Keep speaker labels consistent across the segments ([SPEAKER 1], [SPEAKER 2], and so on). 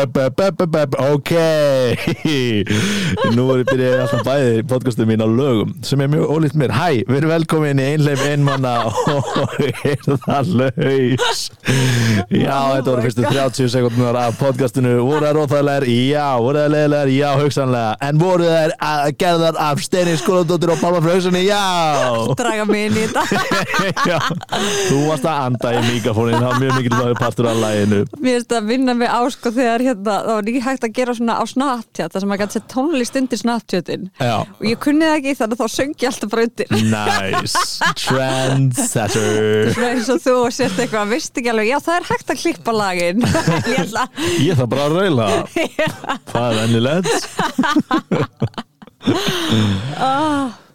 [SPEAKER 1] Ok Nú er ég byrjaði alltaf bæðið podcastum mín á lögum sem er mjög ólíkt mér Hæ, við erum velkomin í einleif einmanna og er það laus Já, þetta voru fyrstu 30 sekundunar af podcastinu voru það róþægilegar, já, voru það leiðilegar já, hugsanlega, en voru það að gerðar af Steini Skóladóttir og Pálma Fröksunni, já
[SPEAKER 2] draga mig inn í þetta
[SPEAKER 1] Já, þú varst að anda í mikrofónin það var mjög mikilvægur partur af læginu
[SPEAKER 2] Mér finnst að vinna mig á sko þegar hérna, það var ekki hægt að gera svona á Snapchat þar sem maður gæti sett tónlist undir Snapchatin
[SPEAKER 1] Já.
[SPEAKER 2] og ég kunni það ekki þannig að þá söngi ég alltaf bara undir
[SPEAKER 1] Nice, trendsetter
[SPEAKER 2] Svona eins og þú og sért eitthvað að veist ekki alveg já það er hægt að klippa lagin Ég ætla
[SPEAKER 1] Ég þarf bara að raula Það er ennilegt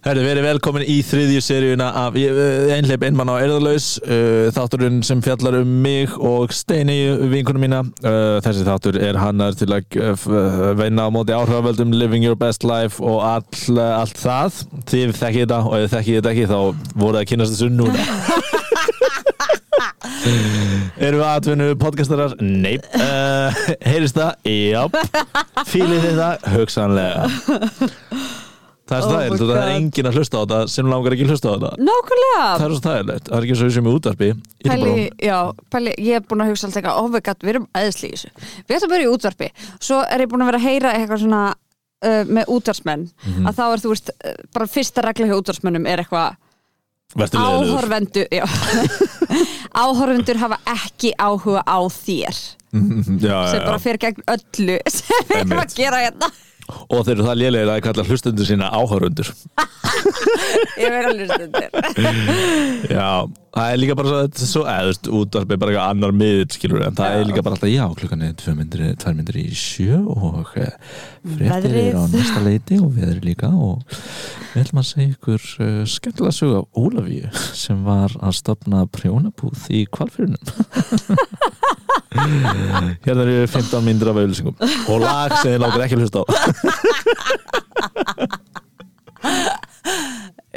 [SPEAKER 1] Herri, verið velkomin í þriðju seríuna af Einleip einmann á erðalaus uh, Þátturinn sem fjallar um mig og Steini vinkunum mína uh, Þessi þáttur er hannar til að uh, veina á móti áhrifavöldum Living your best life og all, eh, allt það Þið þekkið þetta og ef þið þekkið þetta ekki þá voruð að kynast þessu núna Erum við atvinnu podcastarar? Nei uh, Heyrist það? Já Fýlið þið það? Hugsanlega Það er
[SPEAKER 2] Oh my
[SPEAKER 1] stæðilegt og það er
[SPEAKER 2] God.
[SPEAKER 1] enginn að hlusta á þetta sem langar ekki að hlusta á þetta Það
[SPEAKER 2] Nákvæmlega
[SPEAKER 1] er svo stæðilegt, það er ekki svo sem í útarpi
[SPEAKER 2] Pæli, já, pæli, ég er búin að hugsa alltaf eitthvað óvegat, við erum æðisli í þessu Við ætlum að vera í útvarpi, svo er ég búin að vera að heyra eitthvað svona uh, með útvarsmenn
[SPEAKER 1] Mhm.
[SPEAKER 2] að þá er þú veist, uh, bara fyrsta regla hjá útvarsmennum er eitthvað
[SPEAKER 1] Vertu leiðilegur
[SPEAKER 2] áhorfendur já. áhorfendur hafa ekki áhuga á þér
[SPEAKER 1] Já, já,
[SPEAKER 2] sem bara
[SPEAKER 1] já.
[SPEAKER 2] fer gegn öllu sem við erum
[SPEAKER 1] Einmitt.
[SPEAKER 2] að gera hérna
[SPEAKER 1] Og þeir eru það lélegir að þeir kalla hlustundur sína áhörundur
[SPEAKER 2] ég verður alveg stundir
[SPEAKER 1] Já, það er líka bara svo, þetta er svo eða, þú veist, útvarp er bara eitthvað annar miðill skilur en það er líka bara alltaf, já, klukkan er tvö myndir, tvær myndir í sjö og eh, fréttir
[SPEAKER 2] Veðrið.
[SPEAKER 1] eru á næsta leiti og við erum líka og við ætlum að segja ykkur uh, skemmtilega sögu af Ólafíu sem var að stopna prjónabúð í kvalfyrinum Hérna eru 15 myndir af auðlýsingum og lag sem þið lágur ekki að hlusta á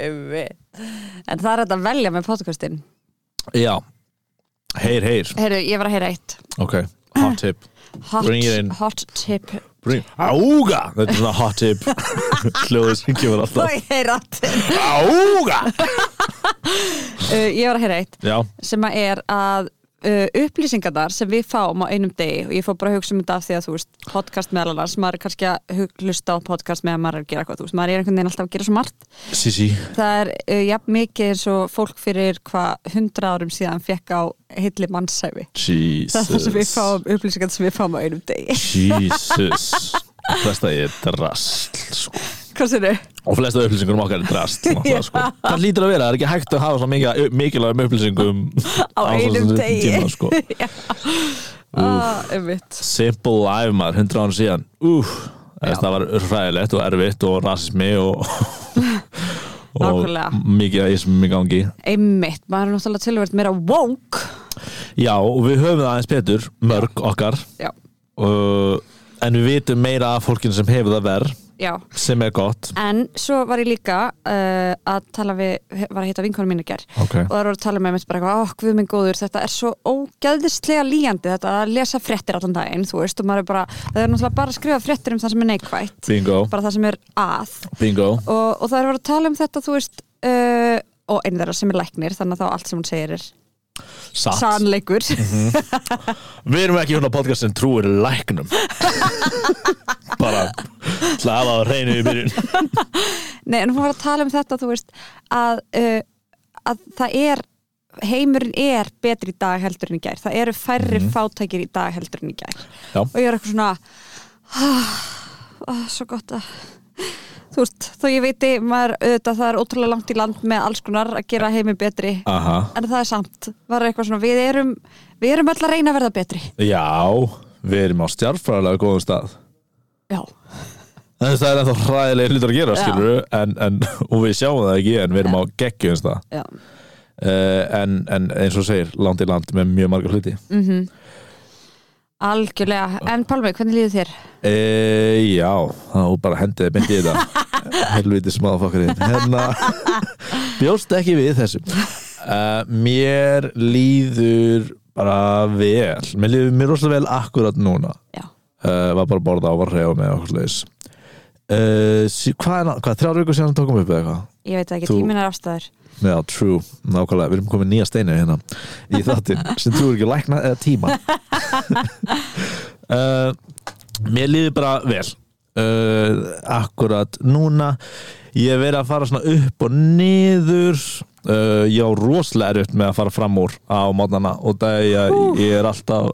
[SPEAKER 2] en það er þetta að velja með podcastin
[SPEAKER 1] Já, heyr, heyr,
[SPEAKER 2] Heyrðu, ég var að heyra eitt
[SPEAKER 1] ok, hot tip
[SPEAKER 2] hot,
[SPEAKER 1] Bring it in.
[SPEAKER 2] hot tip
[SPEAKER 1] Bring,
[SPEAKER 2] Ah.
[SPEAKER 1] ága, þetta er svona hot tip hljóðu sem kemur alltaf
[SPEAKER 2] Oj, heyra tip.
[SPEAKER 1] ága
[SPEAKER 2] uh, ég var að heyra eitt
[SPEAKER 1] já,
[SPEAKER 2] sem að er að Uh, upplýsingarnar sem við fáum á einum degi og ég fór bara að hugsa um þetta af því að þú veist podcast meðal annars, maður er kannski að hug- hlusta á podcast meðan maður er að gera eitthvað, þú veist, maður er einhvern veginn alltaf að gera svo margt
[SPEAKER 1] sí sí
[SPEAKER 2] Það er uh, jafn mikið eins og fólk fyrir hvað hundra árum síðan fekk á hilli mannsæfi. Það er það sem við
[SPEAKER 1] Jesus
[SPEAKER 2] fáum, upplýsingar sem við fáum á einum degi.
[SPEAKER 1] Jesus flesta er drast sko.
[SPEAKER 2] Hvað sér þau?
[SPEAKER 1] og flesta upplýsingur um okkar er drast náttúrulega,
[SPEAKER 2] Já.
[SPEAKER 1] sko. það lítur að vera, það er ekki hægt að hafa svona mikið, mikilvægum upplýsingum
[SPEAKER 2] Á
[SPEAKER 1] á
[SPEAKER 2] einum
[SPEAKER 1] þessum
[SPEAKER 2] degi.
[SPEAKER 1] tíma, sko.
[SPEAKER 2] Ah, einmitt.
[SPEAKER 1] simple life maður, 100 ára síðan úf,
[SPEAKER 2] Já.
[SPEAKER 1] það var ræðilegt og erfitt og rasismi og, og
[SPEAKER 2] Nákvæmlega.
[SPEAKER 1] mikið að ísmum í gangi
[SPEAKER 2] Einmitt, maður er náttúrulega tilvært meira woke.
[SPEAKER 1] Já, og við höfum það aðeins betur, mörg okkar
[SPEAKER 2] Já,
[SPEAKER 1] uh, En við vitum meira af fólkinu sem hefur það verð
[SPEAKER 2] já.
[SPEAKER 1] Sem er gott
[SPEAKER 2] En svo var ég líka uh, að tala við, var að hitta vinkonum mínu gerð
[SPEAKER 1] okay.
[SPEAKER 2] og það voru að tala með mér bara eitthvað, oh, guð minn góður, þetta er svo ógæðislega líjandi þetta að lesa fréttir allan daginn, þú veist, og maður er bara, það er náttúrulega bara að skrifa fréttir um það sem er neikvætt,
[SPEAKER 1] Bingo,
[SPEAKER 2] bara það sem er að
[SPEAKER 1] bingo
[SPEAKER 2] og, og það er verið að tala um þetta þú veist uh, og einu þeirra sem er læknir þannig að þá allt sem hún segir er
[SPEAKER 1] Satt
[SPEAKER 2] sannleikur
[SPEAKER 1] Við erum ekki svona podcast sem trúir læknum Bara Hlaða og reynu í byrjun
[SPEAKER 2] Nei, en hún var að tala um þetta þú veist að, uh, að það er heimurinn er betri í dag heldur en í gær það eru færri fátækir í dag heldur en í gær
[SPEAKER 1] Já.
[SPEAKER 2] og ég er eitthvað svona ah, ah, svo gott að þú veist, þó ég veiti maður auðvitað það er ótrúlega langt í land með alls konar að gera heiminn betri
[SPEAKER 1] Aha
[SPEAKER 2] en það er samt, var eitthvað svona við erum, við erum öll að reyna að verða betri
[SPEAKER 1] Já, við erum á stjarfræðilega góðum stað
[SPEAKER 2] Já,
[SPEAKER 1] En Það er ennþá hræðilega hlutur að gera,
[SPEAKER 2] Já.
[SPEAKER 1] skilur en, en, og við sjáum það ekki, en við erum á geggjum stað
[SPEAKER 2] já,
[SPEAKER 1] uh, en, en eins og þú segir, land í land með mjög marga hluti
[SPEAKER 2] mm Algjörlega, en Pálmi, hvernig líður þér?
[SPEAKER 1] e, Já, þá bara hendiði beint í þetta Helviti smáfokkarinn Hérna Bjóst ekki við þessu uh, Mér líður bara vel Mér líður mér rosalega vel akkurat núna
[SPEAKER 2] Já,
[SPEAKER 1] uh, var bara að borða á var reyða með okkur leis uh, sí, hvað, er na- hvað, þrjár vikur síðan tókum við upp eða eitthvað?
[SPEAKER 2] ég veit það ekki,
[SPEAKER 1] Þú-
[SPEAKER 2] tíminn er afstæður
[SPEAKER 1] Já, true, nákvæmlega, við erum komin nýja steinu hérna í þáttinn, sem trúir ekki lækna eða tíma uh, Mér líður bara vel uh, Akkurat núna Ég hef verið að fara svona upp og niður uh, Ég á rosalega erut með að fara fram úr á mótnana og það er ég, ég er alltaf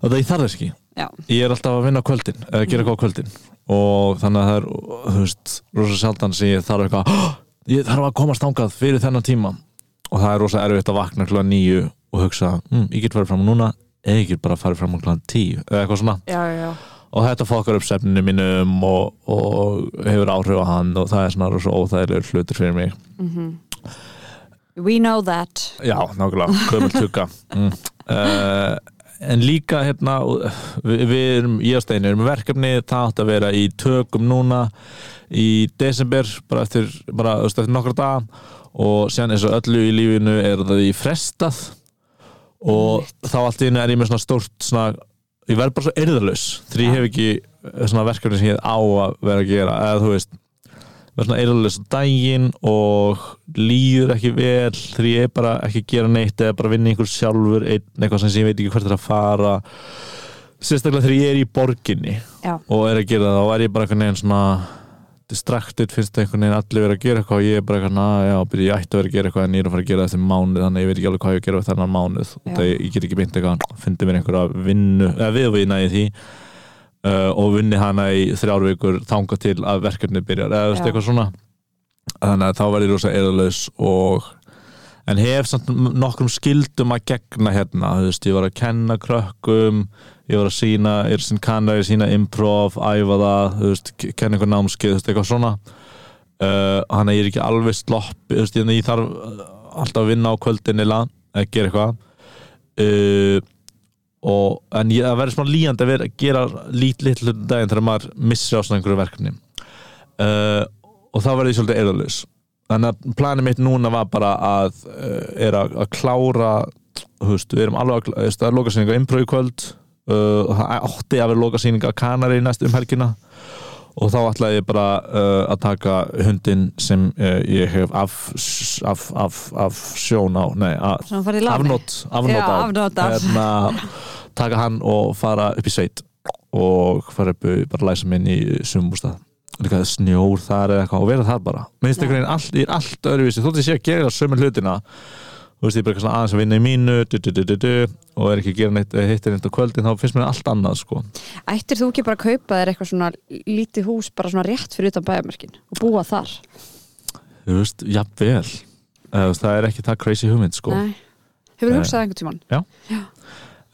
[SPEAKER 1] og það ég þarf þess ekki
[SPEAKER 2] Já,
[SPEAKER 1] ég er alltaf að vinna á kvöldin eða gera eitthvað á kvöldin og þannig að það er, þú veist, rosa sjaldan sem ég þarf eitthvað, "Hó, ég þarf að komast ángað fyrir þennan tíma og það er rosa erfitt að vakna klúan nýju og hugsa, mm, ég get farið fram á núna eða ég get bara farið fram á klúan tíu eða eitthvað svona
[SPEAKER 2] já, já, já.
[SPEAKER 1] og þetta fokkar upp sefninu mínum og, og hefur áhrif á hann og það er svona rosa óþægilegur hlutur fyrir mig
[SPEAKER 2] We know that
[SPEAKER 1] Já, nákvæmlega, gömul tugga mm. uh, En líka hérna, við, við erum, ég og Steini erum með verkefni, það átt að vera í tökum núna í desember, bara eftir, bara, þú veist, eftir nokkra daga og síðan eins og öllu í lífinu er það í frestað og þá allt í hennu er ég með svona stórt svona, ég verð bara svo erðalaus því ég hef ekki eh, svona verkefni sem ég á að vera að gera eða þú veist verð svona eyrðalaus á daginn og líður ekki vel því ég er bara ekki að gera neitt eða bara vinna einhver sjálfur einn, eitthvað sem ég veit ekki hvert er að fara sérstaklega þegar ég er í borginni
[SPEAKER 2] Já,
[SPEAKER 1] og er að gera það þá er ég bara einhvern veginn svona distracted finnst það einhvern veginn allir vera að gera eitthvað og ég er bara eitthvað, "Na, já, byrja, ég ætti að vera að gera eitthvað en ég er að fara að gera það eftir mánuð þannig að ég veit ekki alveg hvað ég á að gera við þennan mánuð og
[SPEAKER 2] Já.
[SPEAKER 1] það ég get ekki beint eitthvað, fyndi mér einhverja vinnu, eða viðvíðna í því uh, og vinni hana í þrjár vikur þanga til að verkefni byrjar eða þú veist
[SPEAKER 2] Já.
[SPEAKER 1] eitthvað svona þannig að þá verði ég rosa eirðalaus og en hef samt nokkrum skildum að gegna hérna, þú veist, ég var að kenna krökkum, ég var að sína er sinn kannar, ég sína improv æfa það, þú veist, k- kenna einhver námskeið þú veist, eitthvað svona uh, hann að ég er ekki alveg slopp þú veist, ég, ég þarf uh, alltaf að vinna á kvöldinni la- að gera eitthvað uh, og, en ég, það verður smá líjandi að vera, gera lít litlu daginn þegar maður missir á svona einhverju verkefni uh, og það verði ég svolítið eirðalaus þannig að planið mitt núna var bara að uh, er að, að klára þú veist, við erum alveg að, klá- þú veist, það er lokasýninga improv í kvöld uh, og það átti að vera lokasýninga kanari næst um helgina og þá ætlaði ég bara uh, að taka hundin sem uh, ég hef af, af, af, af sjón á, nei, að,
[SPEAKER 2] svona farið í láni
[SPEAKER 1] afnót, afnót
[SPEAKER 2] Já,
[SPEAKER 1] af,
[SPEAKER 2] afnot af.
[SPEAKER 1] Hérna, taka hann og fara upp í sveit og fara upp í- bara læsa minn í sumbústað líka snjór þar eða eitthvað og vera þar bara minnst
[SPEAKER 2] Já.
[SPEAKER 1] einhvern veginn allt, ég er allt öðruvísi þótt ég sé að gera sömu hlutina þú veist ég er bara eitthvað svona aðeins að vinna í mínu du, du, du, du, du, og er ekki að gera neitt hittir neitt á kvöldin þá finnst mér allt annað sko
[SPEAKER 2] Ættir þú ekki bara að kaupa þér eitthvað svona lítið hús bara svona rétt fyrir utan bæjarmörkin og búa þar?
[SPEAKER 1] þú veist, jafnvel Eh, þú veist, það er ekki það crazy hugmynd sko
[SPEAKER 2] Nei. Hefur
[SPEAKER 1] Nei.
[SPEAKER 2] hugsað það einhvern tímann?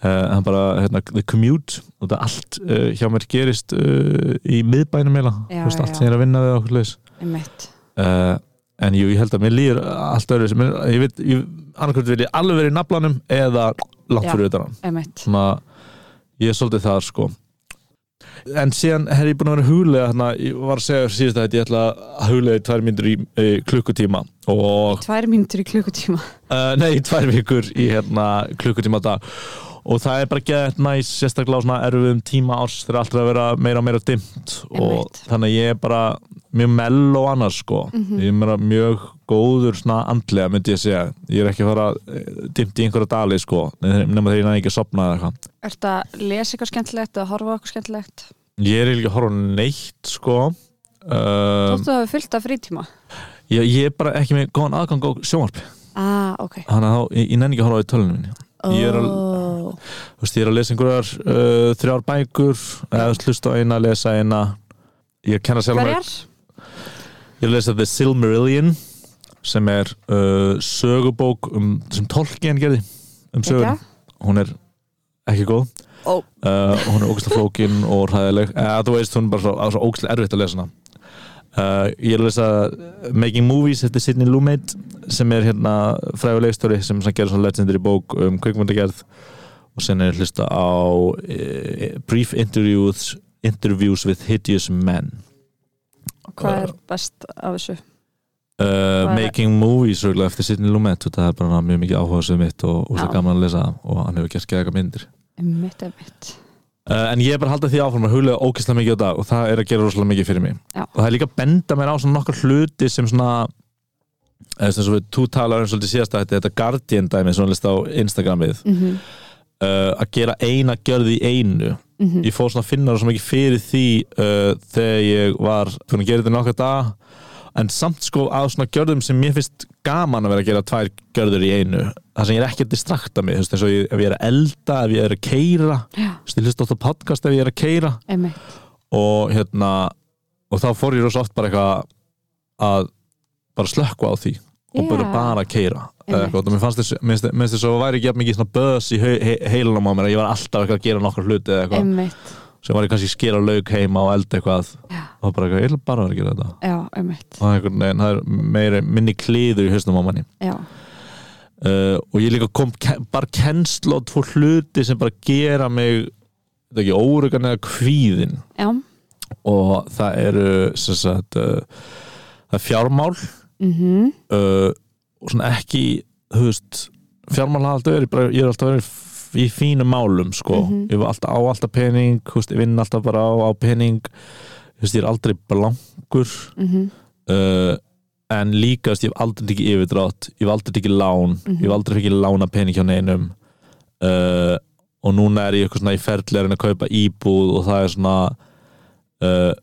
[SPEAKER 1] uh, hann bara, hérna, the commute og það allt uh, hjá mér gerist uh, í miðbænum eila
[SPEAKER 2] Já,
[SPEAKER 1] allt
[SPEAKER 2] já.
[SPEAKER 1] sem ég er að vinna við okkur leis
[SPEAKER 2] Einmitt.
[SPEAKER 1] uh, en jú, ég held að mér líður allt öðru sem, ég veit, ég, annarkvæmt vil ég alveg verið í naflanum eða langt
[SPEAKER 2] Já.
[SPEAKER 1] fyrir utan hann
[SPEAKER 2] Einmitt.
[SPEAKER 1] svona, ég er svolítið það sko en síðan hef ég búin að vera huglega hérna, ég var að segja síðast að ég ætla að huglega í tvær myndur í e, klukkutíma og
[SPEAKER 2] Tvær mínútur í klukkutíma.
[SPEAKER 1] uh, nei, í tvær vikur í hérna klukkutíma á dag og það er bara geðið næs sérstaklega á svona erfum tíma árs þegar allt er að vera meira og meira dimmt og
[SPEAKER 2] Einmitt.
[SPEAKER 1] þannig að ég er bara mjög mell og annars sko ég er bara mjög góður svona andlega myndi ég segja, ég er ekki að fara eh, dimmt í einhverja dali sko nema þegar ég næði ekki að sopna eða eitthvað
[SPEAKER 2] Ertu að lesa eitthvað skemmtilegt eða horfa á eitthvað skemmtilegt?
[SPEAKER 1] ég er ekki að horfa á neitt sko
[SPEAKER 2] Um,
[SPEAKER 1] um,
[SPEAKER 2] Þóttu að hafa fullt af frítíma?
[SPEAKER 1] Eh, ég, ég er bara ekki með góðan aðgang á sjónvarpi
[SPEAKER 2] Ah, ok.
[SPEAKER 1] þannig að þá, ég, ég nenni ekki að horfa á í tölunum minni Ég er að-
[SPEAKER 2] Ó.
[SPEAKER 1] þú veist, ég er að lesa einhverjar uh, þrjár bækur, eða þú veist, hlusta á eina lesa eina, ég kenna sjálf mér
[SPEAKER 2] Hverjar?
[SPEAKER 1] ég er að lesa The Silmarillion sem er uh, sögubók um, sem Tolkien gerði um sögur,
[SPEAKER 2] Ekki?
[SPEAKER 1] hún er ekki góð
[SPEAKER 2] Ó.
[SPEAKER 1] Eh, uh, hún er ógæslega flókin og ræðileg, eða þú veist, hún er bara svo, það er svo ógæslega erfitt að lesa hana Uh, ég er að lesa eh, Making Movies eftir Sidney Lumet sem er hérna fræðulegstóri sem sem gerir svona legendary bók um kvikmyndagerð og sen er ég að hlusta á uh, Brief Interviews Interviews with Hideous Men
[SPEAKER 2] Hvað er best af þessu?
[SPEAKER 1] uh,
[SPEAKER 2] Hvað er-
[SPEAKER 1] Making Movies örugglega eftir Sidney Lumet og það er bara mjög mikið áhugaðsum mitt og, og
[SPEAKER 2] Já.
[SPEAKER 1] það gaman að lesa það. og hann hefur gert geðaka myndir
[SPEAKER 2] Mitt er mitt
[SPEAKER 1] uh, en ég er bara að halda því áfram að huglega ókesslega mikið á dag og það er að gera rosalega mikið fyrir mig
[SPEAKER 2] Já.
[SPEAKER 1] og það er líka að benda mér á svona nokkar hluti sem svona eða sem svo við tútalar um svolítið síðasta þetta, þetta Guardian dæmi sem hann list á Instagramið
[SPEAKER 2] mm -hmm.
[SPEAKER 1] uh, að gera eina gjörð í einu
[SPEAKER 2] Mm -hmm.
[SPEAKER 1] ég fór svona að finna rosa mikið fyrir því uh, þegar ég var búin að gera þetta í nokkra dag en samt sko á svona gjörðum sem mér finnst gaman að vera að gera tvær gjörður í einu það sem ég er ekki að distrakta mig þú veist, eins og ég, ef ég er að elda, ef ég er að keira veist, ég hlusta á það podcast ef ég er að keira og hérna og þá fór ég rosa oft bara eitthvað að bara slökku á því og
[SPEAKER 2] Já.
[SPEAKER 1] bara bara að keira
[SPEAKER 2] Einmitt.
[SPEAKER 1] eitthvað, og mér fannst þess, mér finnst þess að það væri ekki jafn mikið svona buzz í hei, hei, heilanum á mér að ég var alltaf eitthvað að gera nokkar hluti eða eitthvað
[SPEAKER 2] Einmitt
[SPEAKER 1] sem var ég kannski að skera lauk heima og elda eitthvað
[SPEAKER 2] Já.
[SPEAKER 1] og bara eitthvað, ég ætla bara að vera að gera þetta
[SPEAKER 2] Já, einmitt
[SPEAKER 1] og einhvern veginn, það er meiri, minni klíður í hausnum á manni
[SPEAKER 2] Já,
[SPEAKER 1] uh, og ég líka kom ke- bara kennsla á tvo hluti sem bara gera mig þetta ekki órugan eða kvíðin
[SPEAKER 2] já
[SPEAKER 1] og það eru sem sagt uh, það er fjármál
[SPEAKER 2] mm
[SPEAKER 1] uh, og svona ekki þú veist, fjármál hafa alltaf verið bara, ég er alltaf verið í fínum málum sko,
[SPEAKER 2] Mhm.
[SPEAKER 1] ég var alltaf á alltaf pening þú veist, ég vinn alltaf bara á, á pening þú veist, ég er aldrei blankur
[SPEAKER 2] mhm,
[SPEAKER 1] uh, en líka, þú veist, ég hef aldrei tekið yfirdrátt ég hef aldrei tekið lán,
[SPEAKER 2] Mhm.
[SPEAKER 1] ég hef aldrei fekið lána pening hjá neinum uh, og núna er ég eitthvað svona í ferðleirinn að kaupa íbúð og það er svona uh,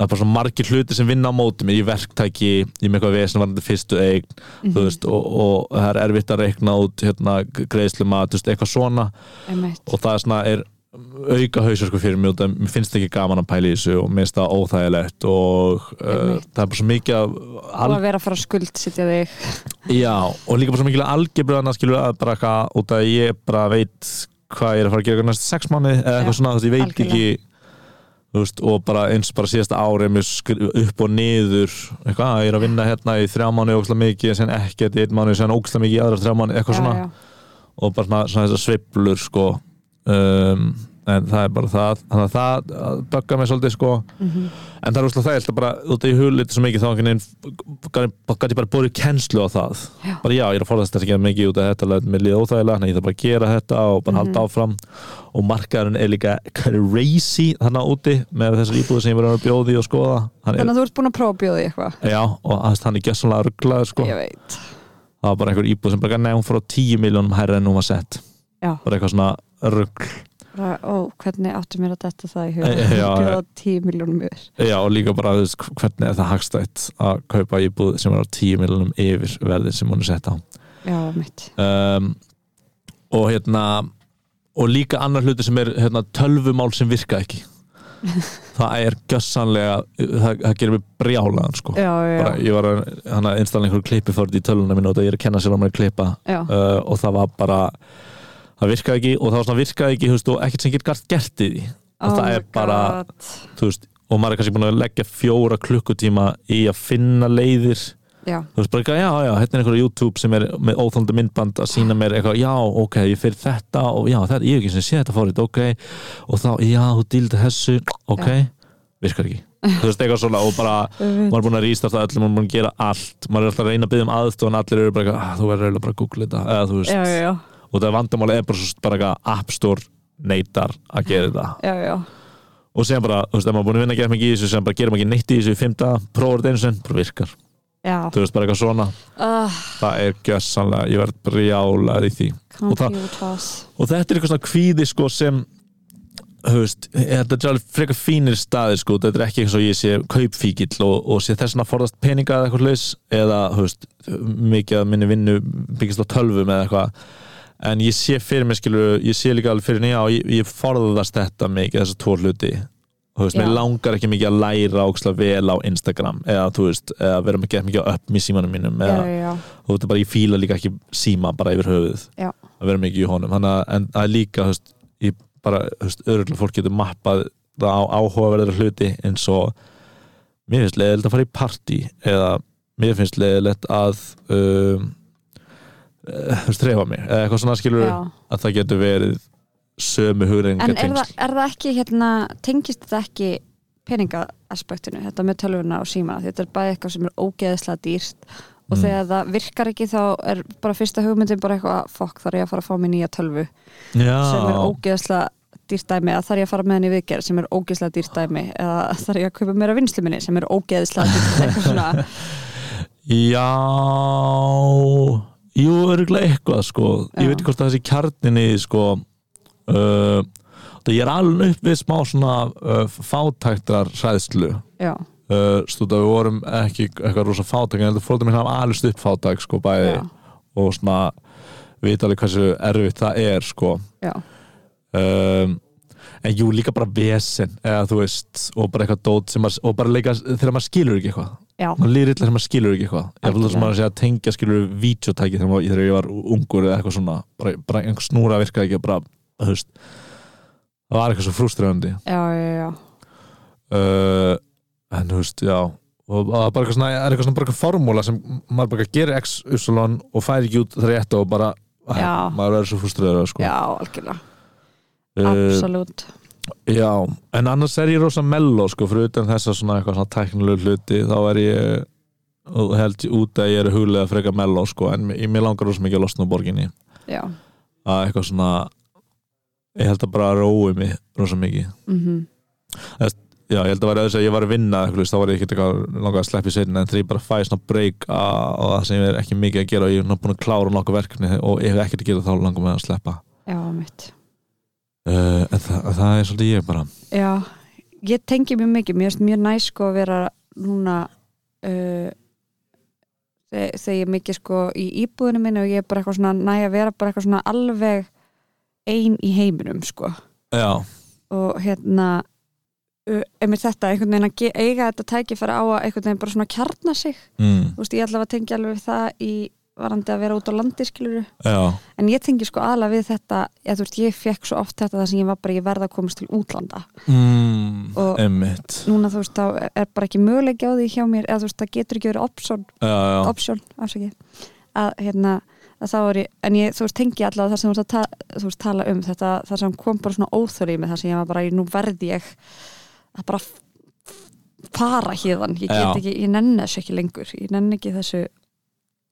[SPEAKER 1] það er bara svona margir hluti sem vinna á móti mér, ég er verktæki, ég er með eitthvað vesen varandi fyrstu eign
[SPEAKER 2] Mhm, Mm.
[SPEAKER 1] þú veist, og, og það er erfitt að reikna út hérna, greiðslumat, þú veist, eitthvað svona
[SPEAKER 2] Einmitt
[SPEAKER 1] og það er svona er auka hausverku fyrir mig út að mér finnst ekki gaman að pæla í þessu og mér finnst það óþægilegt og uh,
[SPEAKER 2] Einmitt.
[SPEAKER 1] það er bara svo mikið af
[SPEAKER 2] Og
[SPEAKER 1] al,
[SPEAKER 2] að vera að fara að skuldsitja þig
[SPEAKER 1] já, og líka bara svo mikið algebröðan að skilur að bara eitthvað út að ég bara veit hvað ég er að fara að gera næst sex mánu eða
[SPEAKER 2] Já,
[SPEAKER 1] eitthvað svona, þú veist, ég veit
[SPEAKER 2] algjörlega.
[SPEAKER 1] ekki þú veist, og bara eins og bara síðasta ári mér skri- upp og niður eitthvað, ég er að vinna hérna í þrjá mánu ókslega mikið, sen ekkert í einn mánu, sen ókslega mikið í aðra þrjá mánu, eitthvað svona
[SPEAKER 2] já, já.
[SPEAKER 1] og bara svona, svona þessar sveiflur sko um, en það er bara það þannig að það böggar mig svolítið sko
[SPEAKER 2] Mhm.
[SPEAKER 1] en það er úrslega það, ég held að bara út af ég hugliti svo mikið þá einhvern veginn gæti ég bara búið kennslu á það
[SPEAKER 2] Já.
[SPEAKER 1] bara já, ég er að forðast þess að gera mikið út af þetta leðin mér liða óþægilega, þannig að ég þarf bara að gera þetta og bara
[SPEAKER 2] Mhm.
[SPEAKER 1] halda áfram og markaðurinn er líka crazy þannig úti með þessar íbúður sem ég verið að bjóði og skoða hann
[SPEAKER 2] Þannig
[SPEAKER 1] er,
[SPEAKER 2] að þú ert búin að prófa að bjóða í eitthvað
[SPEAKER 1] já, og hann er gjössanlega rugglaður sko
[SPEAKER 2] Ég veit
[SPEAKER 1] það var bara einhver íbúð sem bara nefn hún fór á 10 miljónum hærra en hún var sett
[SPEAKER 2] Já.
[SPEAKER 1] bara eitthvað svona rugg
[SPEAKER 2] Bara, Ó, hvernig áttu mér að detta það í
[SPEAKER 1] Eh,
[SPEAKER 2] huga
[SPEAKER 1] já,
[SPEAKER 2] Bjóða 10 miljónum yfir
[SPEAKER 1] já og líka bara þú veist, hvernig er það hagstætt að kaupa íbúð sem er á 10 miljónum yfir verðið sem hún er sett á
[SPEAKER 2] Já, mitt
[SPEAKER 1] um, og hérna og líka annar hluti sem er hérna, tölvumál sem virka ekki það er gjössanlega það, það gerir mig brjálaðan sko
[SPEAKER 2] Já, já, já,
[SPEAKER 1] bara, ég var að hana, installa einhverju klippi fórt í tölvuna mínu og það ég er að kenna sér á mér að klippa
[SPEAKER 2] já.
[SPEAKER 1] uh, og það var bara það virkaði ekki og það var svona virkaði ekki þú veist, og ekkert sem getur gert gert í því og það
[SPEAKER 2] Oh
[SPEAKER 1] er
[SPEAKER 2] my
[SPEAKER 1] bara-
[SPEAKER 2] God.
[SPEAKER 1] þú veist, og maður er kannski búin að leggja fjóra klukkutíma í að finna leiðir þú
[SPEAKER 2] Já,
[SPEAKER 1] veist bara eitthvað, já, já, hérna er einhverja YouTube sem er með óþólandi myndband að sína mér eitthvað, já, ok, ég fyrir þetta og já, þetta, ég hef ekki sem sé þetta fórið, ok og þá, já, þú dýldi þessu ok, virkar ekki þú veist, eitthvað svona og bara
[SPEAKER 2] auðvitað.
[SPEAKER 1] maður er búin að rístarta öllum, maður er búin að gera allt maður er alltaf að reyna að byggja um aðstóðan allir eru bara, eitthvað, ah, þú verður eiginlega bara að googla þetta eða þú veist,
[SPEAKER 2] já, já, já,
[SPEAKER 1] og það vandamáli er bara, svo- bara eitthvað App Store neytar að gera þetta
[SPEAKER 2] já, já.
[SPEAKER 1] og sem bara, þú veist, ef maður er búin að vinna að gera mikið í þessu sem bara gerum ekki neitt í þessu í fymta prófur þetta einu sem, bara virkar,
[SPEAKER 2] já.
[SPEAKER 1] þú veist, bara eitthvað svona
[SPEAKER 2] Uh,
[SPEAKER 1] það er gjössanlega, ég verð brjálað í því Og það-
[SPEAKER 2] computers
[SPEAKER 1] og þetta er eitthvað svona kvíði sko sem þú veist, þetta er alveg frekar fínir staðir sko, þetta er ekki eins og ég sé kaupfíkil og, og sé þess vegna að forðast peninga eða eitthvað laus eða þú veist, mikið að minni vinnu byggist á tölvum eða eitthvað en ég sé fyrir mig skilur, ég sé líka alveg fyrir nýja og ég, ég forðast þetta mikið þessar tvo hluti þú veist,
[SPEAKER 2] Já.
[SPEAKER 1] mér langar ekki mikið að læra óksla vel á Instagram eða þú veist, eða vera mikið mikið að upp í símanum mínum
[SPEAKER 2] já,
[SPEAKER 1] eða,
[SPEAKER 2] já, já.
[SPEAKER 1] og þetta bara ég fíla líka ekki síma bara yfir höfuð
[SPEAKER 2] Já.
[SPEAKER 1] að vera mikið í honum Þannig, að- en það er líka höst, ég bara, höst, öðrulega fólk getur mappað það á áhugaverðar hluti eins og mér finnst leiðilegt að fara í partí eða mér finnst leiðilegt að um, eh, strefa mig eða eitthvað svona skilur
[SPEAKER 2] já.
[SPEAKER 1] að það getur verið sömu hugrenninga
[SPEAKER 2] En er það, er það ekki, hérna, tengist þetta ekki peningaaspektinu, þetta með tölvuna og símana, því þetta er bæði eitthvað sem er ógeðislega dýrt og
[SPEAKER 1] Mm.
[SPEAKER 2] þegar það virkar ekki þá er bara fyrsta hugmyndin bara eitthvað, fokk, þarf ég að fara að fá mér nýja tölvu sem er
[SPEAKER 1] Já,
[SPEAKER 2] ógeðslega dýrt dæmi eða þarf ég að fara með henni í viðgerð sem er ógeðslega dýrt dæmi eða þarf ég að kaupa meira vinslu minni sem er ógeðslega dýrt eitthvað svona
[SPEAKER 1] já Jú, örgulega eitthvað sko
[SPEAKER 2] Já.
[SPEAKER 1] Ég veit ekki hvort það sé kjarninni sko uh, Það ég er alveg upp við smá svona uh, fátæktrar hræðslu
[SPEAKER 2] já,
[SPEAKER 1] uh, stúta við vorum ekki eitthvað rosa fátæk en þetta fóruðum mér hafa alveg stupp fátæk sko bæði
[SPEAKER 2] já,
[SPEAKER 1] og svona vita alveg hversu erfitt það er sko
[SPEAKER 2] já,
[SPEAKER 1] um, en jú líka bara vesen eða þú veist og bara eitthvað dót sem maður, og bara leika þegar maður skilur ekki eitthvað
[SPEAKER 2] já,
[SPEAKER 1] maður lýr illa þegar maður skilur ekki eitthvað ég fylgði sem
[SPEAKER 2] Algjörlega.
[SPEAKER 1] maður sé að tengja skilur videotæki þegar, maður, þegar ég var ungur eða eitthvað svona bara, bara einhver snúra virkaði ekki og bara, þú veist það var eitthvað svo frúströðandi
[SPEAKER 2] já, já, já.
[SPEAKER 1] uh, en þú veist, já og það er bara eitthvað svona, er eitthvað svona bara eitthvað formúla sem maður bara gerir x, y og fær ekki út þrétt og bara
[SPEAKER 2] Já.
[SPEAKER 1] maður verður svo fruströður sko.
[SPEAKER 2] já algjörlega,
[SPEAKER 1] uh,
[SPEAKER 2] absolutt
[SPEAKER 1] já, en annars er ég rosa melló sko, fyrir utan þessa svona eitthvað svona tæknilegu hluti, þá er ég og held ég út að ég er huglega freka melló sko, en mér- mér langar rosa mikið að losna úr borginni
[SPEAKER 2] já,
[SPEAKER 1] að eitthvað svona ég held að bara rói mig rosa mikið
[SPEAKER 2] mhm,
[SPEAKER 1] Já, ég held að vera þess að ég var að vinna þú veist, þá var ég ekkert eitthvað langað að sleppi seinna en þegar ég bara fæði svona break á- á það sem ég er ekki mikið að gera og ég er nú búin að klára nokkuð verkefni og ef ekkert að gera þá langar mig að sleppa
[SPEAKER 2] já, mitt
[SPEAKER 1] uh, en það, en það er svolítið ég bara
[SPEAKER 2] Já, ég tengi mjög mikið mér finnst mjög næst sko að vera núna uh, þeg- þegar ég er mikið sko í íbúðinu minni og ég er bara eitthvað svona næ að vera bara eitthvað svona alveg ein í heiminum sko
[SPEAKER 1] Já,
[SPEAKER 2] og hérna uh, einmitt þetta, einhvern veginn að ge- eiga þetta tækifæri á að einhvern veginn bara svona kjarna sig
[SPEAKER 1] mm,
[SPEAKER 2] þú veist, ég ætla að tengja alveg við það í varandi að vera út á landi skiluru
[SPEAKER 1] já,
[SPEAKER 2] en ég tengi sko aðla við þetta ég, þú veist, ég fekk svo oft þetta þar sem ég var bara ég verða að komast til útlanda
[SPEAKER 1] mm,
[SPEAKER 2] Og-
[SPEAKER 1] emmitt
[SPEAKER 2] núna þú veist, þá er bara ekki möguleik á því hjá mér, eða þú veist, það getur ekki verið option,
[SPEAKER 1] Já, já,
[SPEAKER 2] option, afsaki að hérna, að þá er ég en ég, þú veist, tengi allavega þar sem þú veist, að ta, þú veist tala um þetta, þar sem kom bara svona óþöri með það sem ég var bara, nú verði ég að bara f- f- fara hérðan, ég get
[SPEAKER 1] Já.
[SPEAKER 2] ekki, ég nenni þessu ekki lengur, ég nenni ekki þessu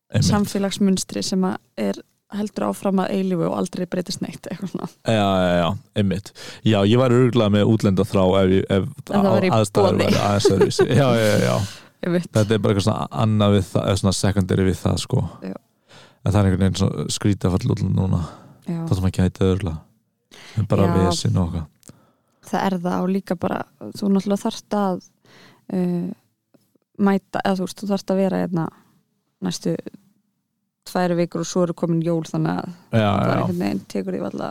[SPEAKER 1] emmitt
[SPEAKER 2] samfélagsmunstri sem að er heldur áfram að eilífu og aldrei breytist neitt eitthvað svona,
[SPEAKER 1] Já, já, já, einmitt Já, ég var örgulega með útlenda þrá ef, ég- ef
[SPEAKER 2] En það væri í
[SPEAKER 1] aðstæður
[SPEAKER 2] boði.
[SPEAKER 1] væri aðeins öðruvísi. Já, já, já, já
[SPEAKER 2] ég veit
[SPEAKER 1] þetta er bara eitthvað svona annað við það, eða svona secondary við það sko
[SPEAKER 2] Já.
[SPEAKER 1] en það er einhvern veginn svona skrýta fall út núna,
[SPEAKER 2] Já.
[SPEAKER 1] það sem ekki hætti öðrla en bara
[SPEAKER 2] Já.
[SPEAKER 1] vesinn og okkar
[SPEAKER 2] það er það og líka bara þú náttúrulega þarft að uh, mæta, eða þú veist þú þarft að vera hérna næstu tværi vikur og svo eru komin jól þannig að það er
[SPEAKER 1] já, já,
[SPEAKER 2] einhvern veginn tekur því valla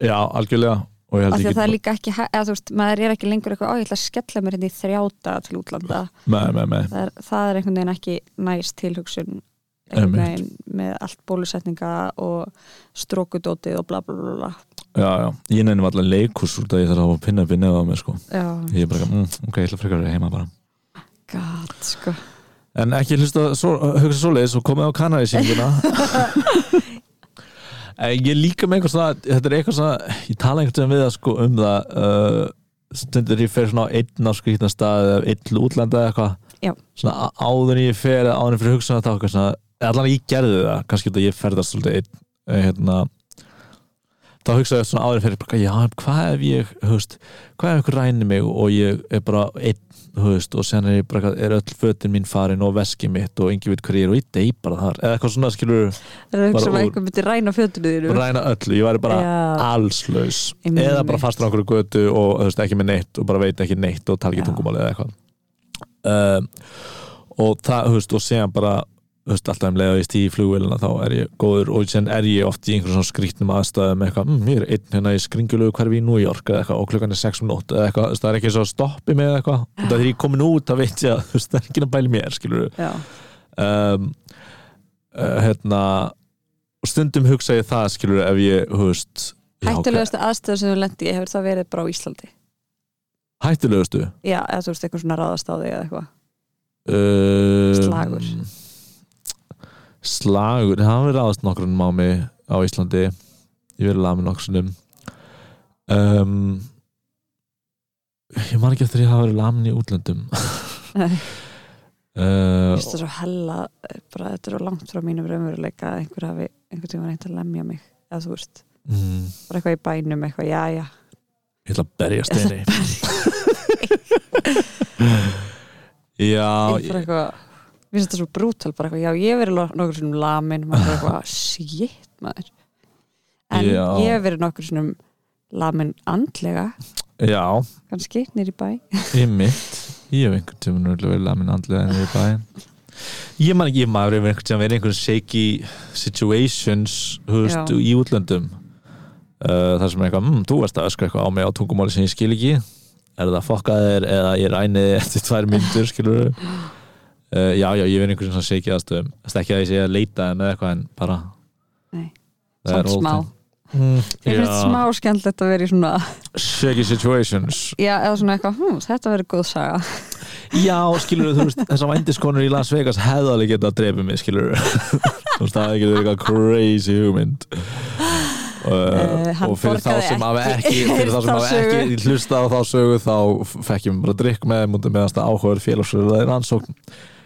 [SPEAKER 1] já, algjörlega og ég
[SPEAKER 2] af því
[SPEAKER 1] held ekki
[SPEAKER 2] að það er líka ekki, hæ- eða þú veist maður er ekki lengur eitthvað, á ég ætla að skella mér hérna í þrjáta til útlanda,
[SPEAKER 1] með, með, með,
[SPEAKER 2] það er, það er einhvern veginn ekki næst tilhugsun einhvern
[SPEAKER 1] Einmitt.
[SPEAKER 2] veginn með allt bólusetninga og strókudótið og bla bla bla bla
[SPEAKER 1] já, já ég nefnum allan leikus út að ég þarf að hafa pinna upp í nefða á mig sko,
[SPEAKER 2] já,
[SPEAKER 1] ég er bara, mm, ok, ég ætla frekar að vera heima bara
[SPEAKER 2] gæt sko
[SPEAKER 1] en ekki hlusta, svo, hugsa svoleiðis og komið á kanari sínguna ég er líka með eitthvað svona þetta er eitthvað svona, ég tala einhvern veginn við það sko um það uh, stundir ég fer svona á einn á skrýtna stað eða einn útlanda eða
[SPEAKER 2] Já.
[SPEAKER 1] eitthvað svona á- áður en ég fer eða áður en fyrir hugsa um þetta eitthvað svona, allan að ég gerði það kannski þetta ég ferðast svolítið einn eh, hérna þá hugsaði ég svona áður en fyrir bara, já, hvað ef ég, höfst, hvað ef ykkur rænir mig og ég er bara einn, höfst, og sen er, ég bara, eitthvað- er öll fötin mín farin og veskið mitt og engi veit hver ég er og ég dey bara þar eða eitthvað svona skilur
[SPEAKER 2] það er að hugsa um
[SPEAKER 1] Bara
[SPEAKER 2] að
[SPEAKER 1] úr-
[SPEAKER 2] einhver myndi ræna fjötunni þínu
[SPEAKER 1] ræna öllu, ég væri bara
[SPEAKER 2] Já.
[SPEAKER 1] allslaus
[SPEAKER 2] Einmitt.
[SPEAKER 1] eða bara fastur á einhverju götu og þú veist, ekki með neitt og bara veit ekki neitt og tala ekki
[SPEAKER 2] Já.
[SPEAKER 1] tungumáli eða eitthvað um, og það, þú veist, og séðan bara þú veist, alltaf um leið og ég stíði í flugvélina þá er ég góður og sen er ég oft í einhverjum svona skrýtnum aðstæðum eitthvað, mm, ég er einn hérna í skringulegu hverfi í New York eða eitthvað og klukkan er 6 um nótt eða eitthvað, þú veist, það er ekki svo að stoppi með eitthvað og það er ég komin út, það veit ég að þú veist, það er ekki að bæli mér, skilur
[SPEAKER 2] já
[SPEAKER 1] um, uh, hérna og stundum hugsa ég það skilur ef ég, þú veist já, ok,
[SPEAKER 2] Hættulegasta aðstöður sem þú lendi í hefur það verið bara á Íslandi
[SPEAKER 1] Hættulegustu
[SPEAKER 2] já, eða þú veist eitthvað svona ráðast á þig eða eitthvað
[SPEAKER 1] uh,
[SPEAKER 2] Slagur.
[SPEAKER 1] Slagur, það var ráðast nokkrunum á mig á Íslandi Ég verið laga með nokkrunum um, Ég man ekki eftir að ég hafa verið lamin í útlöndum
[SPEAKER 2] Nei.
[SPEAKER 1] uh,
[SPEAKER 2] Mér finnst það svo hella, bara þetta er á langt frá mínum raunveruleika að einhver hafi einhvern tíma reynd að lemja mig eða þú veist,
[SPEAKER 1] mm,
[SPEAKER 2] bara eitthvað í bænum eitthvað, já já,
[SPEAKER 1] Ég ætla að berja steini Já,
[SPEAKER 2] ég bara eitthvað mér finnst það svo brútal, bara eitthvað, já ég hef verið lo- nokkrum sinnum lamin, maður bara eitthvað shit maður en
[SPEAKER 1] Já.
[SPEAKER 2] ég hef verið nokkrum sinnum lamin andlega,
[SPEAKER 1] já,
[SPEAKER 2] kannski, nýri bæ
[SPEAKER 1] ég mitt Ég hef einhvern tímann örugglega verið lamin andlega en við bæinn Ég man ekki, ég maður hefur einhvern tímann verið einhvern shaky situations hufst,
[SPEAKER 2] Já.
[SPEAKER 1] í útlöndum uh, þar sem er eitthvað, mmm, þú varst að öskra eitthvað á mig á tungumáli sem ég skil ekki er það fokkaðir eða ég ræni þig eftir tvær myndur skilur uh, Já, já, ég verið einhvern svona shaky aðstöðum Þess ekki að ég sé að leita en eitthvað en bara
[SPEAKER 2] Nei.
[SPEAKER 1] Það er
[SPEAKER 2] Samt smá.
[SPEAKER 1] all time. Mm,
[SPEAKER 2] ég finnst smá skemmtilegt að vera í svona
[SPEAKER 1] shaky situations
[SPEAKER 2] já, eða svona eitthvað, hm, þetta verið góð saga
[SPEAKER 1] Já, skilur þú veist, þessar vændiskonur í Las Vegas hefðu alveg getað að drepa mig, skilur þú veist, það hefði getað verið eitthvað crazy hugmynd
[SPEAKER 2] Eh,
[SPEAKER 1] uh,
[SPEAKER 2] hann
[SPEAKER 1] og fyrir þá
[SPEAKER 2] borgaði
[SPEAKER 1] sem hafa
[SPEAKER 2] ekki
[SPEAKER 1] ekki fyrir þá sem
[SPEAKER 2] þá
[SPEAKER 1] hafa ekki hlusta á þá sögu þá fekkjum bara drikk með þeim út meðan það áhugaður félagsverðaði rannsókn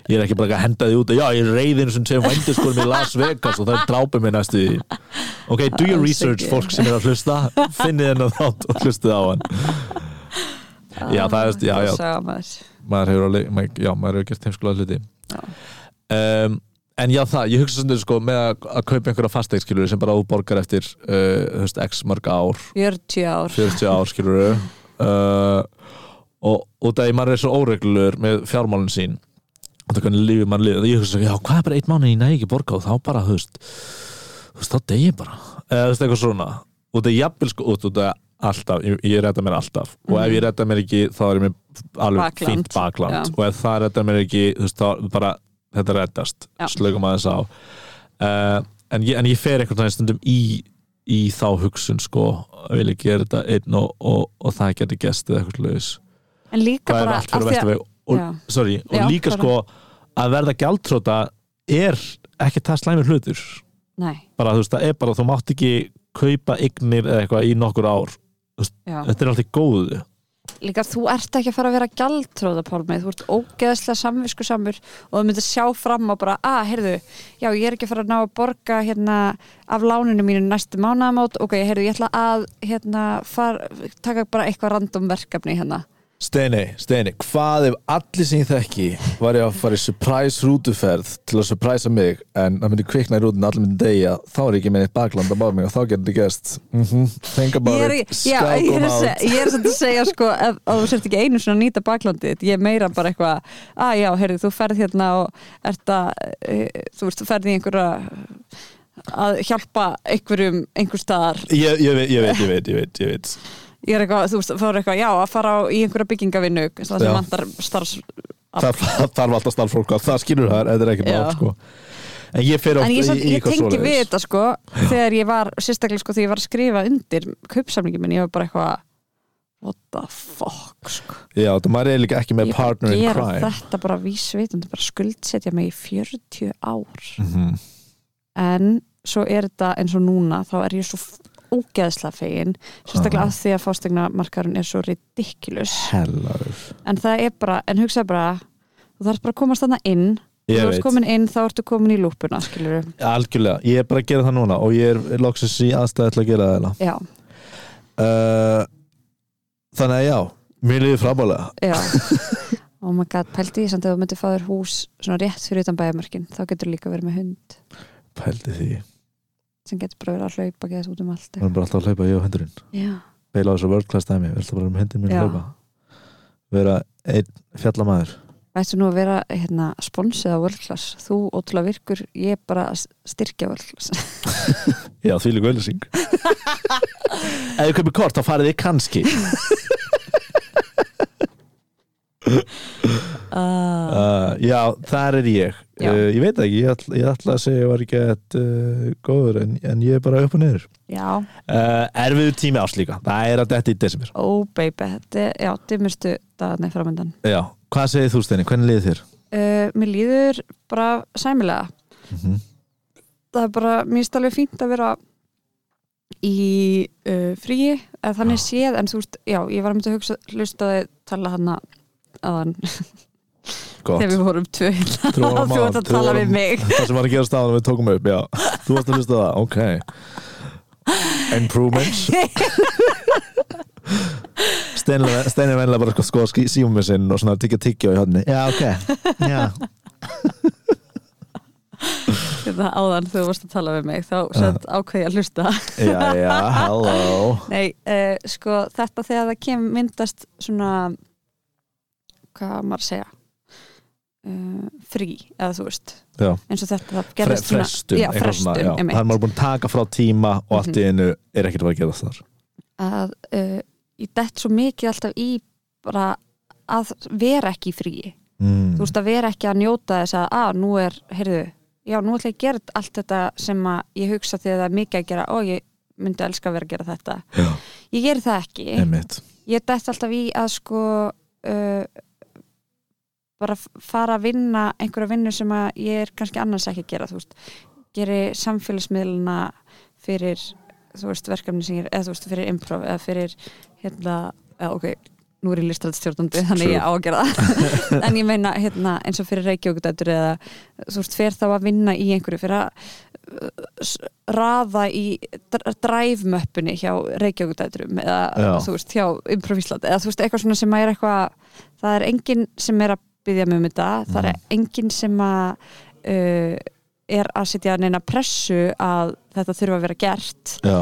[SPEAKER 1] ég er ekki bara að henda því út að já, ég reyðin sem sem vændiskonum í Las Vegas og það drápa mig næstu því ok, do your
[SPEAKER 2] Alls
[SPEAKER 1] research
[SPEAKER 2] ekki.
[SPEAKER 1] fólk sem er að hlusta finnið hennar þátt og hlustið á hann Já, það er- já,
[SPEAKER 2] Góð
[SPEAKER 1] já.
[SPEAKER 2] saga, maður.
[SPEAKER 1] maður hefur alveg, maður, já, maður hefur gert heimskulega hluti
[SPEAKER 2] Já.
[SPEAKER 1] um, en já það, ég hugsa sem þau sko með að, að kaupa einhverja fasteik skilur sem bara þú borgar eftir uh, þú veist, x mörg ár,
[SPEAKER 2] 40 ár
[SPEAKER 1] 40 ár skilur uh, og út af því maður er svo óreglur með fjármálun sín og það hvernig lífið maður lífið, ég hugsa já, hvað er bara einn mánu ég næg ekki borga og þá bara, þú veist þú veist, þá degi ég bara eða þú veist, eitthvað svona, út af jafnvel sko út út af alltaf, ég, ég retta mér alltaf og ef ég retta mér ekki, þá er ég með alveg
[SPEAKER 2] Mm. Bakland.
[SPEAKER 1] fínt bakland
[SPEAKER 2] Já.
[SPEAKER 1] og ef það retta mér ekki, þú veist, þá bara þetta rettast,
[SPEAKER 2] Já.
[SPEAKER 1] slökum aðeins á uh, en, ég, en ég fer einhvern veginn stundum í, í þá hugsun sko, að vilja gera þetta einn og, og, og það geti gestið eitthvað laus,
[SPEAKER 2] en líka
[SPEAKER 1] hvað er
[SPEAKER 2] bara
[SPEAKER 1] allt fyrir
[SPEAKER 2] af því að-
[SPEAKER 1] vesturveg og,
[SPEAKER 2] Já.
[SPEAKER 1] sorry, og
[SPEAKER 2] Já,
[SPEAKER 1] líka
[SPEAKER 2] bara.
[SPEAKER 1] sko að verða gjaldtróta er ekki það slæmur hlutur
[SPEAKER 2] nei,
[SPEAKER 1] bara þú veist, það er bara þú mátt ekki kaupa eignir eða eitthvað í nokkur ár
[SPEAKER 2] já
[SPEAKER 1] þetta er alltaf í góðu
[SPEAKER 2] líka þú ert ekki að fara að vera gjaldtróða Pálmi, þú ert ógeðslega samvisku samur og þú myndir sjá fram á bara að, heyrðu, já, ég er ekki að fara að ná að borga hérna af láninu mínu næstu mánaðamót, ok, heyrðu, ég ætla að hérna, far, taka bara eitthvað random verkefni hérna
[SPEAKER 1] Steini, Steini, hvað ef allir sem ég þekki var ég að fara í surprise rútuferð til að surprise mig en það myndi kvikna í rútun allir myndi degja þá er ég ekki með eitt bakland að báða mig og þá getur þetta gæst mm -hmm. Think
[SPEAKER 2] ég
[SPEAKER 1] about
[SPEAKER 2] er,
[SPEAKER 1] it,
[SPEAKER 2] já,
[SPEAKER 1] scout
[SPEAKER 2] ég er,
[SPEAKER 1] on
[SPEAKER 2] að
[SPEAKER 1] out
[SPEAKER 2] seg- ég er samt að segja sko að, að þú sért ekki einu svona að nýta baklandið þitt. ég er meira bara eitthvað, að já, heyrðu þú ferð hérna og ert að e, þú veist, þú ferð í einhverja að hjálpa einhverjum einhver staðar,
[SPEAKER 1] Ég, ég, veit, ég veit, ég veit, ég veit, ég veit
[SPEAKER 2] ég er eitthvað, þú veist, fór eitthvað já, að fara á, í einhverja byggingavinnu það
[SPEAKER 1] Já.
[SPEAKER 2] sem vantar starfs
[SPEAKER 1] Það það þarf alltaf starffólk að það skilur það, þetta er ekki
[SPEAKER 2] Ah. Já.
[SPEAKER 1] mál sko En ég fer
[SPEAKER 2] en
[SPEAKER 1] ofta
[SPEAKER 2] ég,
[SPEAKER 1] í,
[SPEAKER 2] samt,
[SPEAKER 1] í
[SPEAKER 2] ég
[SPEAKER 1] eitthvað
[SPEAKER 2] tengi við
[SPEAKER 1] svoleiðis.
[SPEAKER 2] þetta sko þegar ég var, sérstaklega sko þegar ég var að skrifa undir kaupsamlingi minn, ég var bara eitthvað what the fuck sko
[SPEAKER 1] Já, það maður er líka ekki með
[SPEAKER 2] ég bara
[SPEAKER 1] partner in
[SPEAKER 2] gera
[SPEAKER 1] crime
[SPEAKER 2] þetta bara vísvitandi bara skuldsetja mig í 40 ár
[SPEAKER 1] Mhm.
[SPEAKER 2] en svo er þetta eins og núna þá er ég svo f- ógeðslega fegin sérstaklega
[SPEAKER 1] Aha.
[SPEAKER 2] af því að fástegnamarkarinn er svo ridiculous
[SPEAKER 1] Hellaður
[SPEAKER 2] en það er bara, en hugsa bara þú þarfst bara að komast þarna inn
[SPEAKER 1] Ég
[SPEAKER 2] þú
[SPEAKER 1] veit.
[SPEAKER 2] ert komin inn, þá ertu komin í lúpuna skilur
[SPEAKER 1] Algjörlega, ég er bara að gera það núna og ég er loksins í aðstæði til að gera það hérna. eiginlega.
[SPEAKER 2] já,
[SPEAKER 1] uh, Þannig að já, mér líður frábælega
[SPEAKER 2] já oh my god, pældi ég samt að þú myndir fá þér hús svona rétt fyrir utan bæjarmörkin, þá getur líka verið með hund
[SPEAKER 1] Pældi því,
[SPEAKER 2] sem getur bara verið að hlaupa, geðast út um allt
[SPEAKER 1] maður er bara alltaf að hlaupa ég á hendurinn
[SPEAKER 2] já,
[SPEAKER 1] Beila á þessu world class dæmi, við ætlum bara um hendurinn minn
[SPEAKER 2] Já.
[SPEAKER 1] að hlaupa Vera einn fjallamæður
[SPEAKER 2] ættu nú að vera hérna, sponsið á World Class þú ótrúlega virkur, ég bara að styrkja World Class
[SPEAKER 1] Já, því líka öllising Ef þið kaupir kort, þá farið þið kannski
[SPEAKER 2] uh, Ah,
[SPEAKER 1] uh, Já, Eh, þar er ég
[SPEAKER 2] Já.
[SPEAKER 1] uh, ég veit það ekki, ég ætla, ég ætla að segja ég var ekki að uh, góður en, en ég er bara upp og niður
[SPEAKER 2] Já,
[SPEAKER 1] uh, erfiðu tími ás líka, það er að detti í desember
[SPEAKER 2] ó baby, þetta er, já, dimmustu dagarni framöndan.
[SPEAKER 1] já, hvað segir þú Steini, hvernig liðið þér?
[SPEAKER 2] Uh, mér líður bara sæmilega.
[SPEAKER 1] Mhm.
[SPEAKER 2] Það er bara, mér finnst alveg fínt að vera í uh, fríi, eða þannig séð, en þú veist, já, ég var að mynda að hugsa, hlustaði tala hana aðan þegar
[SPEAKER 1] gott,
[SPEAKER 2] við vorum tvö hérna.
[SPEAKER 1] Trú honum
[SPEAKER 2] Þú
[SPEAKER 1] á,
[SPEAKER 2] ert að
[SPEAKER 1] trú
[SPEAKER 2] tala við
[SPEAKER 1] honum.
[SPEAKER 2] mig.
[SPEAKER 1] það sem var að gera staðan við tókum upp, já, þú varst að hlusta á það ok improvements Steini Steini er venlega bara sko, sko símum með sinn og svona tyggja tyggja í hodni já, ok, já,
[SPEAKER 2] Hérna áðan þegar þú varst að tala við mig, þá sett ákveði að hlusta.
[SPEAKER 1] já, já, hello
[SPEAKER 2] Nei, uh, sko þetta þegar það kem myndast svona hvað á maður að segja uh, frí, eða þú veist
[SPEAKER 1] Já.
[SPEAKER 2] eins og þetta, það
[SPEAKER 1] Fre
[SPEAKER 2] gerðist svona
[SPEAKER 1] frestum,
[SPEAKER 2] já,
[SPEAKER 1] eitthvað
[SPEAKER 2] frestum,
[SPEAKER 1] svona, já.
[SPEAKER 2] einmitt. Mhm.
[SPEAKER 1] það er maður búin að taka frá tíma og allt í einu er ekkert að fara að gera þar
[SPEAKER 2] að uh, ég dett svo mikið alltaf í bara að vera ekki í fríi
[SPEAKER 1] mm.
[SPEAKER 2] þú veist að vera ekki að njóta þess að að nú er, heyrðu, já nú ætla ég að gera allt þetta sem að ég hugsa þegar það er mikið að gera, ó ég myndi elska að vera að gera þetta,
[SPEAKER 1] já,
[SPEAKER 2] ég geri það ekki
[SPEAKER 1] einmitt
[SPEAKER 2] ég dætt alltaf í að sko uh, bara f- fara að vinna einhverja vinnu sem að ég er kannski annars ekki að gera þú veist, geri samfélagsmiðluna fyrir þú veist, verkefni sem ég er, eða þú veist, fyrir improv eða fyrir, hérna, eða, ok nú er ég listrættstjórnandi, þannig
[SPEAKER 1] True.
[SPEAKER 2] ég á að gera það en ég meina, hérna, eins og fyrir reykjókudættur eða, þú veist, fer þá að vinna í einhverju fyrir að uh, s- raða í dræfmöppunni hjá reykjókudætturum eða,
[SPEAKER 1] Já.
[SPEAKER 2] þú veist, hjá improvísland eða, þú veist, eitthvað svona sem að er eitthvað það er enginn sem er að byggja mig um þetta það er enginn sem að uh, er að setja neina pressu að þetta þurfa að vera gert
[SPEAKER 1] já,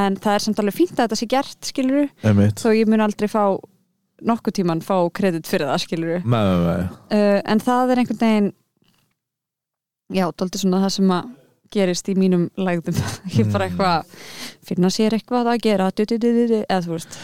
[SPEAKER 2] en það er samt alveg fínt að þetta sé gert skiluru,
[SPEAKER 1] einmitt
[SPEAKER 2] þó ég mun aldrei fá nokkuð tíman fá kredit fyrir það skiluru
[SPEAKER 1] með, með, með.
[SPEAKER 2] uh, en það er einhvern veginn já, dóldi svona það sem að gerist í mínum lægðum ég bara eitthvað, finna sér eitthvað að gera du, du, du, du, du, eða þú veist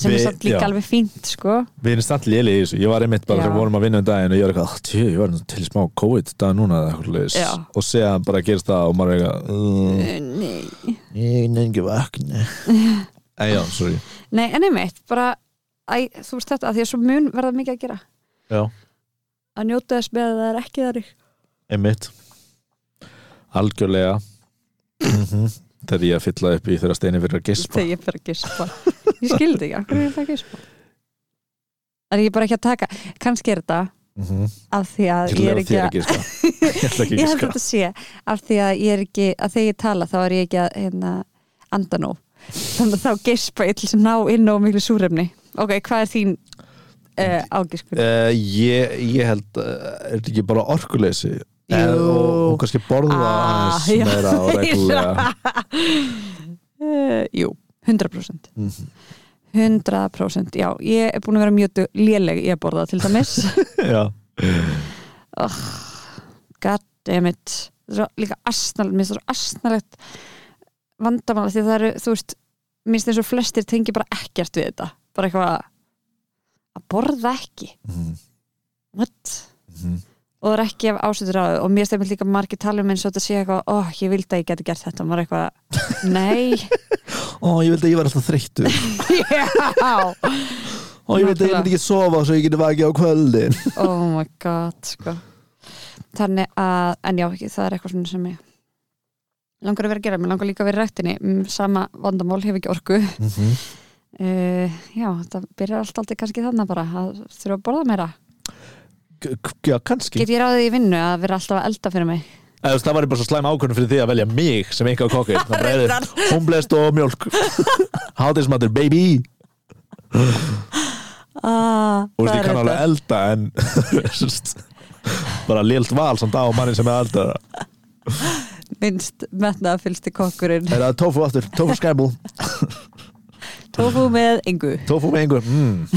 [SPEAKER 2] sem
[SPEAKER 1] Við-
[SPEAKER 2] er samt líka
[SPEAKER 1] já.
[SPEAKER 2] alveg fínt sko
[SPEAKER 1] við erum samt léli í þessu, ég var einmitt bara
[SPEAKER 2] Já.
[SPEAKER 1] þegar við vorum að vinna um daginn og ég var eitthvað, "Ah, tjú, ég var nú til smá COVID dag núna eða eitthvað leis
[SPEAKER 2] Já.
[SPEAKER 1] og segja bara gerist það og maður er eitthvað
[SPEAKER 2] Uh, nei,
[SPEAKER 1] "Mm, ég er nengi vakna en já, sorry
[SPEAKER 2] nei en einmitt bara, æ, þú veist þetta, að því að svo mun verða mikið að gera
[SPEAKER 1] já,
[SPEAKER 2] að njóta þess með að það er ekki þar
[SPEAKER 1] einmitt algjörlega mm þegar ég að fylla upp í þeirra steini fyrir að gispa
[SPEAKER 2] þegar ég fer að gispa ég skildi ekki, af hverju er ég það að gispa en ég er bara ekki að taka kannski er þetta
[SPEAKER 1] mm
[SPEAKER 2] af því að
[SPEAKER 1] Ég
[SPEAKER 2] ég er
[SPEAKER 1] ætla
[SPEAKER 2] ekki
[SPEAKER 1] þér
[SPEAKER 2] að
[SPEAKER 1] að giska Ég ætla
[SPEAKER 2] ég held
[SPEAKER 1] ekki að
[SPEAKER 2] að
[SPEAKER 1] giska
[SPEAKER 2] þetta sé af því að ég er ekki, að þegar ég tala þá er ég ekki að hérna, anda nóg þannig að þá gespa ég til þess að ná inn og miklu súrefni ok, hvað er þín uh, ágiskun?
[SPEAKER 1] uh, ég, ég held uh, Er þetta ekki bara orkuleysi
[SPEAKER 2] Jú.
[SPEAKER 1] Eh, og, og kannski borða
[SPEAKER 2] Ah,
[SPEAKER 1] aðeins
[SPEAKER 2] já.
[SPEAKER 1] meira og reglulega
[SPEAKER 2] Uh, jú, 100%
[SPEAKER 1] Mhm.
[SPEAKER 2] 100% já, ég er búin að vera mjög du- léleg í að borða til dæmis
[SPEAKER 1] Já,
[SPEAKER 2] goddammit líka asnal, mér finnst það svo asnalegt vandamála því það eru þú veist, mér finnst eins og flestir tengi bara ekkert við þetta, bara eitthvað að borða ekki
[SPEAKER 1] Mhm.
[SPEAKER 2] what?
[SPEAKER 1] Mhm.
[SPEAKER 2] og það er ekki af ásöður á þau og mér finnst það líka margir tala um eins og þetta sé eitthvað ó, ég vildi að ég geti gert þetta, Og maður er eitthvað nei,
[SPEAKER 1] Ó, ég vildi að ég var alltaf þreyttu
[SPEAKER 2] já
[SPEAKER 1] Ó, ég vildi að ég myndi ekki sofa svo ég geti vakið á kvöldin
[SPEAKER 2] oh my god sko. þannig að, en já, ekki, það er eitthvað svona sem ég langar að vera að gera, mér langar líka að vera í rættinni Mm, sama vandamál hef ekki orku
[SPEAKER 1] Mhm.
[SPEAKER 2] uh, já, það byrjar allt aldrei kannski þannig bara að þurfa að borða meira
[SPEAKER 1] K- k- Já, kannski
[SPEAKER 2] get ég ráðið í vinnu að vera alltaf að elda fyrir mig
[SPEAKER 1] Eða, þú veist, Það var bara svo slæm ákvörðum fyrir því að velja mig sem eitthvað kokki
[SPEAKER 2] Reyndar.
[SPEAKER 1] Homblest og mjólk Hátinsmatur, baby
[SPEAKER 2] ah,
[SPEAKER 1] Þú veist, ég kann alveg elda en þú veist, bara lélt val samt á manni sem er elda
[SPEAKER 2] minnst metnaða fylgst í kokkurinn
[SPEAKER 1] Er það tofu aftur, tofu skæmul
[SPEAKER 2] tófu með engu
[SPEAKER 1] tofu með einhver, mm,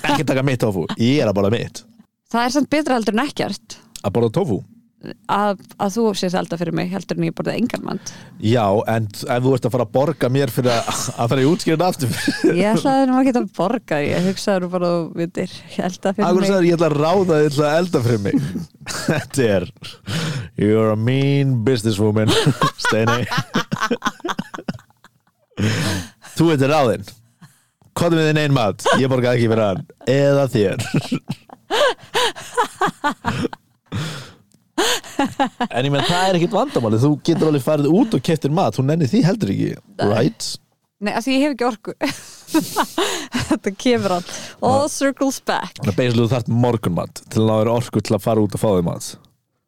[SPEAKER 1] ekki taka mitt tofu ég er að borða mitt
[SPEAKER 2] það er samt betra heldur en ekkert
[SPEAKER 1] að borða tofu,
[SPEAKER 2] að, að þú sést alltaf fyrir mig heldur en ég borðið engan mand
[SPEAKER 1] Já, en ef þú ert að fara að borga mér fyrir að, að fara í útskýrðin aftur
[SPEAKER 2] ég ætlaði nú ekki að borga ég hugsaði nú bara að þú myndir held að fyrir
[SPEAKER 1] Akkur
[SPEAKER 2] mig
[SPEAKER 1] sagði ég ætla að ráða, ég ætla að elda fyrir mig Þetta er You're a mean businesswoman Steini Þú ert ráðinn Kottum við þinn einn mat Ég borgaði ekki fyrir hann Eða þér En ég menn það er ekkit vandamáli Þú getur alveg farið út og keftir mat Hún nenni því heldur ekki Right?
[SPEAKER 2] Nei, af því ég hef ekki orku Þetta kemur allt All circles back
[SPEAKER 1] Þannig að basically þú þarft morgunmat Til að ná þér orku til að fara út og fá þér mat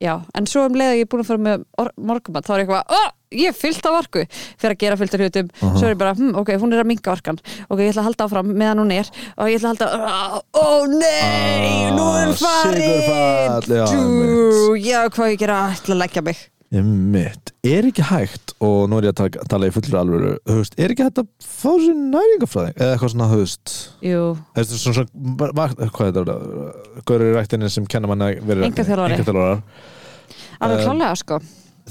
[SPEAKER 2] Já, en svo um leið að ég er búin að fara með or- morgumat þá er ég eitthvað, oh, ég er fyllt af orku fyrir að gera fyllt af hlutum svo er ég bara, hm, ok, hún er að minka orkan ok, ég ætla að halda áfram meðan hún er og ég ætla að halda, ó oh, nei
[SPEAKER 1] Ah,
[SPEAKER 2] nú er hún
[SPEAKER 1] sigurfall,
[SPEAKER 2] farin
[SPEAKER 1] já,
[SPEAKER 2] Djú, já, hvað ég gera, ég ætla að leggja mig
[SPEAKER 1] Mitt, er ekki hægt og nú er ég að taka, tala í fullur alvöru þú veist, er ekki hægt að fá sér næringafræði eða eitthvað svona, þú veist
[SPEAKER 2] Jú,
[SPEAKER 1] þú veist, svona, svona, bara vakt- hvað er þetta gaurur í ræktinni sem kenna manna
[SPEAKER 2] Einkaþjálfari.
[SPEAKER 1] engaþjálfarar
[SPEAKER 2] alveg
[SPEAKER 1] Um,
[SPEAKER 2] klálega sko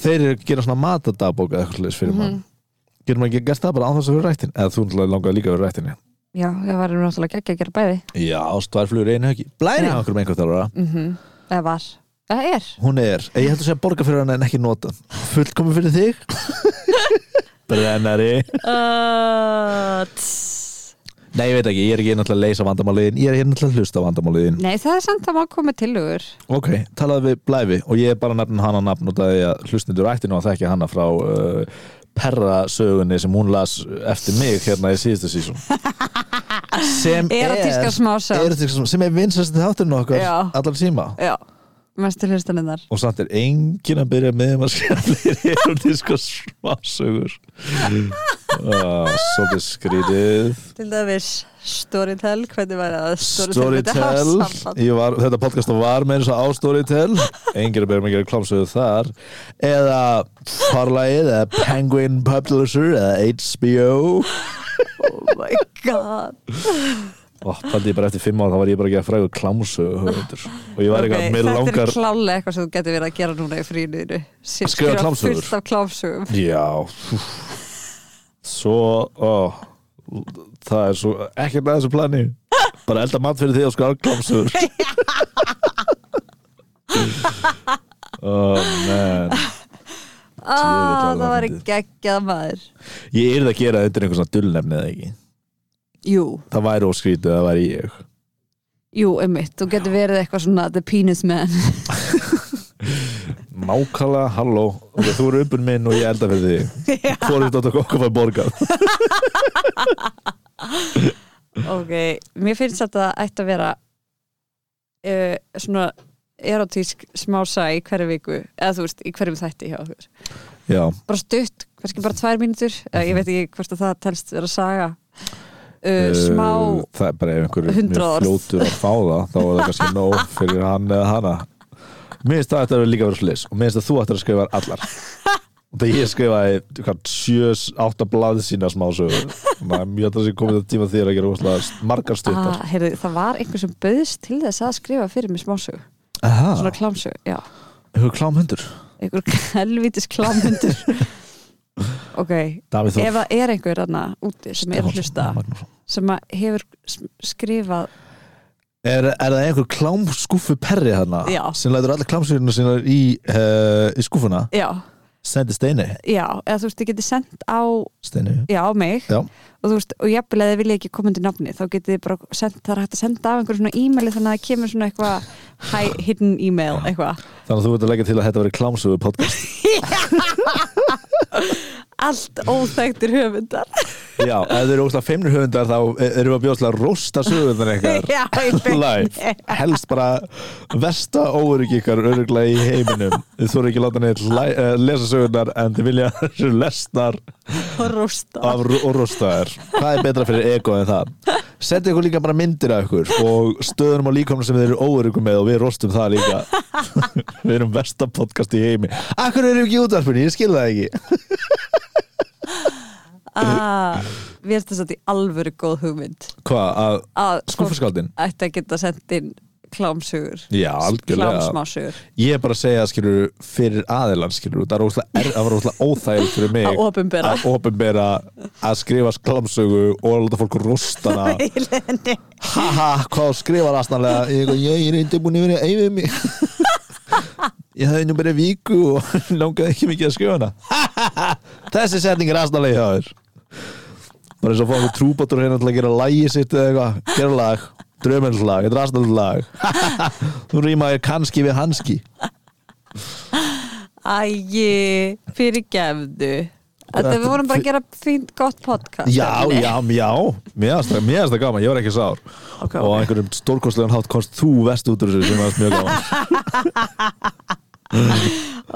[SPEAKER 1] þeir eru að gera svona matadabók eða eitthvað slags fyrir
[SPEAKER 2] Mhm.
[SPEAKER 1] mann getur maður ekki gert það bara án þess að vera í ræktin eða þú náttúrulega langaði líka að vera í ræktinni
[SPEAKER 2] Já, ég var náttúrulega ekki að gera bæði
[SPEAKER 1] já, stværflugur einu höggi, blæri
[SPEAKER 2] Já.
[SPEAKER 1] á okkur með engaþjálfara
[SPEAKER 2] mm eða var, eða er
[SPEAKER 1] hún er, ég heldur að segja borga fyrir hann en ekki nota fullkomi fyrir þig brennari
[SPEAKER 2] uh, tss.
[SPEAKER 1] Nei, ég veit ekki, ég er ekki náttúrulega að leysa vandamáliðin Ég er ekki náttúrulega að hlusta vandamáliðin
[SPEAKER 2] Nei, það er samt að maður komið tilugur
[SPEAKER 1] Ok, talaðu við Blæfi og ég er bara nefn hana nafn út af því að hlustendur ætti nú að þekki hana frá uh, perrasögunni sem hún las eftir mig hérna í síðustu sísón sem er
[SPEAKER 2] Erotískar smásögur.
[SPEAKER 1] erotískar smásögur, sem er vinsast þátturinn okkar
[SPEAKER 2] Já.
[SPEAKER 1] allan síma
[SPEAKER 2] Já, mestu hlustaninnar
[SPEAKER 1] og samt er engin að byrja með um að skilja fleiri erotískar smásögur ah, Svolítið skrítið
[SPEAKER 2] Til dæmis Storytel, hvernig væri að
[SPEAKER 1] Storytel Ég var, Þetta podcast var með eins og á Storytel Engir að byrja mig að gera klámsöðu þar Eða Farlægið eða Penguin Publisher eða HBO
[SPEAKER 2] Oh my god
[SPEAKER 1] Ó, Paldi ég bara eftir fimm ára þá var ég bara að gera frægur klámsöðu höfundur. Og ég var eitthvað, mér
[SPEAKER 2] Þetta er
[SPEAKER 1] langar
[SPEAKER 2] klálega eitthvað sem þú getur verið að gera núna í frínuðinu
[SPEAKER 1] Að skrifa klámsögur.
[SPEAKER 2] Fullt af klámsögum
[SPEAKER 1] Já úff. Svo ó, Það er svo Ekkert að þessu plani Bara elda mat fyrir því og skar klámsöður Oh man
[SPEAKER 2] ah,
[SPEAKER 1] Djöfull um
[SPEAKER 2] Það væri
[SPEAKER 1] alveg
[SPEAKER 2] geggjað maður
[SPEAKER 1] Ég yrði að gera það undir einhvern svona dullnefni eða ekki
[SPEAKER 2] Jú,
[SPEAKER 1] Það væri óskrítið, það væri ég
[SPEAKER 2] jú, einmitt Þú getur verið eitthvað svona The Penis Man
[SPEAKER 1] Mákala, halló Ok, Þú eru umbun minn og ég elda fyrir því Hvorið þetta okkur fær borgað
[SPEAKER 2] Ok, mér finnst þetta ætti að vera uh, svona erotísk smása í hverju viku eða þú veist, í hverjum þætti hjá okkur
[SPEAKER 1] Já,
[SPEAKER 2] bara stutt, kannski bara tvær mínútur eða ég veit ekki hvort að það telst vera saga uh, smá
[SPEAKER 1] uh, Það er bara ef einhver er
[SPEAKER 2] Hundrað
[SPEAKER 1] mjög
[SPEAKER 2] orð.
[SPEAKER 1] fljótur að fá það þá er það kannski nóg fyrir hann eða hana Mér finnst það ætti að vera líka að vera slis og mér finnst að þú ættir að skrifa allar og það ég skrifaði hvað, sjö, átta blaði sína smásögur Mjög þetta sem komið að tíma þér að gera óslega margar
[SPEAKER 2] að,
[SPEAKER 1] stuttar
[SPEAKER 2] Ah, heyrðu, það var einhver sem bauðist til þess að skrifa fyrir mig smásög
[SPEAKER 1] Aha,
[SPEAKER 2] svona klámsög, já
[SPEAKER 1] hefur klámhundur
[SPEAKER 2] einhver helvitis klámyndur ok,
[SPEAKER 1] Davíð Þór
[SPEAKER 2] ef það er einhver þarna úti sem er að hlusta
[SPEAKER 1] Stefánsson, Magnússon.
[SPEAKER 2] sem að hefur s- skrifað
[SPEAKER 1] Er, er það einhver klámskúfu perri hana
[SPEAKER 2] Já.
[SPEAKER 1] sem lætur alla klámsvíðurna sína í, uh, í skúfuna
[SPEAKER 2] já,
[SPEAKER 1] sendi steini,
[SPEAKER 2] já, eða þú veist, ég geti sendt á
[SPEAKER 1] steini.
[SPEAKER 2] já, á mig
[SPEAKER 1] Já.
[SPEAKER 2] og þú veist, og jafnvel eða þið vilja ekki koma undir nafni þá getið þið bara sendt, það er hægt að senda af einhverjum svona e-maili þannig að það kemur svona eitthvað hi- hidden email, eitthvað
[SPEAKER 1] þannig að þú ert að leggja til að þetta veri klámsvíðu podcast
[SPEAKER 2] allt óþægtir höfundar
[SPEAKER 1] Já, ef þeir eru óslega feimnir höfundar þá e, erum við að bjóðslega að rosta sögundar eitthvað
[SPEAKER 2] já, í
[SPEAKER 1] Live.
[SPEAKER 2] beinni.
[SPEAKER 1] helst bara versta óörygg ykkar öruglega í heiminum þið þóru ekki að láta neitt læ- eh, lesa sögundar en þið vilja þessu lesnar
[SPEAKER 2] og rústa
[SPEAKER 1] af rú- og rostaðar hvað er betra fyrir ego en það setja ykkur líka bara myndir af ykkur og stöðunum á líkomna sem þeir eru óörugum með og við rostum það líka við erum versta podcast í heimi akkur erum við ekki í útvarpinu, ég skil það ekki
[SPEAKER 2] ah, við erum þess að þetta í alvöru góð hugmynd
[SPEAKER 1] hvað, að
[SPEAKER 2] að fólk
[SPEAKER 1] skúfaskáldin
[SPEAKER 2] ætti að geta sendt inn klámsugur
[SPEAKER 1] Já, algjörlega
[SPEAKER 2] klámsmásugur
[SPEAKER 1] Ég er bara að segja, skilur, fyrir aðilann, skilur Það er óslega, er, það var óslega óþægild fyrir mig
[SPEAKER 2] að ofinbera
[SPEAKER 1] að opinbera að skrifa sklamsögu og að láta fólk rostana
[SPEAKER 2] í leðinni
[SPEAKER 1] haha, hvað skrifar aðsnalega ég, eitthvað, ég er reyndi búin yfir að eyfið mig ég hafði nú bara viku og langaði ekki mikið að skrifa hana Hahaha, þessi setning er aðsnalega hjá þér bara eins og að fá einhver trúbátur hérna til að gera lægi sitt eða eitthvað, gera lag drömmenslag, þetta er aðsnalega lag þú rýmaði kannski við hanski
[SPEAKER 2] Æi, fyrirgefðu Þetta við vorum bara að gera fínt gott podcast
[SPEAKER 1] já, já, já, mér finnst það- mér finnst það gaman ég var ekki sár
[SPEAKER 2] Ok,
[SPEAKER 1] og á
[SPEAKER 2] ok.
[SPEAKER 1] einhverjum stórkostlegan hátt komst þú vest út úr þessu sem var mjög gaman
[SPEAKER 2] Ó,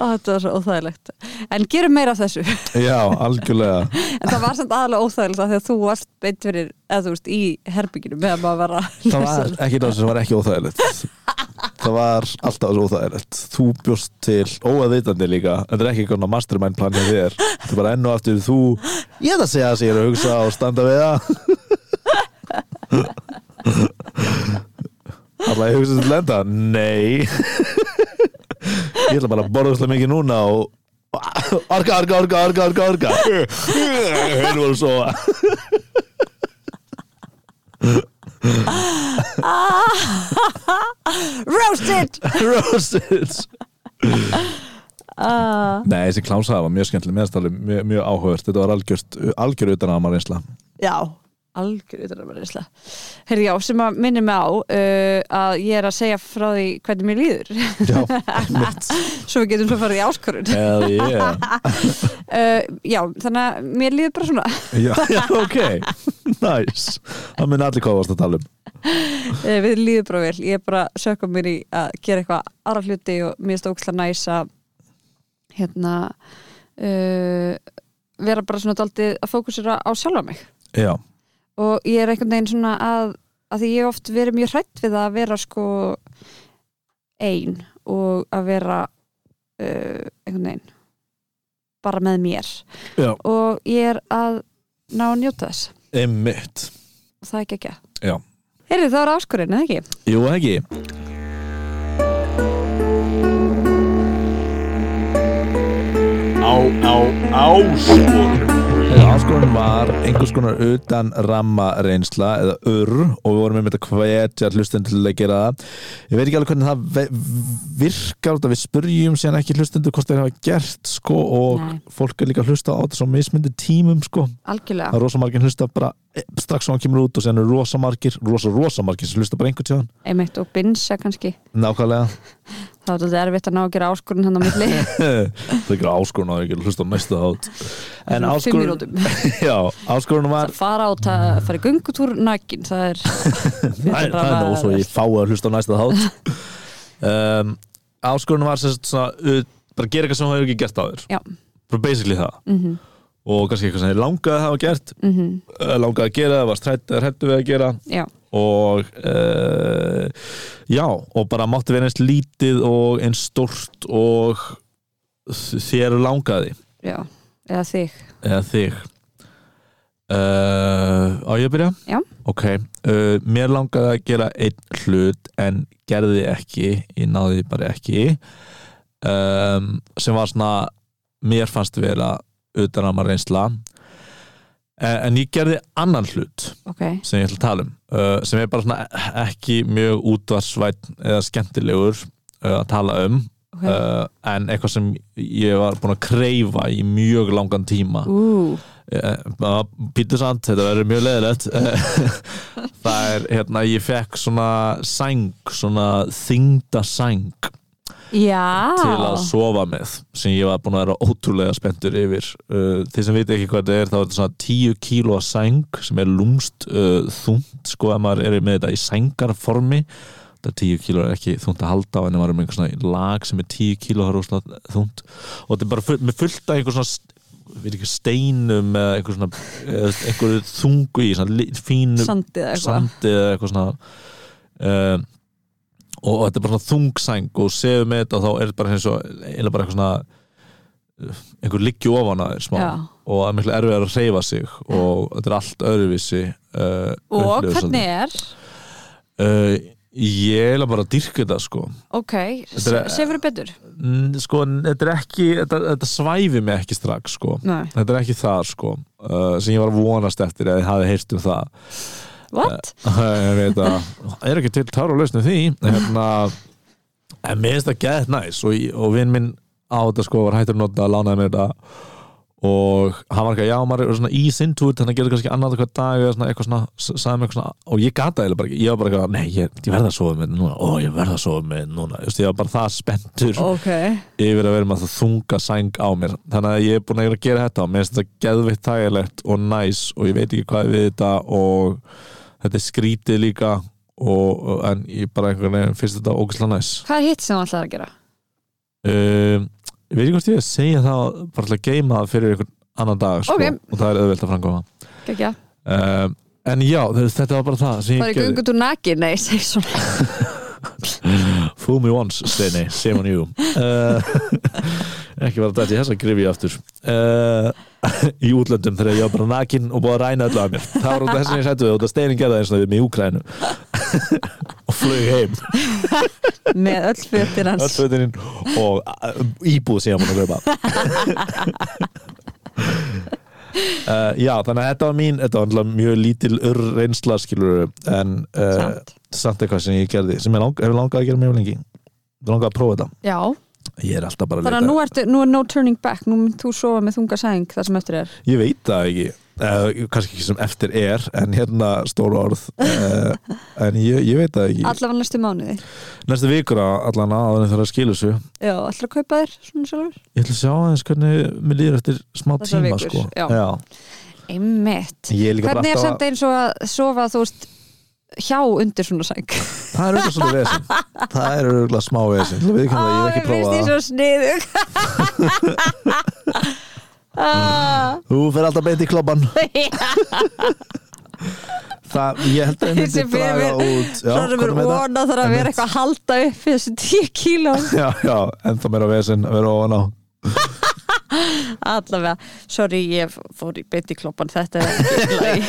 [SPEAKER 2] Þetta var svo óþægilegt En gerum meira af þessu En
[SPEAKER 1] já, algjörlega
[SPEAKER 2] það var samt aðalega óþægilegt af því að þú varst beitt fyrir, eða þú veist, í herbygginu meðan maður var að
[SPEAKER 1] það
[SPEAKER 2] lesa
[SPEAKER 1] var ekki það sem var ekki óþægilegt það var alltaf svo óþægilegt þú bjóst til óaðvitandi líka en það er ekki konar mastermind plan hjá þér það er bara enn og aftur þú ég ætla að segja það sem ég er að hugsa og standa við það Alla ég hugsa til lenda Nei Ég ætla bara að borða svolítið mikið núna og Orga, orga, orga, orga, orga, orga Hérna voru svo
[SPEAKER 2] Ah, Roasted!
[SPEAKER 1] Roses
[SPEAKER 2] Ah,
[SPEAKER 1] Nei, þessi klámsaða var mjög skemmtileg meðanstæðlega mjög, mjög áhugavert, þetta var algjörst algjör utan að maður einsla
[SPEAKER 2] já, algjör utan að maður reynsla Herri, já, sem að minni mig á uh, að ég er að segja frá því hvernig mér líður
[SPEAKER 1] Já, mitt
[SPEAKER 2] svo við getum svo farið í áskorun uh,
[SPEAKER 1] Hell yeah
[SPEAKER 2] Já, þannig að mér líður bara svona
[SPEAKER 1] Já, já ok, nice Það minn allir hvað varst að tala um
[SPEAKER 2] Eh, Við líður bara vel, ég er bara að sökka mér í að gera eitthvað aðra hluti og mér finnst stóksla næs að hérna uh, vera bara svona daldið að fókusera á sjálfa mig
[SPEAKER 1] Já,
[SPEAKER 2] og ég er einhvern veginn svona að, að því ég hef oft verið mjög hrætt við að vera sko ein og að vera uh, einhvern veginn bara með mér
[SPEAKER 1] já,
[SPEAKER 2] og ég er að ná að njóta þess
[SPEAKER 1] einmitt
[SPEAKER 2] og það er ekki ekki
[SPEAKER 1] Já.
[SPEAKER 2] Heyrðu, það var áskurinn, eða ekki?
[SPEAKER 1] Jú, ekki
[SPEAKER 3] á, á, áskorun
[SPEAKER 1] Áskorin var einhvers konar utan ramma reynsla eða ur og við vorum einmitt að hvetja hlustendur til að gera það ég veit ekki alveg hvernig það ve- virkar út að við spurjum síðan ekki hlustendur hvort þeir hafa gert sko og
[SPEAKER 2] Nei.
[SPEAKER 1] fólk er líka að hlusta á þetta svo mismyndi tímum sko
[SPEAKER 2] Algjörlega
[SPEAKER 1] það er rosa margir hlusta bara eh, strax sem hann kemur út og sen er rosa margir, rosa rosa margir sem hlusta bara einhvern tíðan
[SPEAKER 2] einmitt og binsa kannski
[SPEAKER 1] nákvæmlega
[SPEAKER 2] þá er þetta erfitt að ná að gera áskorun hann á milli
[SPEAKER 1] það er ekki áskorun að ekki hlusta á næsta þátt en
[SPEAKER 2] Svona fimm
[SPEAKER 1] áskorun
[SPEAKER 2] mínútum
[SPEAKER 1] já, áskorun var
[SPEAKER 2] að fara át að fara í göngutúr nægin það er
[SPEAKER 1] það er- það er nóg svo ég fái að hlusta á næsta þátt um, áskorun var sem sagt svona, uh, bara gera eitthvað sem þú hefur ekki gert áður
[SPEAKER 2] Já.
[SPEAKER 1] bara basically það
[SPEAKER 2] mm -hmm,
[SPEAKER 1] og kannski eitthvað sem þið langaði að hafa gert uh, langaði að gera, varst hrættu við að gera
[SPEAKER 2] mhm. já,
[SPEAKER 1] og uh, já, og bara mátti vera eins lítið og eins stórt og þér langaði
[SPEAKER 2] já, eða þig
[SPEAKER 1] eða þig uh, á ég að byrja?
[SPEAKER 2] Já.
[SPEAKER 1] ok, uh, mér langaði að gera einn hlut en gerði ekki ég náði því bara ekki um, sem var svona mér fannst vera utan að maður reynsla en, en ég gerði annan hlut
[SPEAKER 2] ok,
[SPEAKER 1] sem ég ætla að tala um uh, sem er bara svona ekki mjög útvarsvætt eða skemmtilegur uh, að tala um
[SPEAKER 2] okay.
[SPEAKER 1] uh, en eitthvað sem ég var búin að kreyfa í mjög langan tíma
[SPEAKER 2] ú,
[SPEAKER 1] uh, Pítur Sant, þetta verður mjög leðilegt það er hérna ég fekk svona sæng svona þingda sæng
[SPEAKER 2] já
[SPEAKER 1] til að sofa með sem ég var búin að vera ótrúlega spenntur yfir uh, þeir sem veit ekki hvað þetta er þá er þetta svona 10 kílóa sæng sem er lúmst uh, þungt sko að maður er með þetta í sængarformi þetta 10 kíló er ekki þungt að halda á en ef maður er með einhver svona lag sem er 10 kíló það er óslega þungt og þetta er bara full, með fullt af einhver svona st- við ekki steinum eða einhver svona eða einhverju þungu í svona li- fínu
[SPEAKER 2] sandið eða eitthvað
[SPEAKER 1] sandi eða eitthvað svona uh, og þetta er bara svona þungsæng og sefum með þetta og þá er þetta bara eins og eða bara eitthvað svona eh, einhver liggju ofan að þér smá
[SPEAKER 2] já.
[SPEAKER 1] og það er miklu erfið að reyfa sig eh, og þetta er allt öðruvísi uh,
[SPEAKER 2] og hvernig er
[SPEAKER 1] uh, Ég er eiginlega bara að dyrka þetta sko
[SPEAKER 2] Ok,
[SPEAKER 1] Þetta er-
[SPEAKER 2] sefur betur
[SPEAKER 1] Mm, Sko, en þetta er ekki Þetta, þetta svæfi mig ekki strax sko
[SPEAKER 2] Nei.
[SPEAKER 1] Þetta er ekki það sko uh, sem ég var að vonast eftir að ég hafi heyrt um það
[SPEAKER 2] What?
[SPEAKER 1] Ég veit að er ekki til tára lausnum því hérna, en mér finnst það gett næs og, og vinn minn á þetta sko var hættur að nota að lánaði mér þetta og hann var ekki að já, maður er svona í sintút þannig að gera kannski annað eitthvað dag eða svona eitthvað svona, s- sagði mér eitthvað svona og ég gata eða bara ekki, ég var bara eitthvað, nei, ég, ég verða að sofa með núna, ó, ég verða að sofa með núna Just, ég var bara það spenntur
[SPEAKER 2] Ok
[SPEAKER 1] yfir að vera með það þunga sæng á mér þannig að ég er búin að gera þetta og mér finnst þetta geðvitt þægilegt og næs og ég veit ekki hvað við þetta og þetta er skrítið líka og, og- en ég bara einhvern veginn finnst þetta ógæslega næs
[SPEAKER 2] Hvað er hitt sem þú ætlaði að gera?
[SPEAKER 1] um, ég veit ekki hvort ég að segja það bara til að geima það fyrir einhvern annan dag sko,
[SPEAKER 2] Ok.
[SPEAKER 1] og það er auðvelt að framkoma
[SPEAKER 2] Gekja.
[SPEAKER 1] um, en já, þú veist, þetta var bara það sem
[SPEAKER 2] Það er
[SPEAKER 1] ég
[SPEAKER 2] ekki
[SPEAKER 1] gerði
[SPEAKER 2] ungut úr naki, nei, segi svona
[SPEAKER 1] Fool me once, Steini, same on you uh, Ekki var að dæti þess að grifi ég aftur uh, Í útlöndum þegar ég var bara nakin og búið að ræna öllu að mér Það var út af þess að ég sættu þau og það Steini gerði það eins og við mig í Úkrænu og flög heim
[SPEAKER 2] Með öll fötin
[SPEAKER 1] öll
[SPEAKER 2] hans
[SPEAKER 1] fötinin og uh, íbúð sem ég var búin að kaupa Uh, já, þannig að þetta var mín þetta var náttúrulega mjög lítil ur reynsla skilur en uh,
[SPEAKER 2] Samt.
[SPEAKER 1] samt eitthvað sem ég gerði sem ég lang, hef langað að gera mjög lengi langað að prófa þetta
[SPEAKER 2] Já,
[SPEAKER 1] Ég er alltaf bara að
[SPEAKER 2] þannig að
[SPEAKER 1] leita
[SPEAKER 2] nú, ertu, nú er no turning back Nú mynd þú sofa með þunga sæng þar sem eftir er
[SPEAKER 1] Ég veit það ekki uh, kannski ekki sem eftir er en hérna stór orð uh, en ég, ég veit það ekki
[SPEAKER 2] Allafan næstu mánuði
[SPEAKER 1] Næstu vikur að allan aðan þarf að skilu sig
[SPEAKER 2] Já, ætlar að kaupa þér svona sjálfur
[SPEAKER 1] Ég ætla að sjá aðeins hvernig mér líður eftir smá
[SPEAKER 2] Þessar
[SPEAKER 1] tíma
[SPEAKER 2] vikur,
[SPEAKER 1] sko.
[SPEAKER 2] já. Einmitt
[SPEAKER 1] Ég er líka bara
[SPEAKER 2] Hvernig er
[SPEAKER 1] alltaf
[SPEAKER 2] samt
[SPEAKER 1] að
[SPEAKER 2] eins og að sofa þú veist hjá undir svona sæng
[SPEAKER 1] það er auðvitað svolítið vesinn það er auðvitað smá vesinn Ég veit ekki að ég hef ekki
[SPEAKER 2] Ó, mér finnst
[SPEAKER 1] prófað það
[SPEAKER 2] því svo sniðug Ah,
[SPEAKER 1] Þú fer alltaf beint í klobban Það, ég held að ég myndi
[SPEAKER 2] Þessi
[SPEAKER 1] draga
[SPEAKER 2] fyrir-
[SPEAKER 1] út Já,
[SPEAKER 2] Svona
[SPEAKER 1] hvernig
[SPEAKER 2] verður
[SPEAKER 1] með það?
[SPEAKER 2] vona þarf að vera
[SPEAKER 1] Einmitt.
[SPEAKER 2] eitthvað að halda upp þessu 10 kíló
[SPEAKER 1] Já, já, ennþá meira vesinn að vera ofan á
[SPEAKER 2] allavega, sorry ég fór í beint í kloppan þetta er ekki í lagi.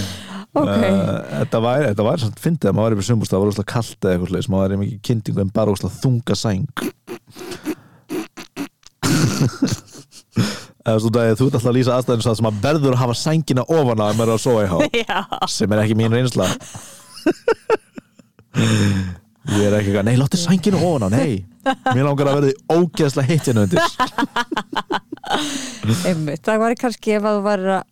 [SPEAKER 2] ok,
[SPEAKER 1] Uh, þetta væri, þetta væri svona fyndið að maður væri fyrir sumbúst það var úrslega kalt eða eitthvað slags maður væri í mikið kynntingu en bara úrslega þunga sæng eða svona að þú ert alltaf að lýsa aðstæðinu svo að sem að verður að hafa sængina ofan að maður er að sofa í há
[SPEAKER 2] já
[SPEAKER 1] sem er ekki mín reynsla ég er ekki eitthvað nei, láttu sængina ofan á, nei mér langar að verði ógeðslega heitt hérna undir
[SPEAKER 2] einmitt, það var kannski ef að þú var að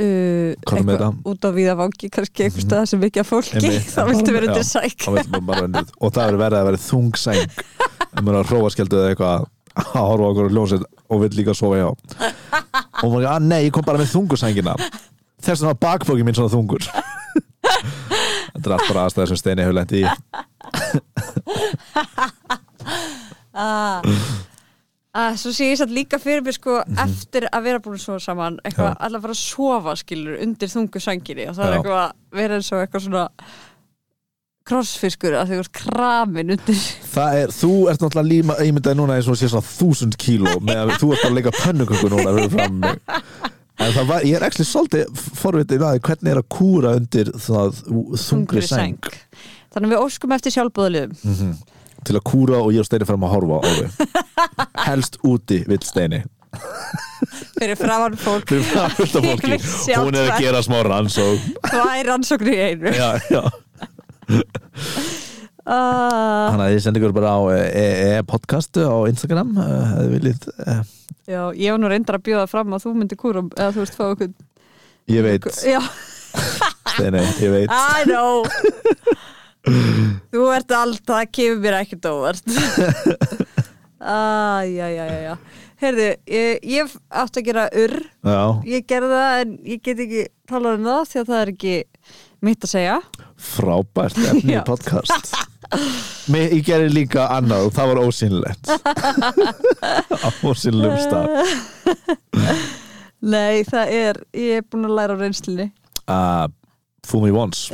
[SPEAKER 2] Uh,
[SPEAKER 1] Hvað er með Mhm.
[SPEAKER 2] eitthvað út á víðavangi kannski einhver stað sem ekki að fólki
[SPEAKER 1] Einmitt.
[SPEAKER 2] þá viltu vera undir
[SPEAKER 1] Já.
[SPEAKER 2] sæk
[SPEAKER 1] Þá vill maður bara unnið. og það verður verið að vera þung sæng ef maður er að hróa skjöldu eða eitthvað að horfa okkur og ljónsett og vill líka sofa hjá og maður er að "Ah, nei, ég kom bara með þungursængina þess vegna var bakfóki mín svona þungur þetta er allt bara aðstæður sem Steini hefur lent í
[SPEAKER 2] Ah. Ah, svo sé ég satt líka fyrir mér sko eftir að vera búin að sofa saman eitthvað
[SPEAKER 1] Mhm. Já.
[SPEAKER 2] allar að fara að sofa skilur undir þungu sanginni og það er
[SPEAKER 1] Já.
[SPEAKER 2] eitthvað að vera eins og eitthvað svona krossfiskur að þau eru kramin undir
[SPEAKER 1] það er, þú ert náttúrulega líma ímyndaði núna eins og sé svona þúsund kíló með að þú ert bara að leika pönnuköku núna fyrir fram mig en það var, ég er ekki svolítið forvitið með hvernig er að kúra undir það þungri sæng Mhm.
[SPEAKER 2] þannig að við óskum eftir sjálfbúðliðum
[SPEAKER 1] til að kúra og ég og Steini færum að horfa á þau helst úti vill Steini
[SPEAKER 2] fyrir framann fólk
[SPEAKER 1] Fyrir framan fullt af fólki.
[SPEAKER 2] Ég vil sjá
[SPEAKER 1] hún
[SPEAKER 2] tvær.
[SPEAKER 1] er að gera smá ranns og
[SPEAKER 2] hvað er rannsóknir í einu
[SPEAKER 1] já, já.
[SPEAKER 2] ah,
[SPEAKER 1] þannig að ég sendi ykkur bara á eh, e-podcast á Instagram eh, ef þið viljið eh,
[SPEAKER 2] já, ég var nú reyndar að bjóða fram að þú myndir kúrum eða þú veist fá okkur
[SPEAKER 1] ég veit,
[SPEAKER 2] já
[SPEAKER 1] Steini, ég veit
[SPEAKER 2] I know Þú ert allt, það kemur mér ekkert óvart Æjæjæjæjæ Herðu, ég, ég átti að gera urr
[SPEAKER 1] já,
[SPEAKER 2] Ég gerði það en ég get ekki talað um það því að það er ekki mitt að segja
[SPEAKER 1] frábært efni
[SPEAKER 2] Já.
[SPEAKER 1] í podcast Mér, ég gerði líka annað og það var ósynlegt á ósynlegum stað
[SPEAKER 2] Nei, það er, ég er búin að læra á reynslinni
[SPEAKER 1] uh, fool me once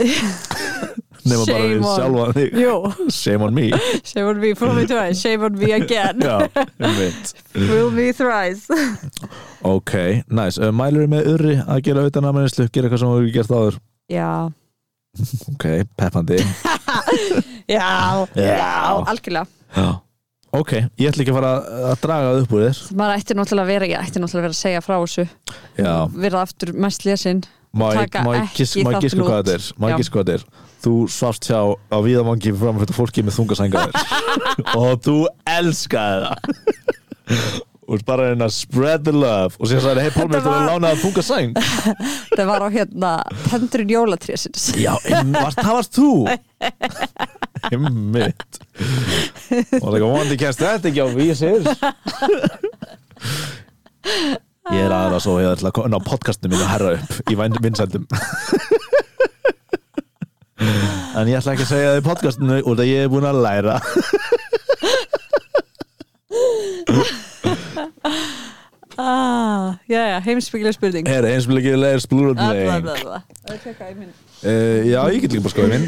[SPEAKER 1] nema bara
[SPEAKER 2] Shame
[SPEAKER 1] við
[SPEAKER 2] on.
[SPEAKER 1] sjálfa þig
[SPEAKER 2] Jú,
[SPEAKER 1] shame on me
[SPEAKER 2] shame on me, fool me twice, shame on me again
[SPEAKER 1] já, ég veit
[SPEAKER 2] Fool me thrice
[SPEAKER 1] Ok, næs, nice. uh, mælur við með urri að gera auðvitað namnænslu, gera eitthvað sem þú hefur gert áður
[SPEAKER 2] Já,
[SPEAKER 1] Ok, peppandi
[SPEAKER 2] já, já, algjörlega
[SPEAKER 1] Já. Ok, ég ætla ekki að fara að- að draga það upp úr þér
[SPEAKER 2] maður ætti náttúrulega að vera, ég ætti náttúrulega að vera að segja frá þessu
[SPEAKER 1] Já,
[SPEAKER 2] verða aftur mest lesinn
[SPEAKER 1] má ég
[SPEAKER 2] Taka
[SPEAKER 1] má ég
[SPEAKER 2] ekki
[SPEAKER 1] gis- má ég
[SPEAKER 2] þátt
[SPEAKER 1] giska
[SPEAKER 2] nút.
[SPEAKER 1] hvað þetta er Má ég
[SPEAKER 2] Já.
[SPEAKER 1] giska hvað þetta er Þú svafst hjá á viðamangi framfært fólki með þungasængaðir og þú elskaði það og þú ert bara að reyna að spread the love og sér sagði, hei Pálmi,
[SPEAKER 2] Þetta
[SPEAKER 1] þú var að
[SPEAKER 2] var-
[SPEAKER 1] lána það þungasæng
[SPEAKER 2] það var á hérna tendurinn jólatrésins
[SPEAKER 1] Já, em, varst, það varst þú Himmitt Og það vondi kæst þetta ekki á vísir Ég er aðra svo ég ætla að koma ná podcastinu mínu að herra upp í vænd- vinsældum En ég ætla ekki að segja það í podcastinu út að ég er búin að læra
[SPEAKER 2] ah, já, já, heimsbyggileg spurning
[SPEAKER 1] Er eins og ekki leir splúröndleg
[SPEAKER 2] Herðu,
[SPEAKER 1] uh, Já, ég get líka bara skoðið minn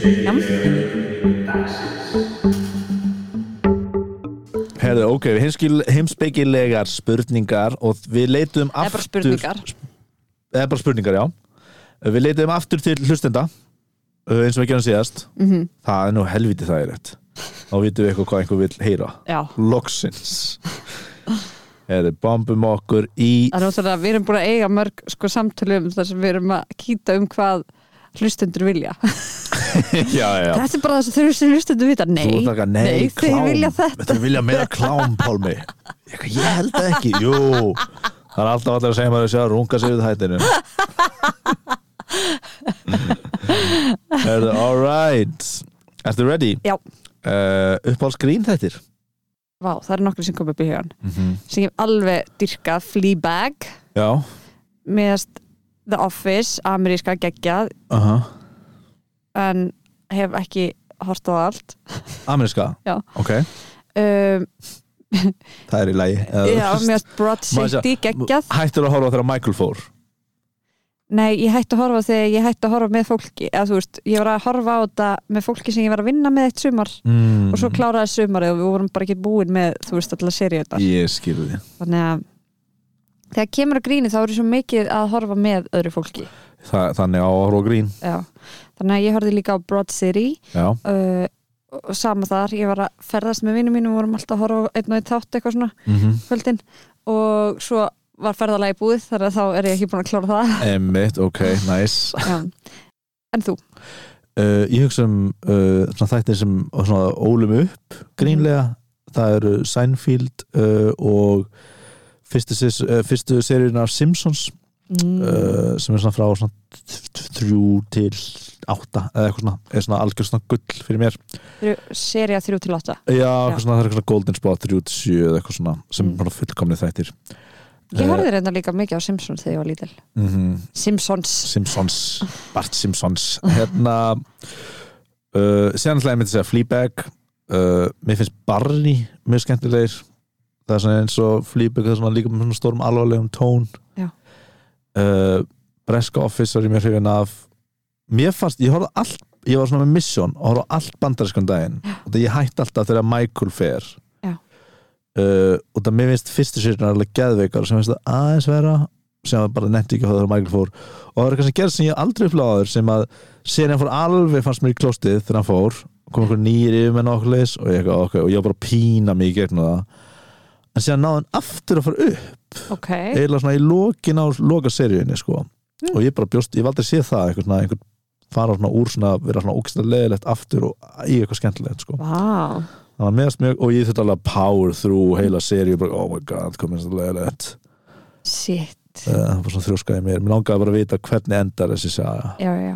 [SPEAKER 1] Herðu, ok, heimskil, heimspekilegar spurningar og við leitum
[SPEAKER 2] bara
[SPEAKER 1] aftur
[SPEAKER 2] spurningar.
[SPEAKER 1] Eða bara spurningar, já Við leitum aftur til hlustenda uh, eins og við gerum síðast -hmm.
[SPEAKER 2] Mhm.
[SPEAKER 1] Það er nú helviti það er rétt Þá vitum við eitthvað hvað einhver vill heyra
[SPEAKER 2] Já.
[SPEAKER 1] Loksins Herðu, bombum okkur í
[SPEAKER 2] Það er náttúrulega, við erum búin að eiga mörg sko, samtölum þar sem við erum að kýta um hvað hlustendur vilja.
[SPEAKER 1] Já, já, já
[SPEAKER 2] Þetta er bara það sem þau sem hlustendur vita. Nei,
[SPEAKER 1] Þú ert eitthvað, nei,
[SPEAKER 2] nei þeir
[SPEAKER 1] klám.
[SPEAKER 2] vilja þetta.
[SPEAKER 1] Þeir vilja meira klám, Pálmi Eitthvað, Ég held það ekki, jú Það er alltaf allir að segja maður að sjá að runga sig við hættinu Herðu, all right Ertu ready?
[SPEAKER 2] Já,
[SPEAKER 1] Uh, uppáhalds grín þættir
[SPEAKER 2] vá, það er nokkri sem kom upp í hugan.
[SPEAKER 1] -hmm.
[SPEAKER 2] Sem ég hef alveg dyrkað Fleabag,
[SPEAKER 1] Já
[SPEAKER 2] meðast The Office, ameríska geggjað,
[SPEAKER 1] uh -huh.
[SPEAKER 2] en hef ekki hort á það allt.
[SPEAKER 1] Ameríska?
[SPEAKER 2] Já.
[SPEAKER 1] Ok,
[SPEAKER 2] Um,
[SPEAKER 1] það er í lagi Eða-
[SPEAKER 2] já, meðast Broad
[SPEAKER 1] Maður
[SPEAKER 2] City geggjað.
[SPEAKER 1] Hættur að horfa þegar Michael fór
[SPEAKER 2] Nei, ég hætti að horfa þegar ég hætti að horfa með fólki. Eða þú veist, ég var að horfa á þetta með fólki sem ég var að vinna með eitt sumar.
[SPEAKER 1] mm.
[SPEAKER 2] og svo kláraði sumarið og við vorum bara ekki búin með þú veist alltaf seriðar
[SPEAKER 1] Ég skilði
[SPEAKER 2] þannig að þegar kemur að gríni þá er svo mikið að horfa með öðru fólki
[SPEAKER 1] Þa, Þannig á að horfa á grín
[SPEAKER 2] Já. þannig að ég horfði líka á Broad City
[SPEAKER 1] Já,
[SPEAKER 2] uh, og sama þar ég var að ferðast með vinnum mínum og vorum alltaf að horfa á einn og einn þátt eitthvað svona
[SPEAKER 1] mm -hmm.
[SPEAKER 2] kvöldin og svo var ferðalagi búið þar að þá er ég ekki búin að klára það
[SPEAKER 1] Emmitt, ok, nice
[SPEAKER 2] Já. en þú,
[SPEAKER 1] uh, ég hugsa um uh, svona þættir sem og svona ólum upp grínlega, það eru Seinfeld uh, og fyrstu, sis- uh, fyrstu seríun af Simpsons uh, sem er svona frá svona þ- þ- þrjú til átta eða eitthvað svona, eða svona algjör svona gull fyrir mér
[SPEAKER 2] serið 3 til 8
[SPEAKER 1] já, eitthvað svona, það er eitthvað svona golden spot þrjú til sjö eða eitthvað svona sem
[SPEAKER 2] Mm.
[SPEAKER 1] er bara fullkomni þættir
[SPEAKER 2] ég
[SPEAKER 1] Eh,
[SPEAKER 2] horfði reynda líka mikið á Simpsons þegar ég var lítil
[SPEAKER 1] mm
[SPEAKER 2] Simpsons
[SPEAKER 1] Simpsons Bart Simpsons hérna uh, síðan ætlaði ég myndi að segja Fleabag uh, mér finnst Barney mjög skemmtilegir það er svona eins og Fleabag það er svona líka með svona stórum alvarlegum tón
[SPEAKER 2] Já.
[SPEAKER 1] uh, Breska Office var ég mjög hrifin af mér fannst, ég horfði á allt ég var svona með Mission og horfði á allt bandariskan daginn og það ég hætti alltaf þegar Michael fer
[SPEAKER 2] Já.
[SPEAKER 1] Uh, og það mér finnst fyrstu sérna alveg geðveikar sem finnst það aðeins vera sem að bara nefndi ekki að það þegar Michael fór og það var eitthvað sem gerð sem ég aldrei uppláður sem að síðan hann fór alveg fannst mér í klostið þegar hann fór kom einhver nýr yfir með nokkulis og ég, eitthvað, okay, og ég var bara að pína mig í gegnum það en síðan náði hann aftur að fara upp
[SPEAKER 2] ok,
[SPEAKER 1] eiginlega svona í lokin á loka seríunni sko. og ég bara bjóst, ég valdi að sé það eitthvað svona, einhvern fara svona úr svona vera svona ógstlega leðilegt aftur og í eitthvað skemmtilegt sko.
[SPEAKER 2] vá
[SPEAKER 1] þannig að meðast mjög, og ég þurfti alveg að power through heila seríu, bara oh my god, komið svona leðilegt
[SPEAKER 2] Sitt,
[SPEAKER 1] Eh, það var svona þrjóskaði mér, mér langaði bara að vita hvernig endar þessi saga
[SPEAKER 2] já, já,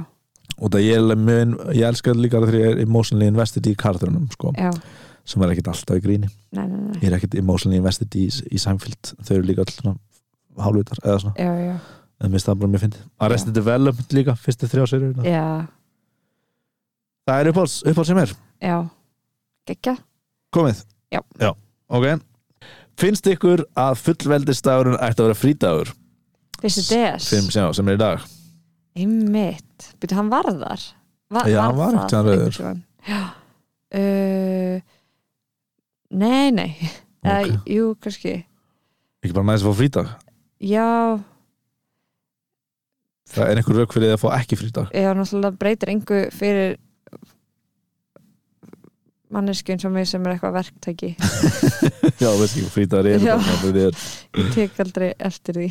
[SPEAKER 1] og það ég, er mun, ég elska líka þegar ég er emotionally invested í karakterunum sko,
[SPEAKER 2] já
[SPEAKER 1] sem er ekkert alltaf í gríni
[SPEAKER 2] Nei, nei, nei,
[SPEAKER 1] ég er ekkert emotionally invested í, í sæmfjöld þau eru líka alltaf hálfvitar eða svona,
[SPEAKER 2] já, já,
[SPEAKER 1] en mér finnst það bara mjög fyndið Arrested Development líka, fyrstu þrjá serið
[SPEAKER 2] já,
[SPEAKER 1] það er uppáhalds, uppáhalds sem er,
[SPEAKER 2] já Gekja,
[SPEAKER 1] komið
[SPEAKER 2] Já.
[SPEAKER 1] ok finnst ykkur að fullveldistagurinn ætti að vera frídagur
[SPEAKER 2] fyrstu DS
[SPEAKER 1] sem, já, sem er í dag
[SPEAKER 2] Einmitt, byrju hann varðar Va
[SPEAKER 1] Já, hann var einhvern tímann
[SPEAKER 2] það
[SPEAKER 1] rauður.
[SPEAKER 2] einhvern tímann? Já uh, Nei, nei okay.
[SPEAKER 1] Ok.
[SPEAKER 2] Jú, kannski
[SPEAKER 1] ekki bara næðis að fá frídag
[SPEAKER 2] Já,
[SPEAKER 1] það er einhver rauk fyrir því að fá ekki frídag
[SPEAKER 2] já, náttúrulega breytir engu fyrir manneskjum sem ég sem er eitthvað verktæki
[SPEAKER 1] Já, veist ekki, frítagar eru
[SPEAKER 2] Já.
[SPEAKER 1] bara fyrir þér
[SPEAKER 2] ég tek aldrei eftir því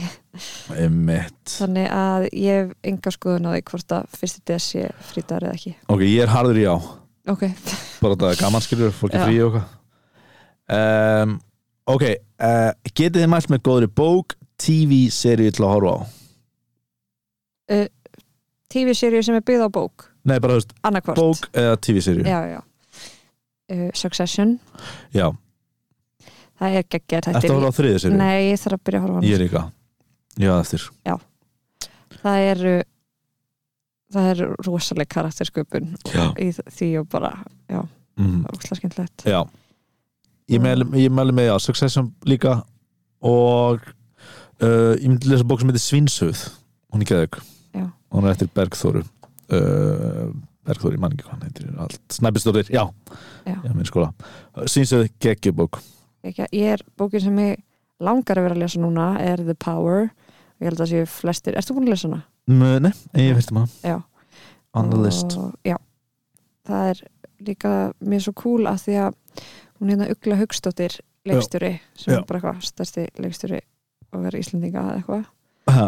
[SPEAKER 1] Einmitt.
[SPEAKER 2] þannig að ég hef enga skoðun á því hvort að fyrsti des sé frítagur eða ekki
[SPEAKER 1] Ok, ég er harður í á
[SPEAKER 2] ok,
[SPEAKER 1] Bara þetta er gaman skilur, fólki
[SPEAKER 2] Já.
[SPEAKER 1] frí og hvað um, Ok, uh, getið þið mælt með góðri bók TV-seríu til að horfa á?
[SPEAKER 2] tv-seríu sem er byggð á bók
[SPEAKER 1] Nei, bara þú veist,
[SPEAKER 2] annarkvort
[SPEAKER 1] bók eða TV-seríu
[SPEAKER 2] já, já. Uh, Succession,
[SPEAKER 1] Já.
[SPEAKER 2] það er geggjað þetta er-
[SPEAKER 1] Eftir að horfa á þriðið seríu?
[SPEAKER 2] Nei, ég þarf að byrja að horfa á hana
[SPEAKER 1] Ég líka, já, eftir
[SPEAKER 2] það eru það eru rosaleg karaktersköpun
[SPEAKER 1] Já,
[SPEAKER 2] í því og bara
[SPEAKER 1] mhm
[SPEAKER 2] útla skemmtilegt
[SPEAKER 1] Já Ég
[SPEAKER 2] Mm.
[SPEAKER 1] mæli, ég mæli með, já, Succession líka og uh, ég myndi lesa bók sem heitir Svinsöð hún er geðug
[SPEAKER 2] Já.
[SPEAKER 1] hún er eftir Bergþóru uh, Bergþóru, ég man ekki hvað hann heitir allt Snæpistóttir, já,
[SPEAKER 2] Já.
[SPEAKER 1] já minn skóla Svinsöð, geggjubók
[SPEAKER 2] Ekki, ég er bókin sem ég langar að vera að lesa núna er The Power ég held að séu flestir, ertu búin að lesa hana?
[SPEAKER 1] Nei, ég veist um hann
[SPEAKER 2] Já.
[SPEAKER 1] On the list
[SPEAKER 2] og, já, það er líka mér svo cool að því að hún hérna Ugla Haugstóttir leikstjóri sem
[SPEAKER 1] Já.
[SPEAKER 2] er bara eitthvað stærsti leikstjóri og vera Íslendinga eða eitthvað
[SPEAKER 1] Ha,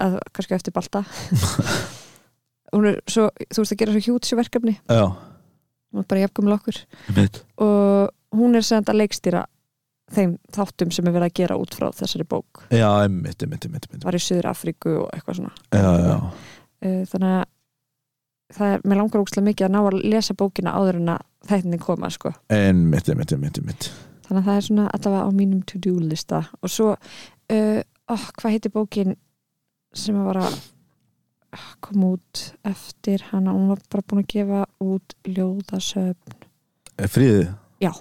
[SPEAKER 2] að, kannski eftir Balta hún er svo, þú veist að gera svo hjútsi verkefni
[SPEAKER 1] Já,
[SPEAKER 2] hún er bara jafnkum okkur
[SPEAKER 1] mitt
[SPEAKER 2] og hún er sem þetta leikstýra þeim þáttum sem er verið að gera út frá þessari bók
[SPEAKER 1] Já, mitt, mitt, mitt, mitt
[SPEAKER 2] var í Suður Afríku og eitthvað svona
[SPEAKER 1] Já, já,
[SPEAKER 2] Eh, þannig að það er, mér langar ógstlega mikið að ná að lesa bókina áður en að þættinni koma sko.
[SPEAKER 1] en mitt, mitt, mitt, mitt
[SPEAKER 2] þannig að það er svona allavega á mínum to-do lista og svo uh, oh, hvað heitir bókin sem að var að ah, koma út eftir hana, hún var bara búin að gefa út ljóðasöp
[SPEAKER 1] Fríðið,
[SPEAKER 2] já,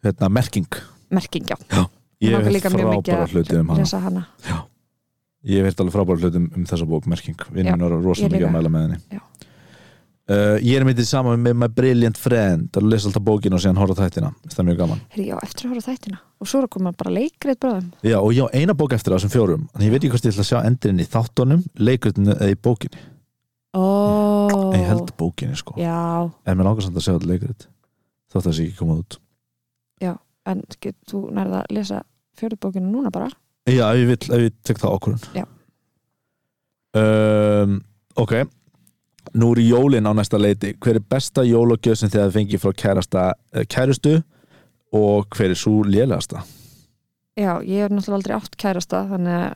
[SPEAKER 1] hérna, merking
[SPEAKER 2] merking, já, Mig
[SPEAKER 1] Ég
[SPEAKER 2] langar
[SPEAKER 1] hef
[SPEAKER 2] líka mjög mikið
[SPEAKER 1] frábæra
[SPEAKER 2] að
[SPEAKER 1] hluti um hana
[SPEAKER 2] lesa hana
[SPEAKER 1] Ég hef heilt alveg frábæra hlutum um þessa bók merking, vinnum var
[SPEAKER 2] ég
[SPEAKER 1] rosalega mikið
[SPEAKER 2] líka.
[SPEAKER 1] að mæla með henni
[SPEAKER 2] Já.
[SPEAKER 1] uh, Ég er myndið saman með My Brilliant Friend að lesa alltaf bókina og síðan horfa á þættina það er mjög gaman
[SPEAKER 2] Heri, já, eftir að horfa á þættina og svo er að koma bara leikrið bráðum
[SPEAKER 1] Já, og ég á eina bók eftir það sem fjórum en ég veit ekki hvort ég ætla að sjá endurinn í þáttunum leikurinn eða í bókinni
[SPEAKER 2] oh,
[SPEAKER 1] en ég held bókinni sko
[SPEAKER 2] já,
[SPEAKER 1] en mér langar samt að sjá þetta leikurinn þótt að það sé ekki komað út
[SPEAKER 2] en get, þú nærða að lesa fjörðbókinu núna bara
[SPEAKER 1] Já, ef ég, vill, ef ég tek það okkurinn
[SPEAKER 2] Já.
[SPEAKER 1] um, Ok Nú eru jólin á næsta leiti Hver er besta jólagjöf sem þið hafið fengið frá kærasta, eh, kærustu og hver er svo lélegasta?
[SPEAKER 2] Já, ég er náttúrulega aldrei átt kærasta þannig að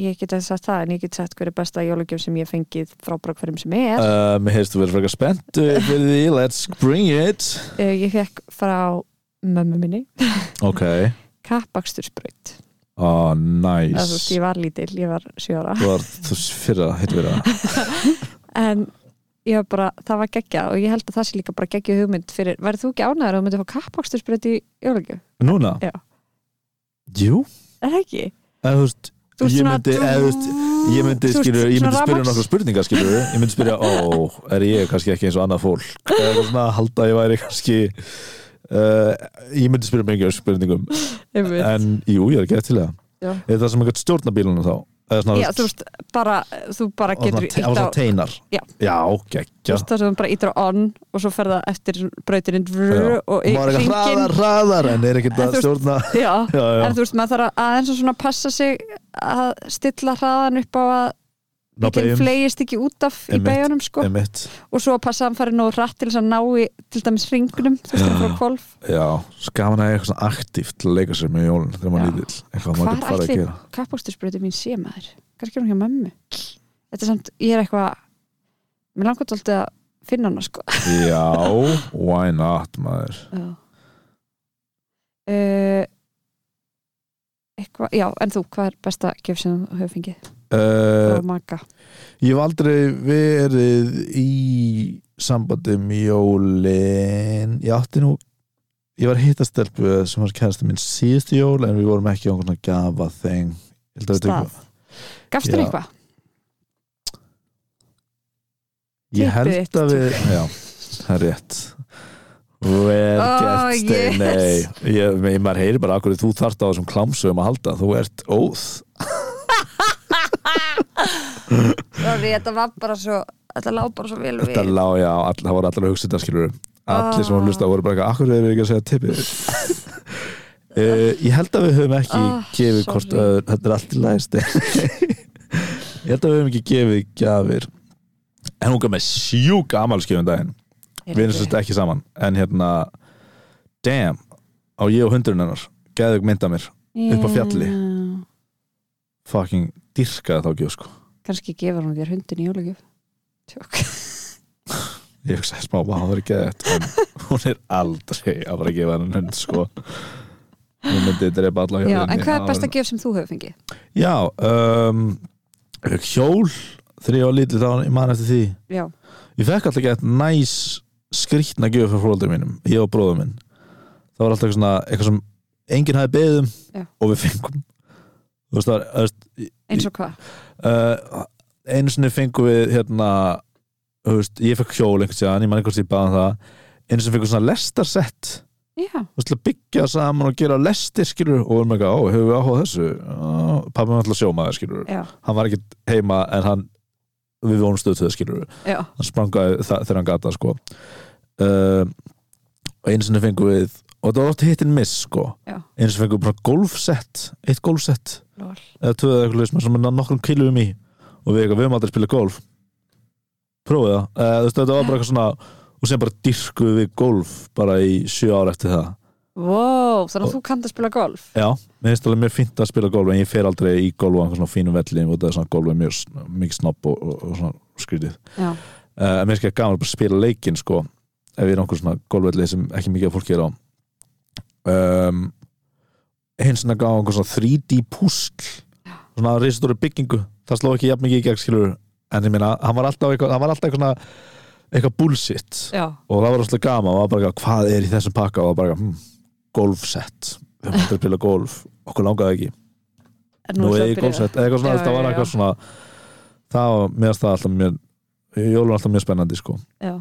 [SPEAKER 2] ég get ekki sagt það en ég get sagt hverju besta jólugjöf sem ég hef fengið frá bara hverjum sem er.
[SPEAKER 1] Uh, mér heyrst þú verið frekar spennt eh, fyrir því, let's bring it
[SPEAKER 2] Uh, ég fekk frá mömmu minni
[SPEAKER 1] Ok,
[SPEAKER 2] kappaksturbraut.
[SPEAKER 1] oh, nice
[SPEAKER 2] Yes. Þú veist, ég var lítil, ég var sjö ára.
[SPEAKER 1] Þú var þú fyrir að hittu verið að
[SPEAKER 2] En ég var bara, það var geggja og ég held að það sé líka bara geggja hugmynd fyrir, værið þú ekki ánæður að þú myndið fá kappaksturbraut í jólugjöf?
[SPEAKER 1] Núna?
[SPEAKER 2] Já.
[SPEAKER 1] Jú,
[SPEAKER 2] Er það ekki?
[SPEAKER 1] eða þú veist
[SPEAKER 2] Þú ert
[SPEAKER 1] Ég
[SPEAKER 2] svona-
[SPEAKER 1] myndi, eða, þú veist, ég myndi,
[SPEAKER 2] Þú veist,
[SPEAKER 1] skilur, ég
[SPEAKER 2] svona
[SPEAKER 1] myndi spyrja
[SPEAKER 2] rafmagns-
[SPEAKER 1] nokkra spurningar skilur, ég myndi spyrja, ó, er ég kannski ekki eins og annað fólk eða eitthvað svona að halda að ég væri kannski uh, ég myndi spyrja mikið af spurningum
[SPEAKER 2] Einmitt.
[SPEAKER 1] en jú, ég er ekki eftir
[SPEAKER 2] Já.
[SPEAKER 1] það er það sem eitthvað stjórna bílunum þá eða svona,
[SPEAKER 2] Já, þú veist, bara, þú bara
[SPEAKER 1] og
[SPEAKER 2] getur
[SPEAKER 1] svona, te- og
[SPEAKER 2] ýtt
[SPEAKER 1] svona teinar
[SPEAKER 2] Já.
[SPEAKER 1] já
[SPEAKER 2] Þú
[SPEAKER 1] geggja
[SPEAKER 2] veist það sem bara ítir á on og svo fer það eftir brautininn
[SPEAKER 1] Já.
[SPEAKER 2] vrr, og í
[SPEAKER 1] maður er eitthvað
[SPEAKER 2] hringinn
[SPEAKER 1] hraðar, hraðar en er ekkert
[SPEAKER 2] En þú
[SPEAKER 1] að
[SPEAKER 2] veist-
[SPEAKER 1] stjórna
[SPEAKER 2] já,
[SPEAKER 1] já, já,
[SPEAKER 2] en þú veist maður þarf að aðeins og svona passa sig að stilla hraðan upp á að
[SPEAKER 1] ná
[SPEAKER 2] bílinn
[SPEAKER 1] beigjum,
[SPEAKER 2] flegist ekki út af í
[SPEAKER 1] Einmitt,
[SPEAKER 2] beigunum sko
[SPEAKER 1] emitt
[SPEAKER 2] og svo að passa að hann fari nóg rætt til þess að ná í til dæmis ringunum, þú veist það frá kvolf
[SPEAKER 1] já, skaman að eiga eitthvað svona aktíft til að leika sér með jólun þegar maður
[SPEAKER 2] Já.
[SPEAKER 1] lítill eitthvað maður
[SPEAKER 2] hvar
[SPEAKER 1] getur farið að
[SPEAKER 2] ætli
[SPEAKER 1] gera
[SPEAKER 2] kappókstusbröðu mín sé maður kannski er hún hjá mömmu þetta er samt, ég er eitthvað mér langar alltaf að finna hana sko
[SPEAKER 1] já, why not maður
[SPEAKER 2] uh, eitthvað, Eh, já, en þú hvað er besta gef sem þú hefur fengið
[SPEAKER 1] uh,
[SPEAKER 2] frá maka,
[SPEAKER 1] Ég hef aldrei verið í sambandi um jólin ég átti nú ég var að hitta stelpu sem var kærasta minn síðustu jól en við vorum ekki á einhvern gafa þeng
[SPEAKER 2] stað gafst þér
[SPEAKER 1] Já.
[SPEAKER 2] eitthvað? Tippið
[SPEAKER 1] ég held að við já, það er rétt vel
[SPEAKER 2] Oh,
[SPEAKER 1] gert Steiney
[SPEAKER 2] yes.
[SPEAKER 1] ég, ég, maður heyri bara akkur þú þarft á þessum klámsögum að halda þú ert óð
[SPEAKER 2] Sorry, þetta var bara svo þetta lá bara svo vel við
[SPEAKER 1] Þetta lá, já, all, það voru allar að hugsa þetta skilur Allir sem voru að hlusta voru bara eitthvað Akkur erum við ekki að segja tippið uh, Ég held að við höfum ekki
[SPEAKER 2] Ah,
[SPEAKER 1] gefið
[SPEAKER 2] sorry.
[SPEAKER 1] hvort öður, þetta er allt í læst Ég held að við höfum ekki gefið gjafir En hún gaf með sjúka amálskjöfum daginn Við erum svolítið ekki saman En hérna, damn Á ég og hundurinn hennar, geðug mynda mér upp á fjalli.
[SPEAKER 2] Já.
[SPEAKER 1] Fucking dyrkaði þá gjöf sko
[SPEAKER 2] kannski gefur hún þér hundin í jólagjöf tjók
[SPEAKER 1] Ég hugsaði smá, vá, það er ekki þetta Hún er aldrei að bara gefa hennan hund sko Hún myndi drepa alla
[SPEAKER 2] já, en
[SPEAKER 1] hjólin í
[SPEAKER 2] hvað er
[SPEAKER 1] árinu.
[SPEAKER 2] besta gjöf sem þú hefur fengið?
[SPEAKER 1] Já, um, ég fékk hjól þegar ég var lítið þá ég man eftir því
[SPEAKER 2] já,
[SPEAKER 1] Ég fekk alltaf gett næs skrýtna gjöf frá fólöldur mínum, ég og bróður minn Það var alltaf eitthvað svona eitthvað sem enginn hafi beðið um
[SPEAKER 2] Já.
[SPEAKER 1] og við fengum Þú veist, það var, þú veist,
[SPEAKER 2] eins og hvað?
[SPEAKER 1] uh, einu sinni fengum við hérna, þú veist, ég fekk hjól einhvern tíðan, ég man einhvern tíðan baðan það einu sinni fengum við svona lestarsett
[SPEAKER 2] já,
[SPEAKER 1] þú veist, til að byggja saman og gera lestir skilur, og við erum eitthvað, ó, hefur við áhuga á þessu Ó, pappi var alltaf sjómaður, skilur
[SPEAKER 2] já,
[SPEAKER 1] hann var ekki heima, en hann við vonum stöðu til það, skilur
[SPEAKER 2] já
[SPEAKER 1] hann sprangaði það þegar hann gata, sko um, og einu sinni fengum við og þetta var oft hit and miss, sko
[SPEAKER 2] Já.
[SPEAKER 1] einu sinni fengum við bara golfsett eitt golfsett,
[SPEAKER 4] Lol.
[SPEAKER 1] eða tvöðu eða eitthvað leysma, sem er nokkrum kilum í og við eitthvað, við erum aldrei að spila golf prófið það, Eh, þú veist, þetta var bara eitthvað svona og sem bara dyrkuðu við golf bara í sjö ára eftir það
[SPEAKER 2] wow, þannig að þú kannt að spila golf
[SPEAKER 1] Já, mér finnst alveg mjög fínt að spila golf en ég fer aldrei í golf á einhvern svona fínum velli og það er svona golf er mjög s- mikið snopp og, og, og svona skrítið
[SPEAKER 2] já,
[SPEAKER 1] uh, mér finnst ekki gaman að bara spila leikinn sko ef ég er einhvern svona golfvelli sem ekki mikið af fólki er á um, hins svona gaf einhvern svona 3D púsl svona reistóri byggingu það sló ekki jafn mikið í gegn skilur en ég meina, hann var alltaf eitthvað, hann var alltaf eitthvað, svona- eitthvað bullshit
[SPEAKER 2] já,
[SPEAKER 1] og það var rosalega gaman, það var bara eitthvað, hvað er í þessum pakka og það var bara eitthvað, hm, golfsett við höfum aldrei að spila golf, okkur langaði ekki
[SPEAKER 2] en
[SPEAKER 1] nú
[SPEAKER 2] er
[SPEAKER 1] er
[SPEAKER 2] það
[SPEAKER 1] ég í golfsett, eða eitthvað svona,
[SPEAKER 2] Já,
[SPEAKER 1] það var
[SPEAKER 2] já,
[SPEAKER 1] eitthvað
[SPEAKER 2] já.
[SPEAKER 1] svona það var, mér finnst það alltaf mjög jólun alltaf mjög spennandi sko
[SPEAKER 2] já.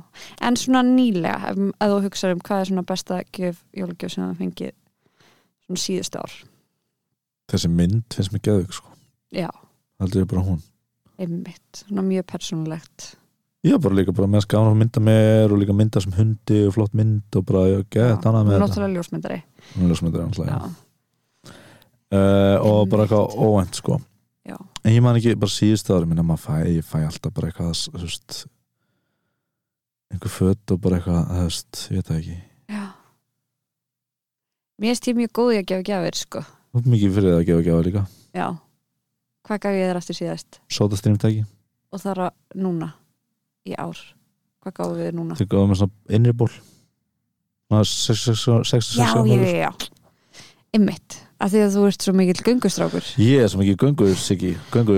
[SPEAKER 2] en svona nýlega, ef, ef þú hugsaður um hvað er svona besta gjöf, jólagjöf sem það fengið svona síðust ár
[SPEAKER 1] þessi mynd finnst mér geðug sko
[SPEAKER 2] já,
[SPEAKER 1] heldur ég bara hún
[SPEAKER 2] einmitt, svona mjög persónulegt
[SPEAKER 1] ég var bara líka bara mennst gaman að mynda mér og líka mynda sem hundi og flott mynd og bara ég
[SPEAKER 2] Já,
[SPEAKER 1] get annað með þetta
[SPEAKER 2] náttúrulega ljósmyndari
[SPEAKER 1] Hún er ljósmyndari, náttúrulega, já.
[SPEAKER 2] já,
[SPEAKER 1] Eh, og bara eitthvað óvænt sko
[SPEAKER 2] Já.
[SPEAKER 1] en ég man ekki bara síðust ári minna maður fæ, ég fæ alltaf bara eitthvað þú veist einhver fött og bara eitthvað þú veist, ég veit það ekki
[SPEAKER 2] já. mér stýr mjög góð í að gefa gjafir sko,
[SPEAKER 1] Þú ert mikið fyrir það að gefa gefa líka
[SPEAKER 2] já hvað gaf ég þér aftur síðast
[SPEAKER 1] sota strýmtæki
[SPEAKER 2] og það er að núna í ár, hvað gáðum við þér núna
[SPEAKER 1] þau gáðu með svona innri ból svona 6-6
[SPEAKER 2] já, já, já, já einmitt, af því að þú ert svo mikill göngustrákur
[SPEAKER 1] ég er svo mikið göngu Siggi göngu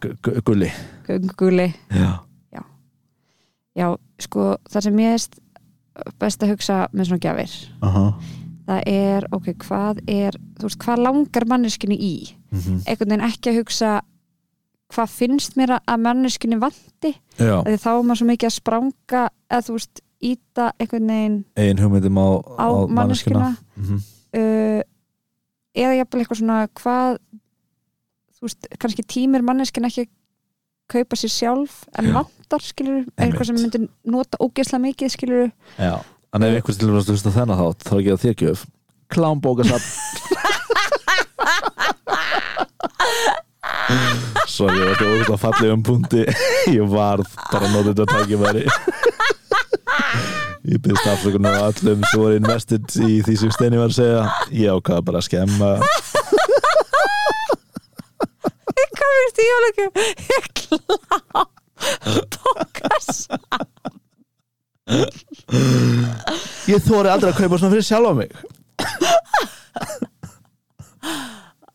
[SPEAKER 1] gu- gu- gulli
[SPEAKER 2] gönguguli,
[SPEAKER 1] já
[SPEAKER 2] já, sko það sem ég erst best að hugsa með svona gjafir,
[SPEAKER 1] aha
[SPEAKER 2] það er ok, hvað er, þú veist, hvað langar manneskinu í,
[SPEAKER 1] mhm.
[SPEAKER 2] einhvern veginn ekki að hugsa hvað finnst mér að- að manneskinu vanti,
[SPEAKER 1] já
[SPEAKER 2] af því þá er maður svo mikið að spranga, eða þú veist íta einhvern veginn
[SPEAKER 1] ein hugmyndum á,
[SPEAKER 2] á manneskina
[SPEAKER 1] Mhm.
[SPEAKER 2] uh, eða jafnvel eitthvað svona hvað þú veist, kannski tímir manneskin ekki að kaupa sér sjálf en
[SPEAKER 1] Já.
[SPEAKER 2] vantar, skilur,
[SPEAKER 1] Einmitt.
[SPEAKER 2] eitthvað sem myndir nota ógeðslega mikið, skilur
[SPEAKER 1] já en ef einhvers til að hlusta þennan þátt þá er ekki að þér gjöf klámbókasapp Sorry, ég var ekki ógust að falli um punkti Ég varð bara að nota þetta tækifæri Ég byrst afsökunar á öllum sem voru investið í því sem Steini var að segja Ég ákvaða bara að skemma
[SPEAKER 2] hvað veist ég alveg ekki ég klá bókas
[SPEAKER 1] Ég þóri aldrei að kaupa svona fyrir sjálfa mig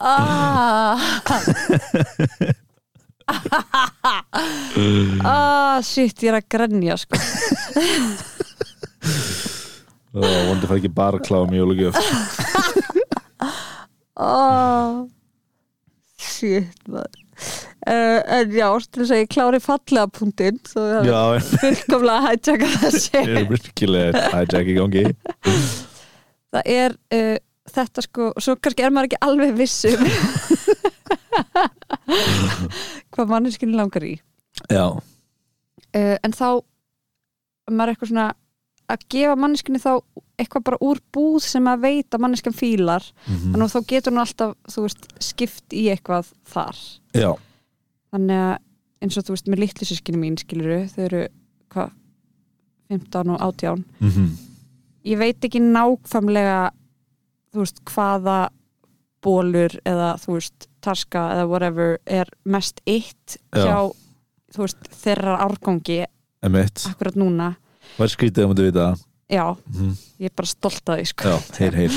[SPEAKER 2] ah ah, shit, ég er að grenja sko
[SPEAKER 1] Ó, vondi fær ekki bara að um kláða mjög lukið
[SPEAKER 2] Oh, shit maður uh, En já, til þess að ég klári fallega punktinn Svo það er
[SPEAKER 1] Já,
[SPEAKER 2] fullkomlega hættjaka
[SPEAKER 1] ég er
[SPEAKER 2] þessi
[SPEAKER 1] virkilega hijack í gangi
[SPEAKER 2] Það er uh, þetta sko og Svo kannski er maður ekki alveg viss um Hvað manneskinu langar í
[SPEAKER 1] Já,
[SPEAKER 2] uh, en þá ef maður er eitthvað svona að gefa manneskinni þá eitthvað bara úr búð sem að veit að manneskjan fílar
[SPEAKER 1] Mhm.
[SPEAKER 2] þannig að þá getur hún alltaf, þú veist, skipt í eitthvað þar
[SPEAKER 1] Já,
[SPEAKER 2] þannig að eins og þú veist með litlu sískinni mín skiluru, þau eru hvað, 15 og 18
[SPEAKER 1] mhm,
[SPEAKER 2] ég veit ekki nákvæmlega þú veist, hvaða bólur eða þú veist taska eða whatever er mest eitt
[SPEAKER 1] Já.
[SPEAKER 2] hjá þú veist, þeirra árgangi
[SPEAKER 1] emitt
[SPEAKER 2] akkurat núna,
[SPEAKER 1] Var skrítið um að þú vita það
[SPEAKER 2] já,
[SPEAKER 1] Mhm.
[SPEAKER 2] ég er bara stolt að því sko.
[SPEAKER 1] Já, heyr, heyr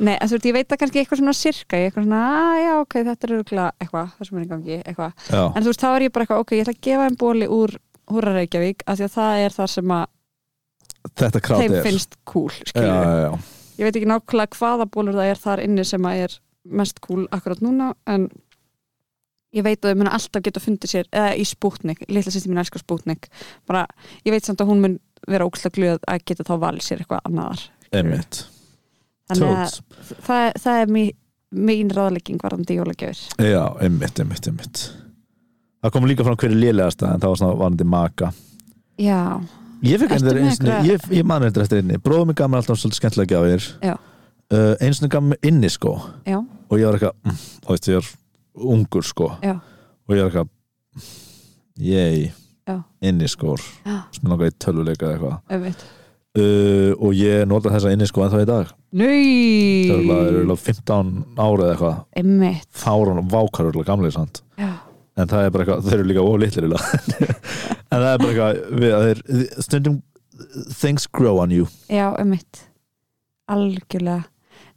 [SPEAKER 2] Nei, en þú veist, ég veit það kannski eitthvað svona sirka, ég er eitthvað svona, að já, ok, þetta er örugglega eitthvað, það sem er í gangi, eitthvað
[SPEAKER 1] Já,
[SPEAKER 2] en þú veist, þá er ég bara eitthvað, ok, ég ætla að gefa þeim bóli úr Húra Reykjavík, af því að það er það sem að
[SPEAKER 1] þetta krát
[SPEAKER 2] þeim
[SPEAKER 1] er
[SPEAKER 2] finnst cool,
[SPEAKER 1] Já,
[SPEAKER 2] skilur
[SPEAKER 1] já, já
[SPEAKER 2] ég veit ekki nákvæmlega hvaða bólur það er þar inni sem að er mest cool akkurat núna, en ég veit að þau mun alltaf geta fundið sér eða í spútnik, litla sýsti mín elskar spútnik bara, ég veit samt að hún mun vera ókslega glöð að geta þá valið sér eitthvað annaðar
[SPEAKER 1] Emitt,
[SPEAKER 2] þannig að
[SPEAKER 1] tóts
[SPEAKER 2] það, það er mí- mín ráðlegging varandi jólagjafir
[SPEAKER 1] Já, emitt, emitt, emitt Það kom líka frá hverju lélegasta en það var svona vanandi maka
[SPEAKER 2] já,
[SPEAKER 1] Ég
[SPEAKER 2] Ertu
[SPEAKER 1] fekk einhver
[SPEAKER 2] með
[SPEAKER 1] einu sinni,
[SPEAKER 2] einhverja-
[SPEAKER 1] ég, ég man eitthvað eftir einni Bróðum mig gammal alltaf svolítið skemmtilega gjafir
[SPEAKER 2] Já.
[SPEAKER 1] uh, Einu sinni gammal inni sko
[SPEAKER 2] já,
[SPEAKER 1] og ég var eitthvað mm, þú veist, ég var ungur sko
[SPEAKER 2] Já.
[SPEAKER 1] og ég var eitthvað "Mm, yey,
[SPEAKER 2] Já.
[SPEAKER 1] inniskór
[SPEAKER 2] Já.
[SPEAKER 1] sem sko. langaði í tölvuleika eða eitthvað
[SPEAKER 2] auðvitað
[SPEAKER 1] uh, og ég nota þessa inniskó ennþá í dag það er örugglega-
[SPEAKER 2] Nei,
[SPEAKER 1] er örugglega 15 ára eða eitthvað
[SPEAKER 2] einmitt
[SPEAKER 1] fárun og vákar örgulega gamlega samt
[SPEAKER 2] Já.
[SPEAKER 1] en það er bara eitthvað, þau eru líka oflitlir en það er bara eitthvað við, að þeir, stundum things grow on you
[SPEAKER 2] Já, einmitt Algjörlega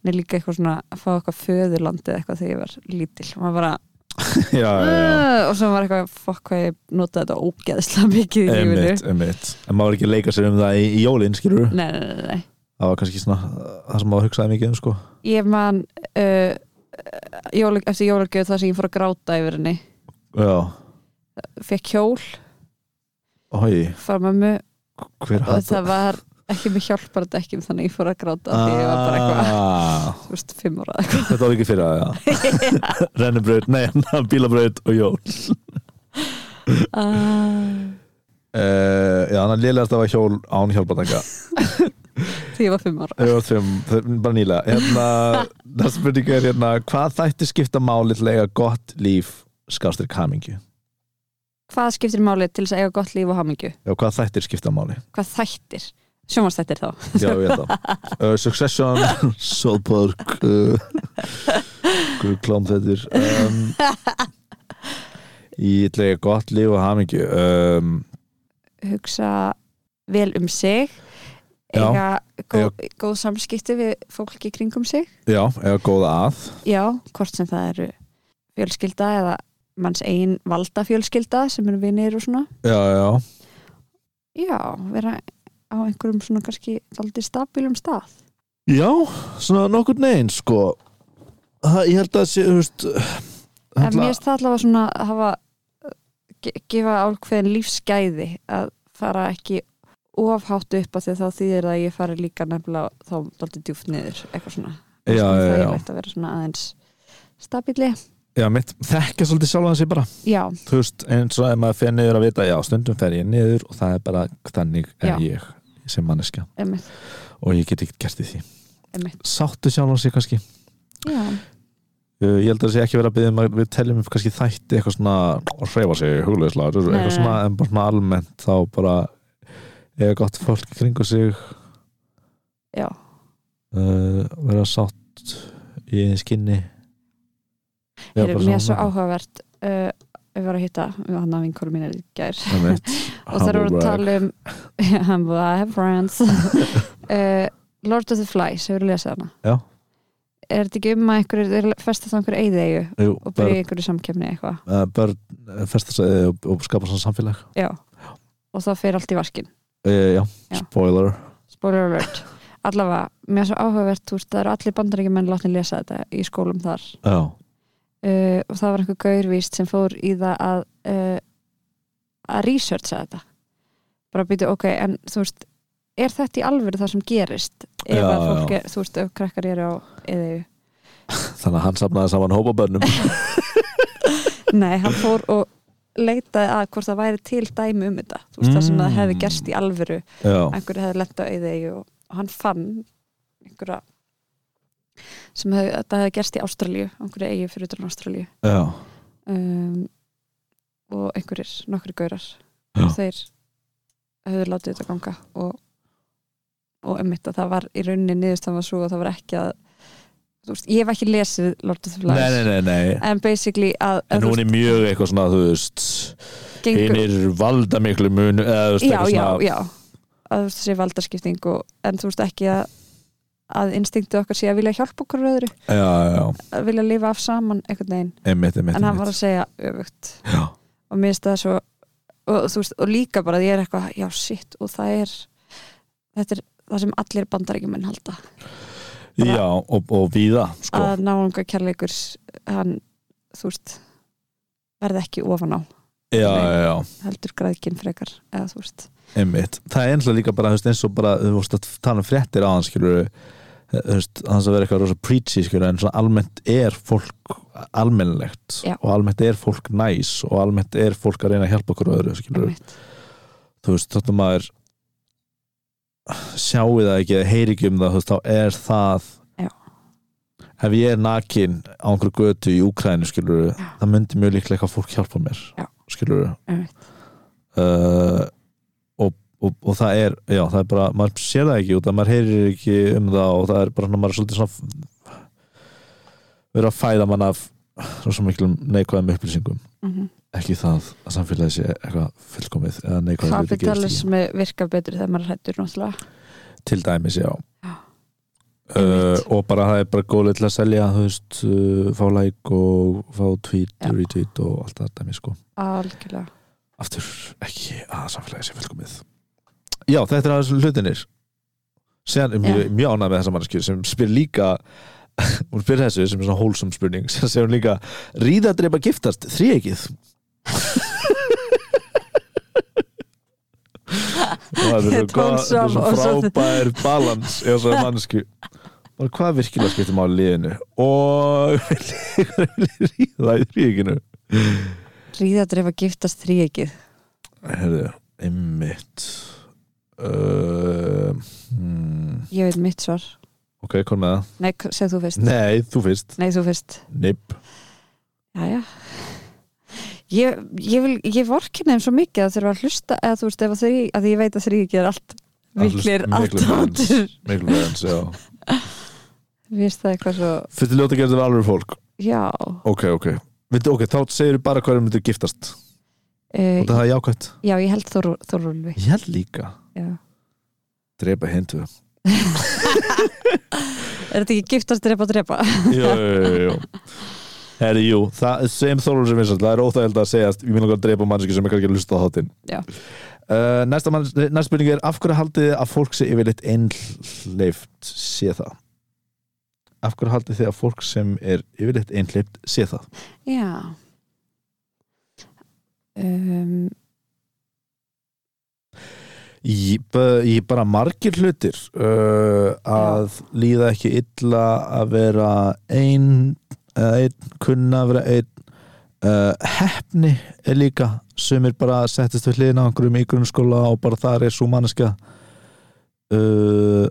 [SPEAKER 2] Nei, líka eitthvað svona að fá eitthvað föðurlandið eitthvað þegar ég var lítil og maður bara,
[SPEAKER 1] já, já, já
[SPEAKER 2] "Ugh", og svo var eitthvað fokk hvað ég notaði þetta ógeðslega mikið í lífinu
[SPEAKER 1] Einmitt, einmitt. En maður ekki að leika sér um það í, í jólinn, skilur
[SPEAKER 2] Nei, nei, nei, nei
[SPEAKER 1] Það var kannski svona uh, það sem maður hugsaði mikið um, sko
[SPEAKER 2] Ég man uh, jól, eftir jólagjöð það sem ég fór að gráta yfir henni
[SPEAKER 1] Já,
[SPEAKER 2] fekk hjól
[SPEAKER 1] oi,
[SPEAKER 2] frá mömmu
[SPEAKER 1] hver
[SPEAKER 2] og það var ekki með hjálpar þetta ekki þannig að ég fór að gráta því ég var bara eitthvað,
[SPEAKER 1] Ah. eitthvað
[SPEAKER 2] þú veist, fimm ára eða eitthvað
[SPEAKER 1] Þetta var ekki fyrir að Rennubraut, nei, bílabraut og jól
[SPEAKER 2] Ah,
[SPEAKER 1] uh, Já, þannig að lélegast það var hjól án hjálpatanga
[SPEAKER 2] því ég var fimm ára
[SPEAKER 1] Þau var þeim, þeim, bara nýlega hérna, Það spurningu er hérna Hvað þætti skipta máli til að eiga gott líf skástir kamingju?
[SPEAKER 2] Hvað skiptir máli til þess að eiga gott líf og hamingju?
[SPEAKER 1] Já, hvað þættir skipta máli?
[SPEAKER 2] hvað þættir sjómanstættir þá
[SPEAKER 1] Já, ég veit það uh, Succession, Solborg uh, Klám þettir um, Ég ætla ég gott líf og hamingju um,
[SPEAKER 2] hugsa vel um sig
[SPEAKER 1] Já.
[SPEAKER 2] eiga góð, góð samskipti við fólki í kringum sig
[SPEAKER 1] Já, eða góða að
[SPEAKER 2] já, hvort sem það eru fjölskylda eða manns ein valda fjölskylda sem eru vinir og svona
[SPEAKER 1] Já, já,
[SPEAKER 2] já, vera á einhverjum svona kannski aldrei stabilum stað
[SPEAKER 1] já svona nokkur negin sko það, Ég held að sé, þú veist
[SPEAKER 2] en mér
[SPEAKER 1] hella,
[SPEAKER 2] finnst það allavega svona að hafa eh, ge- gefa álkveðin lífsgæði að fara ekki ofhátt upp að því að þá þýðir það að ég fari líka nefnilega þá dálítið djúft niður eitthvað svona
[SPEAKER 1] Já,
[SPEAKER 2] það
[SPEAKER 1] já,
[SPEAKER 2] er
[SPEAKER 1] já,
[SPEAKER 2] leitt að vera svona aðeins stabíli
[SPEAKER 1] já mitt, Þekkja svolítið sjálfan sig bara
[SPEAKER 2] já,
[SPEAKER 1] Þú veist, eins og ef maður fer niður að vita Já, stundum fer ég niður og það er bara Þannig er
[SPEAKER 2] Já.
[SPEAKER 1] ég sem manneskja
[SPEAKER 2] emmitt,
[SPEAKER 1] Og ég get ekki gert í því
[SPEAKER 2] emmitt
[SPEAKER 1] Sáttu sjálfan sig kannski
[SPEAKER 2] já,
[SPEAKER 1] Uh, Ég held að það sé ekki verið að byggja um að við teljum upp kannski þætti eitthvað svona og hreyfa sig hugleislega
[SPEAKER 2] Nei,
[SPEAKER 1] eitthvað
[SPEAKER 2] nei,
[SPEAKER 1] svona en bara svona almennt þá bara eiga gott fólk í kringu sig
[SPEAKER 2] já,
[SPEAKER 1] uh, vera sátt í einn skinni
[SPEAKER 2] já er mér svo áhugavert uh, við varum að hitta við hann að vinkorum mín er í gær
[SPEAKER 1] áhægt
[SPEAKER 2] og það eru að tala um Humble, I have friends uh, Lord of the Flies, hefur þú lesað hana?
[SPEAKER 1] Já.
[SPEAKER 2] Er þetta ekki um að einhverju, er festast á einhverju eyðeigu
[SPEAKER 1] Jú,
[SPEAKER 2] og byrja
[SPEAKER 1] börn,
[SPEAKER 2] í einhverju samkefni eitthvað?
[SPEAKER 1] uh, börn festa sig eh, og, og skapa svona samfélag
[SPEAKER 2] Já. Og það fer allt í vaskin.
[SPEAKER 1] uh, já,
[SPEAKER 2] Já.
[SPEAKER 1] spoiler
[SPEAKER 2] Spoiler alert. Allavega, mér er svo áhugavert, þú veist, það eru allir bandaríkjumenn látni lesa þetta í skólum þar.
[SPEAKER 1] já,
[SPEAKER 2] Uh, og það var einhver gaurvíst sem fór í það að, uh, að researcha þetta. Bara býtu, ok, en þú veist, er þetta í alvöru það sem gerist? Ef
[SPEAKER 1] Já,
[SPEAKER 2] að fólk
[SPEAKER 1] já.
[SPEAKER 2] er, þú veist, ef krakkar eru á E eðeigu.
[SPEAKER 1] þannig að hann safnaði saman hópa börnum
[SPEAKER 2] Nei, hann fór og leitaði að hvort það væri til dæmi um þetta þú veist það sem það hefði gerst í alvöru
[SPEAKER 1] Mm. já,
[SPEAKER 2] einhverju hefði lent á auðegi og, og hann fann einhverja sem hefði, þetta hefði gerst í Ástralíu einhverju eigi fyrir utan Ástralíu
[SPEAKER 1] já,
[SPEAKER 2] um, og einhverjir, nokkri gaurar
[SPEAKER 1] Já.
[SPEAKER 2] þeir höfðu látið þetta ganga og, og emmitt að það var í rauninni niðurstaðan var svo að það var ekki að þú veist, ég hef ekki lesið Lord of the
[SPEAKER 1] nei,
[SPEAKER 2] Flies
[SPEAKER 1] nei, nei, nei.
[SPEAKER 2] en basically að,
[SPEAKER 1] En
[SPEAKER 2] að
[SPEAKER 1] hún er mjög eitthvað svona, þú veist,
[SPEAKER 2] gengur,
[SPEAKER 1] einir valda miklu mun, eða þú veist,
[SPEAKER 2] já,
[SPEAKER 1] eitthvað
[SPEAKER 2] já,
[SPEAKER 1] svona,
[SPEAKER 2] já að þú veist þessi valdaskipting og, en þú veist ekki að að instinktu okkar sé að vilja hjálpa okkur öðru,
[SPEAKER 1] já, já, já,
[SPEAKER 2] að vilja lifa af saman einhvern veginn,
[SPEAKER 1] einmitt, einmitt,
[SPEAKER 2] en hann var
[SPEAKER 1] einmitt.
[SPEAKER 2] að segja öfugt
[SPEAKER 1] Já,
[SPEAKER 2] og mér finnst það svo og, þú veist, og líka bara að ég er eitthvað já sitt og það er þetta er það sem allir bandaríkjumenn halda bara-
[SPEAKER 1] já, og, og víða, sko,
[SPEAKER 2] að náunga kærleikur hann, þú veist verði ekki ofan á,
[SPEAKER 1] já, já, já.
[SPEAKER 2] heldur græðkin frekar eða þú veist,
[SPEAKER 1] einmitt, það er einhverja líka bara þú veist, eins og bara, þú veist að tala um fréttir á hans skilur, þú veist, hans að vera eitthvað rosa preachy, skilur, en svona almennt er fólk almennlegt
[SPEAKER 2] Já.
[SPEAKER 1] og almennt er fólk næs og almennt er fólk að reyna að hjálpa okkur öðru, skilur
[SPEAKER 2] einmitt
[SPEAKER 1] þú veist, þóttum maður sjáu það ekki eða heyri ekki um það, þú veist, þá er það
[SPEAKER 2] Já.
[SPEAKER 1] ef ég er nakin á einhverju götu í Úkrænu, skilur það myndi mjög líklega eitthvað fólk hjálpa mér
[SPEAKER 2] Já.
[SPEAKER 1] skilur
[SPEAKER 2] Einmitt.
[SPEAKER 1] uh, og, og, og það er já, það er bara, maður sér það ekki út að maður heyrir ekki um það og það er bara svona, maður er svolítið svona verið að fæða mann af svo miklum neikvæðum upplýsingum
[SPEAKER 2] mm -hmm.
[SPEAKER 1] ekki það að samfélagi sé eitthvað fullkomið eða neikvæðum hlutir gerist ekki.
[SPEAKER 2] kapitalismi virkar betur þegar maður hættur náttúrulega
[SPEAKER 1] til dæmis, já
[SPEAKER 2] Já.
[SPEAKER 1] Uh,
[SPEAKER 2] Einmitt.
[SPEAKER 1] og bara það er bara góðlega til að selja þú veist, uh, fá like og fá tweet,
[SPEAKER 2] Já.
[SPEAKER 1] retweet og allt það dæmi sko,
[SPEAKER 2] algjörlega
[SPEAKER 1] aftur ekki að samfélagi sé fullkomið já, þetta er aðeins hlutinir séðan er mjög, mjög ánægð með þessa mannskjur sem spyr líka hún spyr þessu sem er svona wholesome spurning sem segir hún líka, ríða dreipa giftast þrýegið það er
[SPEAKER 2] Þetta var
[SPEAKER 1] svo,
[SPEAKER 2] svo-
[SPEAKER 1] svo,
[SPEAKER 2] og
[SPEAKER 1] svo
[SPEAKER 2] svo-
[SPEAKER 1] frábær balans í þessari mannsku bara hvað virkilega skiptir máli liðinu og ríða í þrýeginu
[SPEAKER 2] ríða drefa giftast þríegið
[SPEAKER 1] herðu, einmitt uh, hmm,
[SPEAKER 2] ég veit mitt svar,
[SPEAKER 1] ok, kom með það
[SPEAKER 2] nei, segð þú fyrst
[SPEAKER 1] nei, þú fyrst,
[SPEAKER 2] nei þú fyrst
[SPEAKER 1] nipp
[SPEAKER 2] Jæja Ég, ég, vil, ég vorkinni þeim svo mikið að þurfa að hlusta eða þú veist ef að þrý, að ég veit að þrý gerir allt miklir allt áttur
[SPEAKER 1] mikluverðans, já
[SPEAKER 2] Mér finnst það eitthvað svo,
[SPEAKER 1] Fyrstu ljóta gerði við alveg fólk
[SPEAKER 2] já
[SPEAKER 1] Ok, ok Vindu, ok, þá segir við bara hverju myndu giftast Og
[SPEAKER 2] uh,
[SPEAKER 1] það er jákvæmt
[SPEAKER 2] Já, ég held Þór- Þórólfi
[SPEAKER 1] Ég held líka
[SPEAKER 2] já.
[SPEAKER 1] Drepa hindu Jú,
[SPEAKER 2] Er þetta ekki giftast drepa drepa?
[SPEAKER 1] jú, jú, jú Herri, jú, það sem Þorlur sem vinsall Það er óþægild að segjast Ég vil langar að drepa mannski sem er kannski að hlusta á þáttinn
[SPEAKER 2] Já.
[SPEAKER 1] uh, Næsta manns, næsta spurning er Af hverju haldið þið að fólk sé yfirleitt einhleift sé það? Af hverju haldið þið að fólk sem er yfirleitt einhleift sé það?
[SPEAKER 2] Já um,
[SPEAKER 1] Í, b- í bara margir hlutir uh, að líða ekki illa að vera ein, eða einn kunna að vera einn uh, hefni er líka sem er bara að settist við hliðina á einhverjum í grunnskóla og bara þar er svo manneska uh,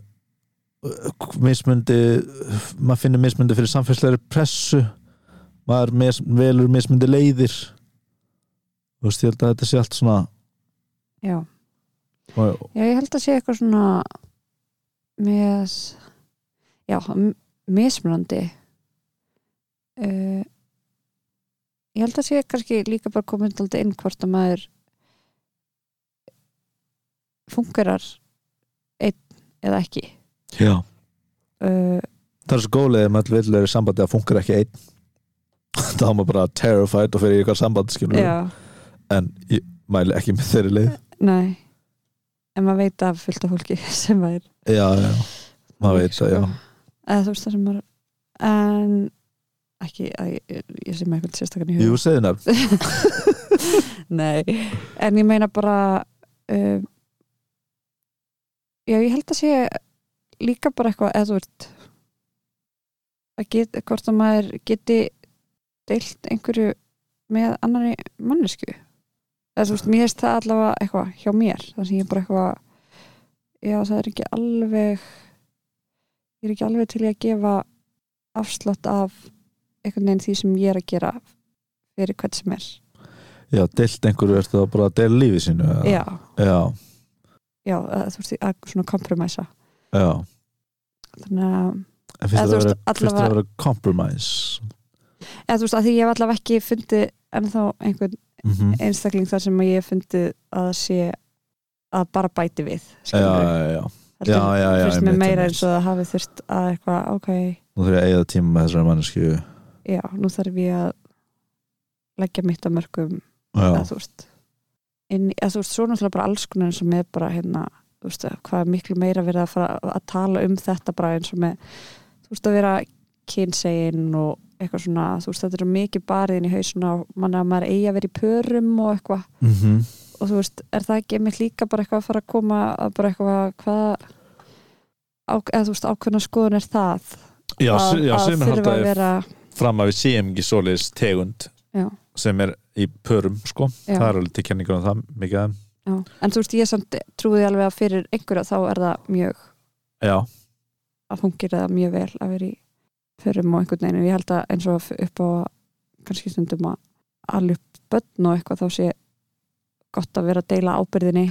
[SPEAKER 1] mismundi maður finnir mismundi fyrir samfélagslegri pressu maður mis, velur mismundi leiðir þú veist ég held að þetta sé allt svona
[SPEAKER 2] Já
[SPEAKER 1] og,
[SPEAKER 2] Já, ég held að sé eitthvað svona með já, m- mismunandi uh, ég held að sé kannski líka bara komin alltaf inn hvort að maður fungerar einn eða ekki
[SPEAKER 1] já
[SPEAKER 2] uh,
[SPEAKER 1] það er svo góðlega ef maður vill verið sambandi að funkar ekki einn þá er maður bara terrified og fyrir í eitthvað sambandi skilur
[SPEAKER 2] já,
[SPEAKER 1] en ég mæli ekki með þeirri leið
[SPEAKER 2] nei en maður veit af fullt af fólki sem maður
[SPEAKER 1] já, já, maður veit það, já
[SPEAKER 2] Sko. eða þú veist það sem maður en ekki að ég, ég sé með eitthvað sérstakann í huga
[SPEAKER 1] Jú, segðu nefn,
[SPEAKER 2] Nei, en ég meina bara um, Já, ég held að sé líka bara eitthvað eða þú ert að get, hvort að maður geti deilt einhverju með annari mannesku eða þú veist, mér finnst það allavega eitthvað hjá mér, þannig að ég er bara eitthvað já, það er ekki alveg ég er ekki alveg til í að gefa afslott af einhvern veginn því sem ég er að gera fyrir hvern sem er
[SPEAKER 1] Já, deilt einhverju ertu þá bara að deila lífið sínu eða?
[SPEAKER 2] já,
[SPEAKER 1] Já,
[SPEAKER 2] já, eða, þú veist, að svona kompromæsa
[SPEAKER 1] já
[SPEAKER 2] þannig að,
[SPEAKER 1] En
[SPEAKER 2] Eða
[SPEAKER 1] finnst þetta
[SPEAKER 2] þú veist,
[SPEAKER 1] að vera- finnst þetta
[SPEAKER 2] allavega-
[SPEAKER 1] að vera compromise
[SPEAKER 2] eða þú veist, að því ég hef allavega ekki fundið ennþá einhvern
[SPEAKER 1] mm -hmm.
[SPEAKER 2] einstakling þar sem ég hef fundið að það sé að bara bæti við
[SPEAKER 1] Já,
[SPEAKER 2] skilurðu.
[SPEAKER 1] já, já
[SPEAKER 2] Heldur
[SPEAKER 1] Já, já, já,
[SPEAKER 2] finnst mér
[SPEAKER 1] einmitt,
[SPEAKER 2] meira
[SPEAKER 1] einmitt.
[SPEAKER 2] eins og það hafi þurft að eitthvað, ok,
[SPEAKER 1] Nú þurfum ég að eigða tíma með þessari mannesku
[SPEAKER 2] já, nú þarf ég að leggja mitt að mörgum
[SPEAKER 1] Já,
[SPEAKER 2] að þú veist inn, í- að þú veist, svo náttúrulega bara alls konar eins og með bara hérna, þú veist, hvað er miklu meira verið að fara að tala um þetta bara eins og með, þú veist, að vera kynsegin og eitthvað svona þú veist, þetta er mikið barið inn í hausuna á manni að maður eigi að vera í pörum og eitthvað
[SPEAKER 1] mm
[SPEAKER 2] og þú veist, er það ekki einmitt líka bara eitthvað að fara að koma að bara eitthvað hvað á, eða þú veist, ákveðna skoðun er það
[SPEAKER 1] já,
[SPEAKER 2] að,
[SPEAKER 1] s- já
[SPEAKER 2] að
[SPEAKER 1] sem er
[SPEAKER 2] þurfa að
[SPEAKER 1] haldaði
[SPEAKER 2] vera
[SPEAKER 1] fram að við séum ekki svoleiðis tegund
[SPEAKER 2] Já.
[SPEAKER 1] sem er í pörum sko
[SPEAKER 2] Já.
[SPEAKER 1] það er alveg til kenningar um það mikið að
[SPEAKER 2] já. en þú veist, ég samt trúði alveg að fyrir einhverja þá er það mjög
[SPEAKER 1] já,
[SPEAKER 2] að fungir það mjög vel að vera í förum og einhvern veginn en ég held að eins og upp á kannski stundum að alveg upp börn og eitthvað þá sé gott að vera að deila ábyrðinni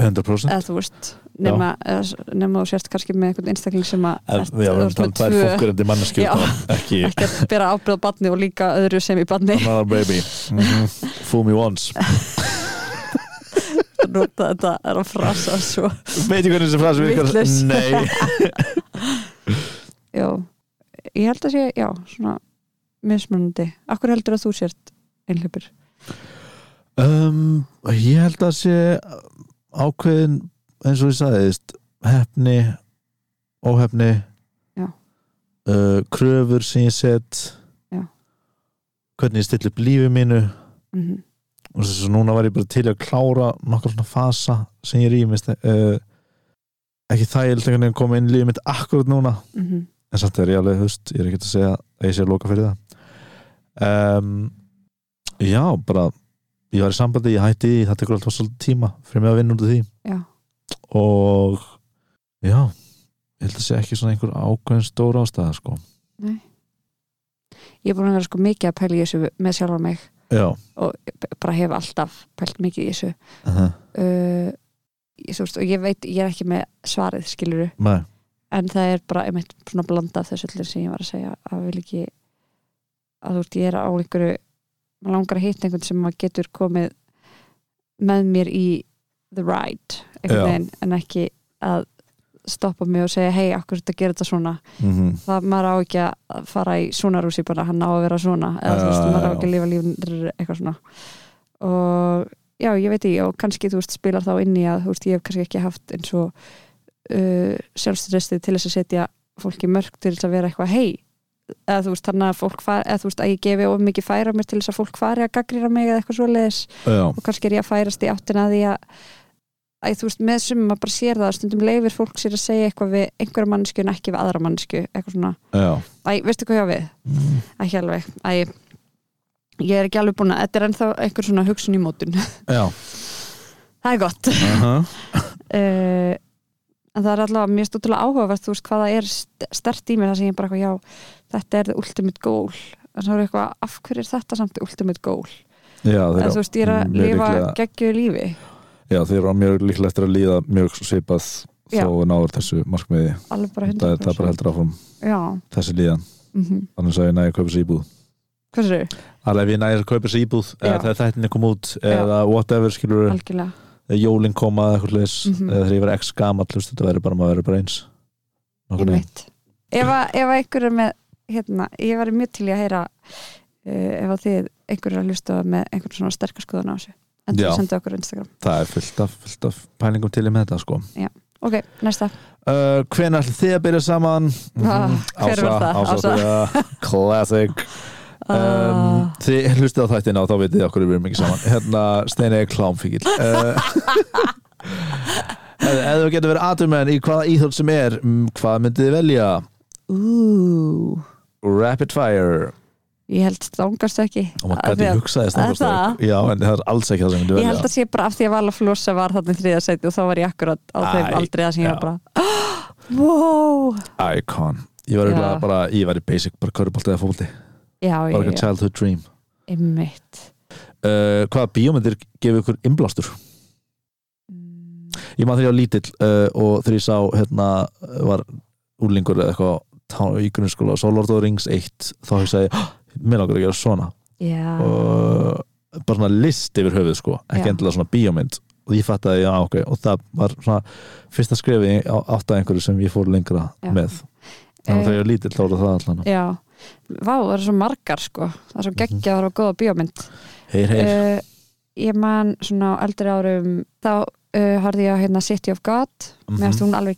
[SPEAKER 1] 100%
[SPEAKER 2] eða þú veist, nema, eða, nema þú sért kannski með einhvern einstakling sem að
[SPEAKER 1] Ef,
[SPEAKER 2] ert-
[SPEAKER 1] já, við
[SPEAKER 2] þú ert
[SPEAKER 1] erum
[SPEAKER 2] með
[SPEAKER 1] þannig tvær
[SPEAKER 2] tvö,
[SPEAKER 1] fólkurandi manneskjur
[SPEAKER 2] Já.
[SPEAKER 1] þá, ekki
[SPEAKER 2] ekki að bera ábyrð á barni og líka öðru sem í barni
[SPEAKER 1] another baby mm fool me once
[SPEAKER 2] nota þetta er að frasa svo
[SPEAKER 1] veit ég hvernig þessi frasi virkar?
[SPEAKER 2] Vitlaus.
[SPEAKER 1] nei,
[SPEAKER 2] já, ég held að sé já, svona mismunandi Akkur heldur að þú sért einhleipur?
[SPEAKER 1] um, ég held að sé ákveðin eins og ég sagði þvist, hefni, óhefni
[SPEAKER 2] Já.
[SPEAKER 1] uh, kröfur sem ég set
[SPEAKER 2] Já.
[SPEAKER 1] hvernig ég stilli upp lífi mínu
[SPEAKER 2] Mm
[SPEAKER 1] og þess að núna var ég bara til í að klára nokkar svona fasa sem ég rýmist uh, ekki þægild einhvern veginn að koma inn í lífið mitt akkurat núna
[SPEAKER 2] -hmm.
[SPEAKER 1] en samt er ég alveg, þú veist, ég er ekki að segja að ég sé að loka fyrir það um, já, bara ég var í sambandi, ég hætti því, það tekur alltaf svolítið tíma fyrir mig að vinna út af því
[SPEAKER 2] Já.
[SPEAKER 1] og já ég held að segja ekki svona einhver ákveðin stóra ástæða sko
[SPEAKER 2] Ég er búin að vera sko mikið að pæla í þessu með sjálfa mig
[SPEAKER 1] já,
[SPEAKER 2] bara hef alltaf pælt mikið í þessu
[SPEAKER 1] uh -huh.
[SPEAKER 2] uh, ég, þú veist, og ég veit, ég er ekki með svarið skiluru,
[SPEAKER 1] nei,
[SPEAKER 2] en það er bara einmitt svona blanda af þessu öllu sem ég var að segja að vil ekki að þú veist, ég er á einhverju maður langar að hitta einhvern sem maður getur komið með mér í the ride,
[SPEAKER 1] Já.
[SPEAKER 2] einhvern veginn en ekki að stoppa mig og segja, hei, akkur þetta gera þetta svona
[SPEAKER 1] mm
[SPEAKER 2] það maður á ekki að fara í svona rúsi bara hann á að vera svona eða þú veist,
[SPEAKER 1] Já,
[SPEAKER 2] maður á
[SPEAKER 1] já.
[SPEAKER 2] ekki að lifa lífnir eitthvað svona og já, ég veit ekki og kannski þú veist, spilar þá inn í að þú veist, ég hef kannski ekki haft eins og uh, sjálfstrestið til þess að setja fólki mörg til þess að vera eitthvað hei eða þú veist, þannig að fólk fari eða þú veist, að ég gefi of mikið færa mér til þess að fólk fari að gaggrýra mig eða eitthvað svoleiðis
[SPEAKER 1] já,
[SPEAKER 2] og kannski er ég að færast í áttina að því að Æ, þú veist, með sumum maður bara sér það að stundum leifir fólk sér að segja eitthvað við einhverja mannsku en ekki við aðra mannsku, eitthvað svona
[SPEAKER 1] já
[SPEAKER 2] Æ, veistu hvað ég á við?
[SPEAKER 1] Mm.
[SPEAKER 2] Ekki alveg, æ Ég er ekki alveg búin að, þetta er ennþá einhver svona hugsun í mótun
[SPEAKER 1] já,
[SPEAKER 2] Það er gott uh,
[SPEAKER 1] uh
[SPEAKER 2] En það er allavega, mér stóttulega áhugavert Þú veist hvað það er st- sterkt í mér Það sem ég bara eitthvað, já, þetta er the ultimate goal En svo er eitthvað, af hverju er þetta samt the ultimate goal?
[SPEAKER 1] já þeir,
[SPEAKER 2] Eða, þú veist, ég er að
[SPEAKER 1] mjög
[SPEAKER 2] lifa
[SPEAKER 1] líklega-
[SPEAKER 2] geggju lífi
[SPEAKER 1] já, þeir eru á mjög líklega eftir að líða mjög svipað
[SPEAKER 2] Já.
[SPEAKER 1] þó við náður þessu markmiði
[SPEAKER 2] Alveg bara
[SPEAKER 1] það, það
[SPEAKER 2] 100%
[SPEAKER 1] bara heldur áfram
[SPEAKER 2] Já,
[SPEAKER 1] þessi líðan,
[SPEAKER 2] mm
[SPEAKER 1] annars að ég næði að kaupa sér íbúð
[SPEAKER 2] hvað sér þau?
[SPEAKER 1] alveg ef ég næði að kaupa sér íbúð eða
[SPEAKER 2] Já.
[SPEAKER 1] þegar þættinni kom út
[SPEAKER 2] Já.
[SPEAKER 1] eða whatever skilur
[SPEAKER 2] Algjörlega
[SPEAKER 1] eða jólin koma eða eitthvað leis
[SPEAKER 2] Mhm.
[SPEAKER 1] eða þegar ég var ex gamall þú veist, þetta verður bara maður verður bara eins Nákvæmlega.
[SPEAKER 2] Einmitt. Ef, að, ef að einhver er með hérna, ég var mjög til í að heyra uh, ef að þið einhver er að hlusta með einhvern svona sterkar skoðun á þessu en
[SPEAKER 1] Já.
[SPEAKER 2] þú senda okkur á Instagram
[SPEAKER 1] það er fullt af, fullt af pælingum til í með þetta sko
[SPEAKER 2] Ok, næsta,
[SPEAKER 1] uh, hvenær ætlið þið að byrja saman mm
[SPEAKER 2] Ah, hver var það?
[SPEAKER 1] Ása,
[SPEAKER 2] Ása.
[SPEAKER 1] Þura, classic um,
[SPEAKER 2] Ah.
[SPEAKER 1] þið hlustið á þættina og þá vitið þið okkur við erum ekki saman hérna Steini er klámfíkil uh, eða þú getur verið atumenn í hvaða íþjóð sem er mm, hvað myndið þið velja
[SPEAKER 2] Ú,
[SPEAKER 1] Rapid Fire Oh
[SPEAKER 2] ég held stangast ekki
[SPEAKER 1] og maður
[SPEAKER 2] Af því
[SPEAKER 1] gæti
[SPEAKER 2] að-
[SPEAKER 1] hugsaði
[SPEAKER 2] Er það?
[SPEAKER 1] stangastök já, en það er alls ekki það sem myndi
[SPEAKER 2] ég
[SPEAKER 1] velja
[SPEAKER 2] held að sé bara af því að Vala Flosa var þarna í þriða seti og þá var ég akkurat á
[SPEAKER 1] Æ,
[SPEAKER 2] þeim aldrei að sem ég
[SPEAKER 1] já.
[SPEAKER 2] var bara oh, wow
[SPEAKER 1] Icon Ég var, örugglega
[SPEAKER 2] Já.
[SPEAKER 1] bara, ég var í basic, bara körubólti eða fótbolti
[SPEAKER 2] já,
[SPEAKER 1] bara
[SPEAKER 2] ég,
[SPEAKER 1] eitthvað childhood dream
[SPEAKER 2] einmitt
[SPEAKER 1] uh, Hvaða bíómyndir gefið ykkur innblástur?
[SPEAKER 2] Mm,
[SPEAKER 1] Ég maður þegar ég var lítill uh, og þegar ég sá hérna var úlingur eða eitthvað tá- í grunnskóla, svo Lord of the Rings 1 þá hugsaði ég, "Hah, mér langar að gera svona
[SPEAKER 2] já,
[SPEAKER 1] og bara svona list yfir höfuð sko, ekki
[SPEAKER 2] Ah. Já.
[SPEAKER 1] endilega svona bíómynd og ég fatt að ég, já ok, og það var svona fyrsta skrifi á átt að einhverju sem ég fór lengra
[SPEAKER 2] Já. Eh,
[SPEAKER 1] með þannig að þegar ég var lítill þá var það allan
[SPEAKER 2] já vá, það eru svo margar sko það er svo
[SPEAKER 1] Mhm.
[SPEAKER 2] geggjaðar og góða bíómynd
[SPEAKER 1] heyr, heyr,
[SPEAKER 2] uh, ég man svona á eldri árum þá uh, horfði ég á hérna City of God mm
[SPEAKER 1] Mhm.
[SPEAKER 2] -hmm. meðast hún alveg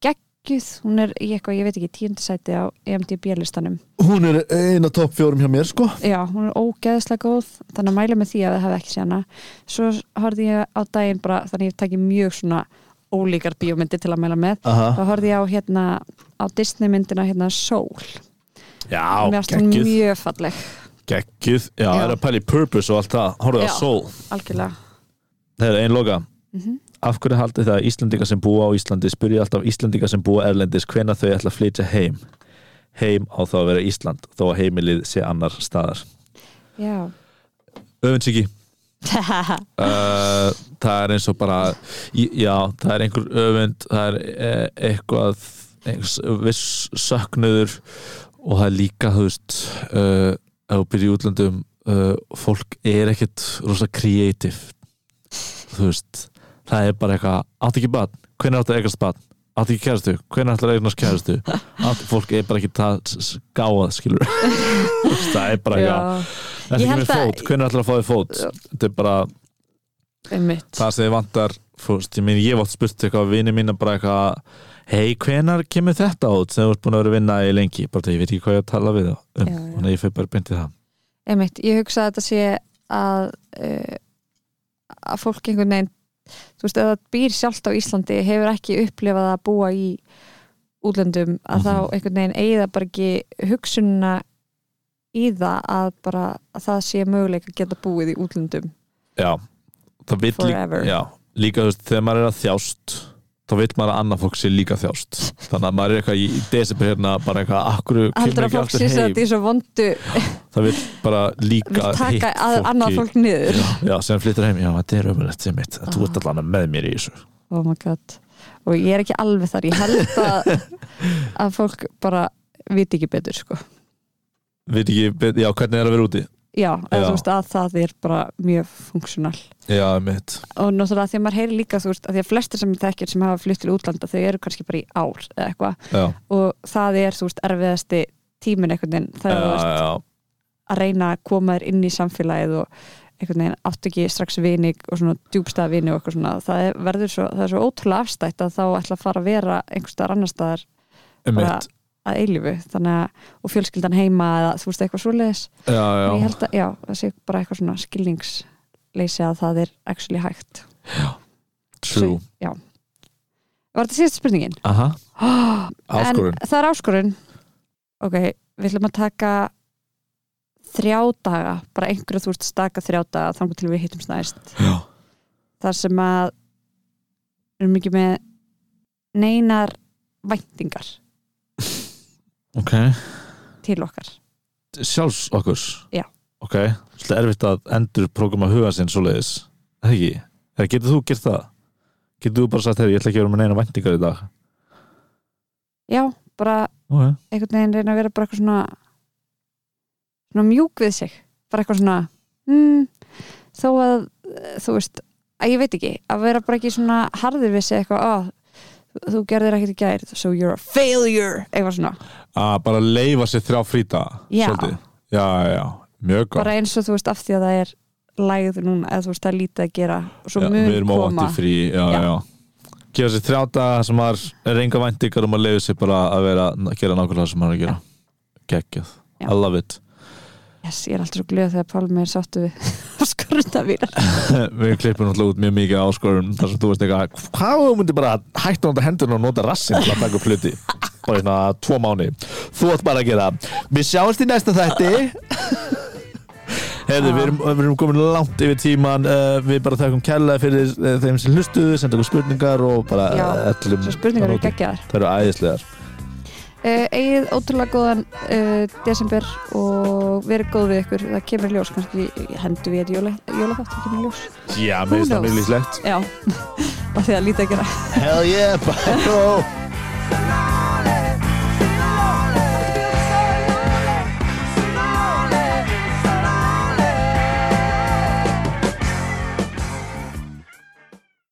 [SPEAKER 2] geggjuð hún er í eitthvað, ég veit ekki, tíundasæti á E EMDB-listanum
[SPEAKER 1] hún er eina topp fjórum hjá mér sko
[SPEAKER 2] Já, hún er ógeðslega góð þannig að mæla með því að það hefði ekki séð hana svo horfði ég á daginn bara þannig að ég takki mjög svona ólíkar bíómyndir til að mæla með þá
[SPEAKER 1] Aha.
[SPEAKER 2] horfði ég á hérna á Disney myndina hérna Soul
[SPEAKER 1] já,
[SPEAKER 2] mér varst hún
[SPEAKER 1] geggjuð
[SPEAKER 2] mjög falleg
[SPEAKER 1] geggjuð, já,
[SPEAKER 2] Já.
[SPEAKER 1] er að pæli purpose og allt það, horfðu á
[SPEAKER 2] Já.
[SPEAKER 1] soul
[SPEAKER 2] algjörlega
[SPEAKER 1] það er einn loka
[SPEAKER 2] mm
[SPEAKER 1] af hverju haldið það að Íslendingar sem búa á Íslandi spyrja alltaf Íslendingar sem búa erlendis hvena þau ætla að flytja heim heim á þá að vera Ísland þó að heimilið sé annar staðar
[SPEAKER 2] Já
[SPEAKER 1] öfundsíki uh, það er eins og bara í- já, það er einhver öfund það er eh, eitthvað einhvers, viss söknuður og það er líka þú veist uh, ef þú byrja í útlöndum uh, fólk er ekkit rosa kreatív þú veist það er bara eitthvað, átt ekki barn hvernig átt að eigast barn, átt ekki kærastu hvernig átt að eignast kærastu átt, fólk er bara ekki það s- s- gáað skilur það er bara
[SPEAKER 2] Já,
[SPEAKER 1] eitthvað Ertu
[SPEAKER 2] Ég
[SPEAKER 1] ekki
[SPEAKER 2] held
[SPEAKER 1] með
[SPEAKER 2] að-
[SPEAKER 1] fót, hvernig ætlar að fá þér fót þetta er bara
[SPEAKER 2] einmitt
[SPEAKER 1] það sem þið vantar fúst, ég, minn, ég vart spurt eitthvað vini mína bara eitthvað hei, hvenar kemur þetta út sem þú ert búin að vera að vinna í lengi bara þegar ég veit ekki hvað ég á að tala við þá um,
[SPEAKER 2] Já, já.
[SPEAKER 1] þannig að ég fyrir bara beint í það
[SPEAKER 2] einmitt, ég hugsa að þetta sé að uh, að fólk einhvern veginn þú veist, ef það býr sjálft á Íslandi hefur ekki upplifað að búa í útlöndum að þá
[SPEAKER 1] Mhm.
[SPEAKER 2] einhvern veginn eigða bara ekki hugsunina í það að bara að það sé möguleik að geta búið í útlöndum
[SPEAKER 1] já, það vill líka,
[SPEAKER 2] Forever.
[SPEAKER 1] já, líka þú veist, þegar maður er að þjást þá veit maður að annað fólk sé líka þjást þannig að maður er eitthvað í desember hérna bara eitthvað, akkur kemur
[SPEAKER 2] heldur að
[SPEAKER 1] ekki
[SPEAKER 2] fólk
[SPEAKER 1] aftur
[SPEAKER 2] sé
[SPEAKER 1] heim
[SPEAKER 2] að þetta er svo vondu
[SPEAKER 1] það vil bara
[SPEAKER 2] vil
[SPEAKER 1] líka hitt
[SPEAKER 2] taka að annað fólk niður
[SPEAKER 1] já, já, sem flyttur heim, já, þetta er ömulegt sem mitt, þú
[SPEAKER 2] Ah.
[SPEAKER 1] ert allan með mér í þessu
[SPEAKER 2] oh my god og ég er ekki alveg þar, ég held að að fólk bara viti ekki betur sko
[SPEAKER 1] veit ekki, bet- já, hvernig er að vera úti
[SPEAKER 2] Já, eða
[SPEAKER 1] Já.
[SPEAKER 2] þú veist að það er bara mjög funksjonal
[SPEAKER 1] já, mitt,
[SPEAKER 2] og náttúrulega því að maður heyri líka þú veist að því að flestir sem ég þekkir sem hafa flutt til útlanda þau eru kannski bara í ár eða eitthvað
[SPEAKER 1] já,
[SPEAKER 2] og það er þú veist erfiðasti tíminn einhvern veginn það er þú
[SPEAKER 1] já,
[SPEAKER 2] veist,
[SPEAKER 1] já.
[SPEAKER 2] að reyna að koma þér inn í samfélagið og einhvern veginn átt ekki strax vini og svona djúbstað vini og eitthvað svona það er, verður svo, það er svo ótrúlega afstætt að þá ætla að fara að vera einhvers staðar annar staðar
[SPEAKER 1] Einmitt.
[SPEAKER 2] að eilífu þannig að og fjölskyldan heima eða þú veist eitthvað svoleiðis
[SPEAKER 1] já, já,
[SPEAKER 2] ég held að, já, það sé bara eitthvað svona skilningsleysi að það er actually hægt
[SPEAKER 1] true
[SPEAKER 2] Svo- já. Var þetta síðasta spurningin?
[SPEAKER 1] aha,
[SPEAKER 2] Oh,
[SPEAKER 1] áskorun
[SPEAKER 2] En það er áskorun Ok, við ætlum að taka þrjá daga bara einhverju þú ert að staka þrjá daga þannig til við hittum snæst
[SPEAKER 1] já,
[SPEAKER 2] þar sem að við erum ekki með neinar væntingar
[SPEAKER 1] ok,
[SPEAKER 2] til okkar
[SPEAKER 1] sjálfs okkur
[SPEAKER 2] Já.
[SPEAKER 1] ok, svolítið erfitt að endur prógrama huga sinn svoleiðis, það ekki eða getur þú gert það getur þú bara sagt, hey, ég ætla ekki að vera með neina vendingar í dag
[SPEAKER 2] Já, bara
[SPEAKER 1] ok,
[SPEAKER 2] einhvern veginn reyna að vera bara eitthvað svona svona mjúk við sig bara eitthvað svona mm, þó að eh, þú veist að ég veit ekki, að vera bara ekki svona harður við sig eitthvað, að þú gerðir ekkert í gær, so you're a failure eitthvað svona,
[SPEAKER 1] að bara leifa sér þrjá fríta
[SPEAKER 2] Já.
[SPEAKER 1] svolítið, já, já, já, mjög gott
[SPEAKER 2] bara eins og þú veist af því að það er lægð núna, eða þú veist það er lítið að gera og svo
[SPEAKER 1] Já, við
[SPEAKER 2] mun
[SPEAKER 1] erum
[SPEAKER 2] koma
[SPEAKER 1] óvæntið frí já, já.
[SPEAKER 2] Já.
[SPEAKER 1] gefa sér þrjá daga sem maður er enga væntingar og maður leiður sér bara að vera að gera nákvæmlega það sem maður er að gera geggjað,
[SPEAKER 2] Já.
[SPEAKER 1] I love it
[SPEAKER 2] yes, ég er alltaf svo glöð þegar Pálmi er sáttu við skorunda mínar
[SPEAKER 1] við klippum náttúrulega út mjög mikið á áskorum þar sem þú veist eitthvað, hvað ef þú myndir bara hætta að nota hendurinn og nota rassin til að taka upp hluti og hérna tvo mánu þú átt bara að gera við sjáumst í næsta þætti Herðu, við erum, við erum komin langt yfir tíman uh, við bara þakkum kærlega fyrir uh, þeim sem hlustuðu, senda okkur spurningar og bara
[SPEAKER 2] Já,
[SPEAKER 1] eh, öllum
[SPEAKER 2] Svo spurningar
[SPEAKER 1] bara
[SPEAKER 2] eru
[SPEAKER 1] út í-
[SPEAKER 2] geggjaðar
[SPEAKER 1] Það eru æðislegar
[SPEAKER 2] uh, Egið ótrúlega góðan uh, desember og verið góð við ykkur það kemur í ljós, kannski hendur við jóla, jólaþátt, það kemur í ljós
[SPEAKER 1] Já, mér finnst það
[SPEAKER 2] knows?
[SPEAKER 1] mjög líklegt
[SPEAKER 2] Já, bara því að lítið að gera
[SPEAKER 1] Hell yeah, bye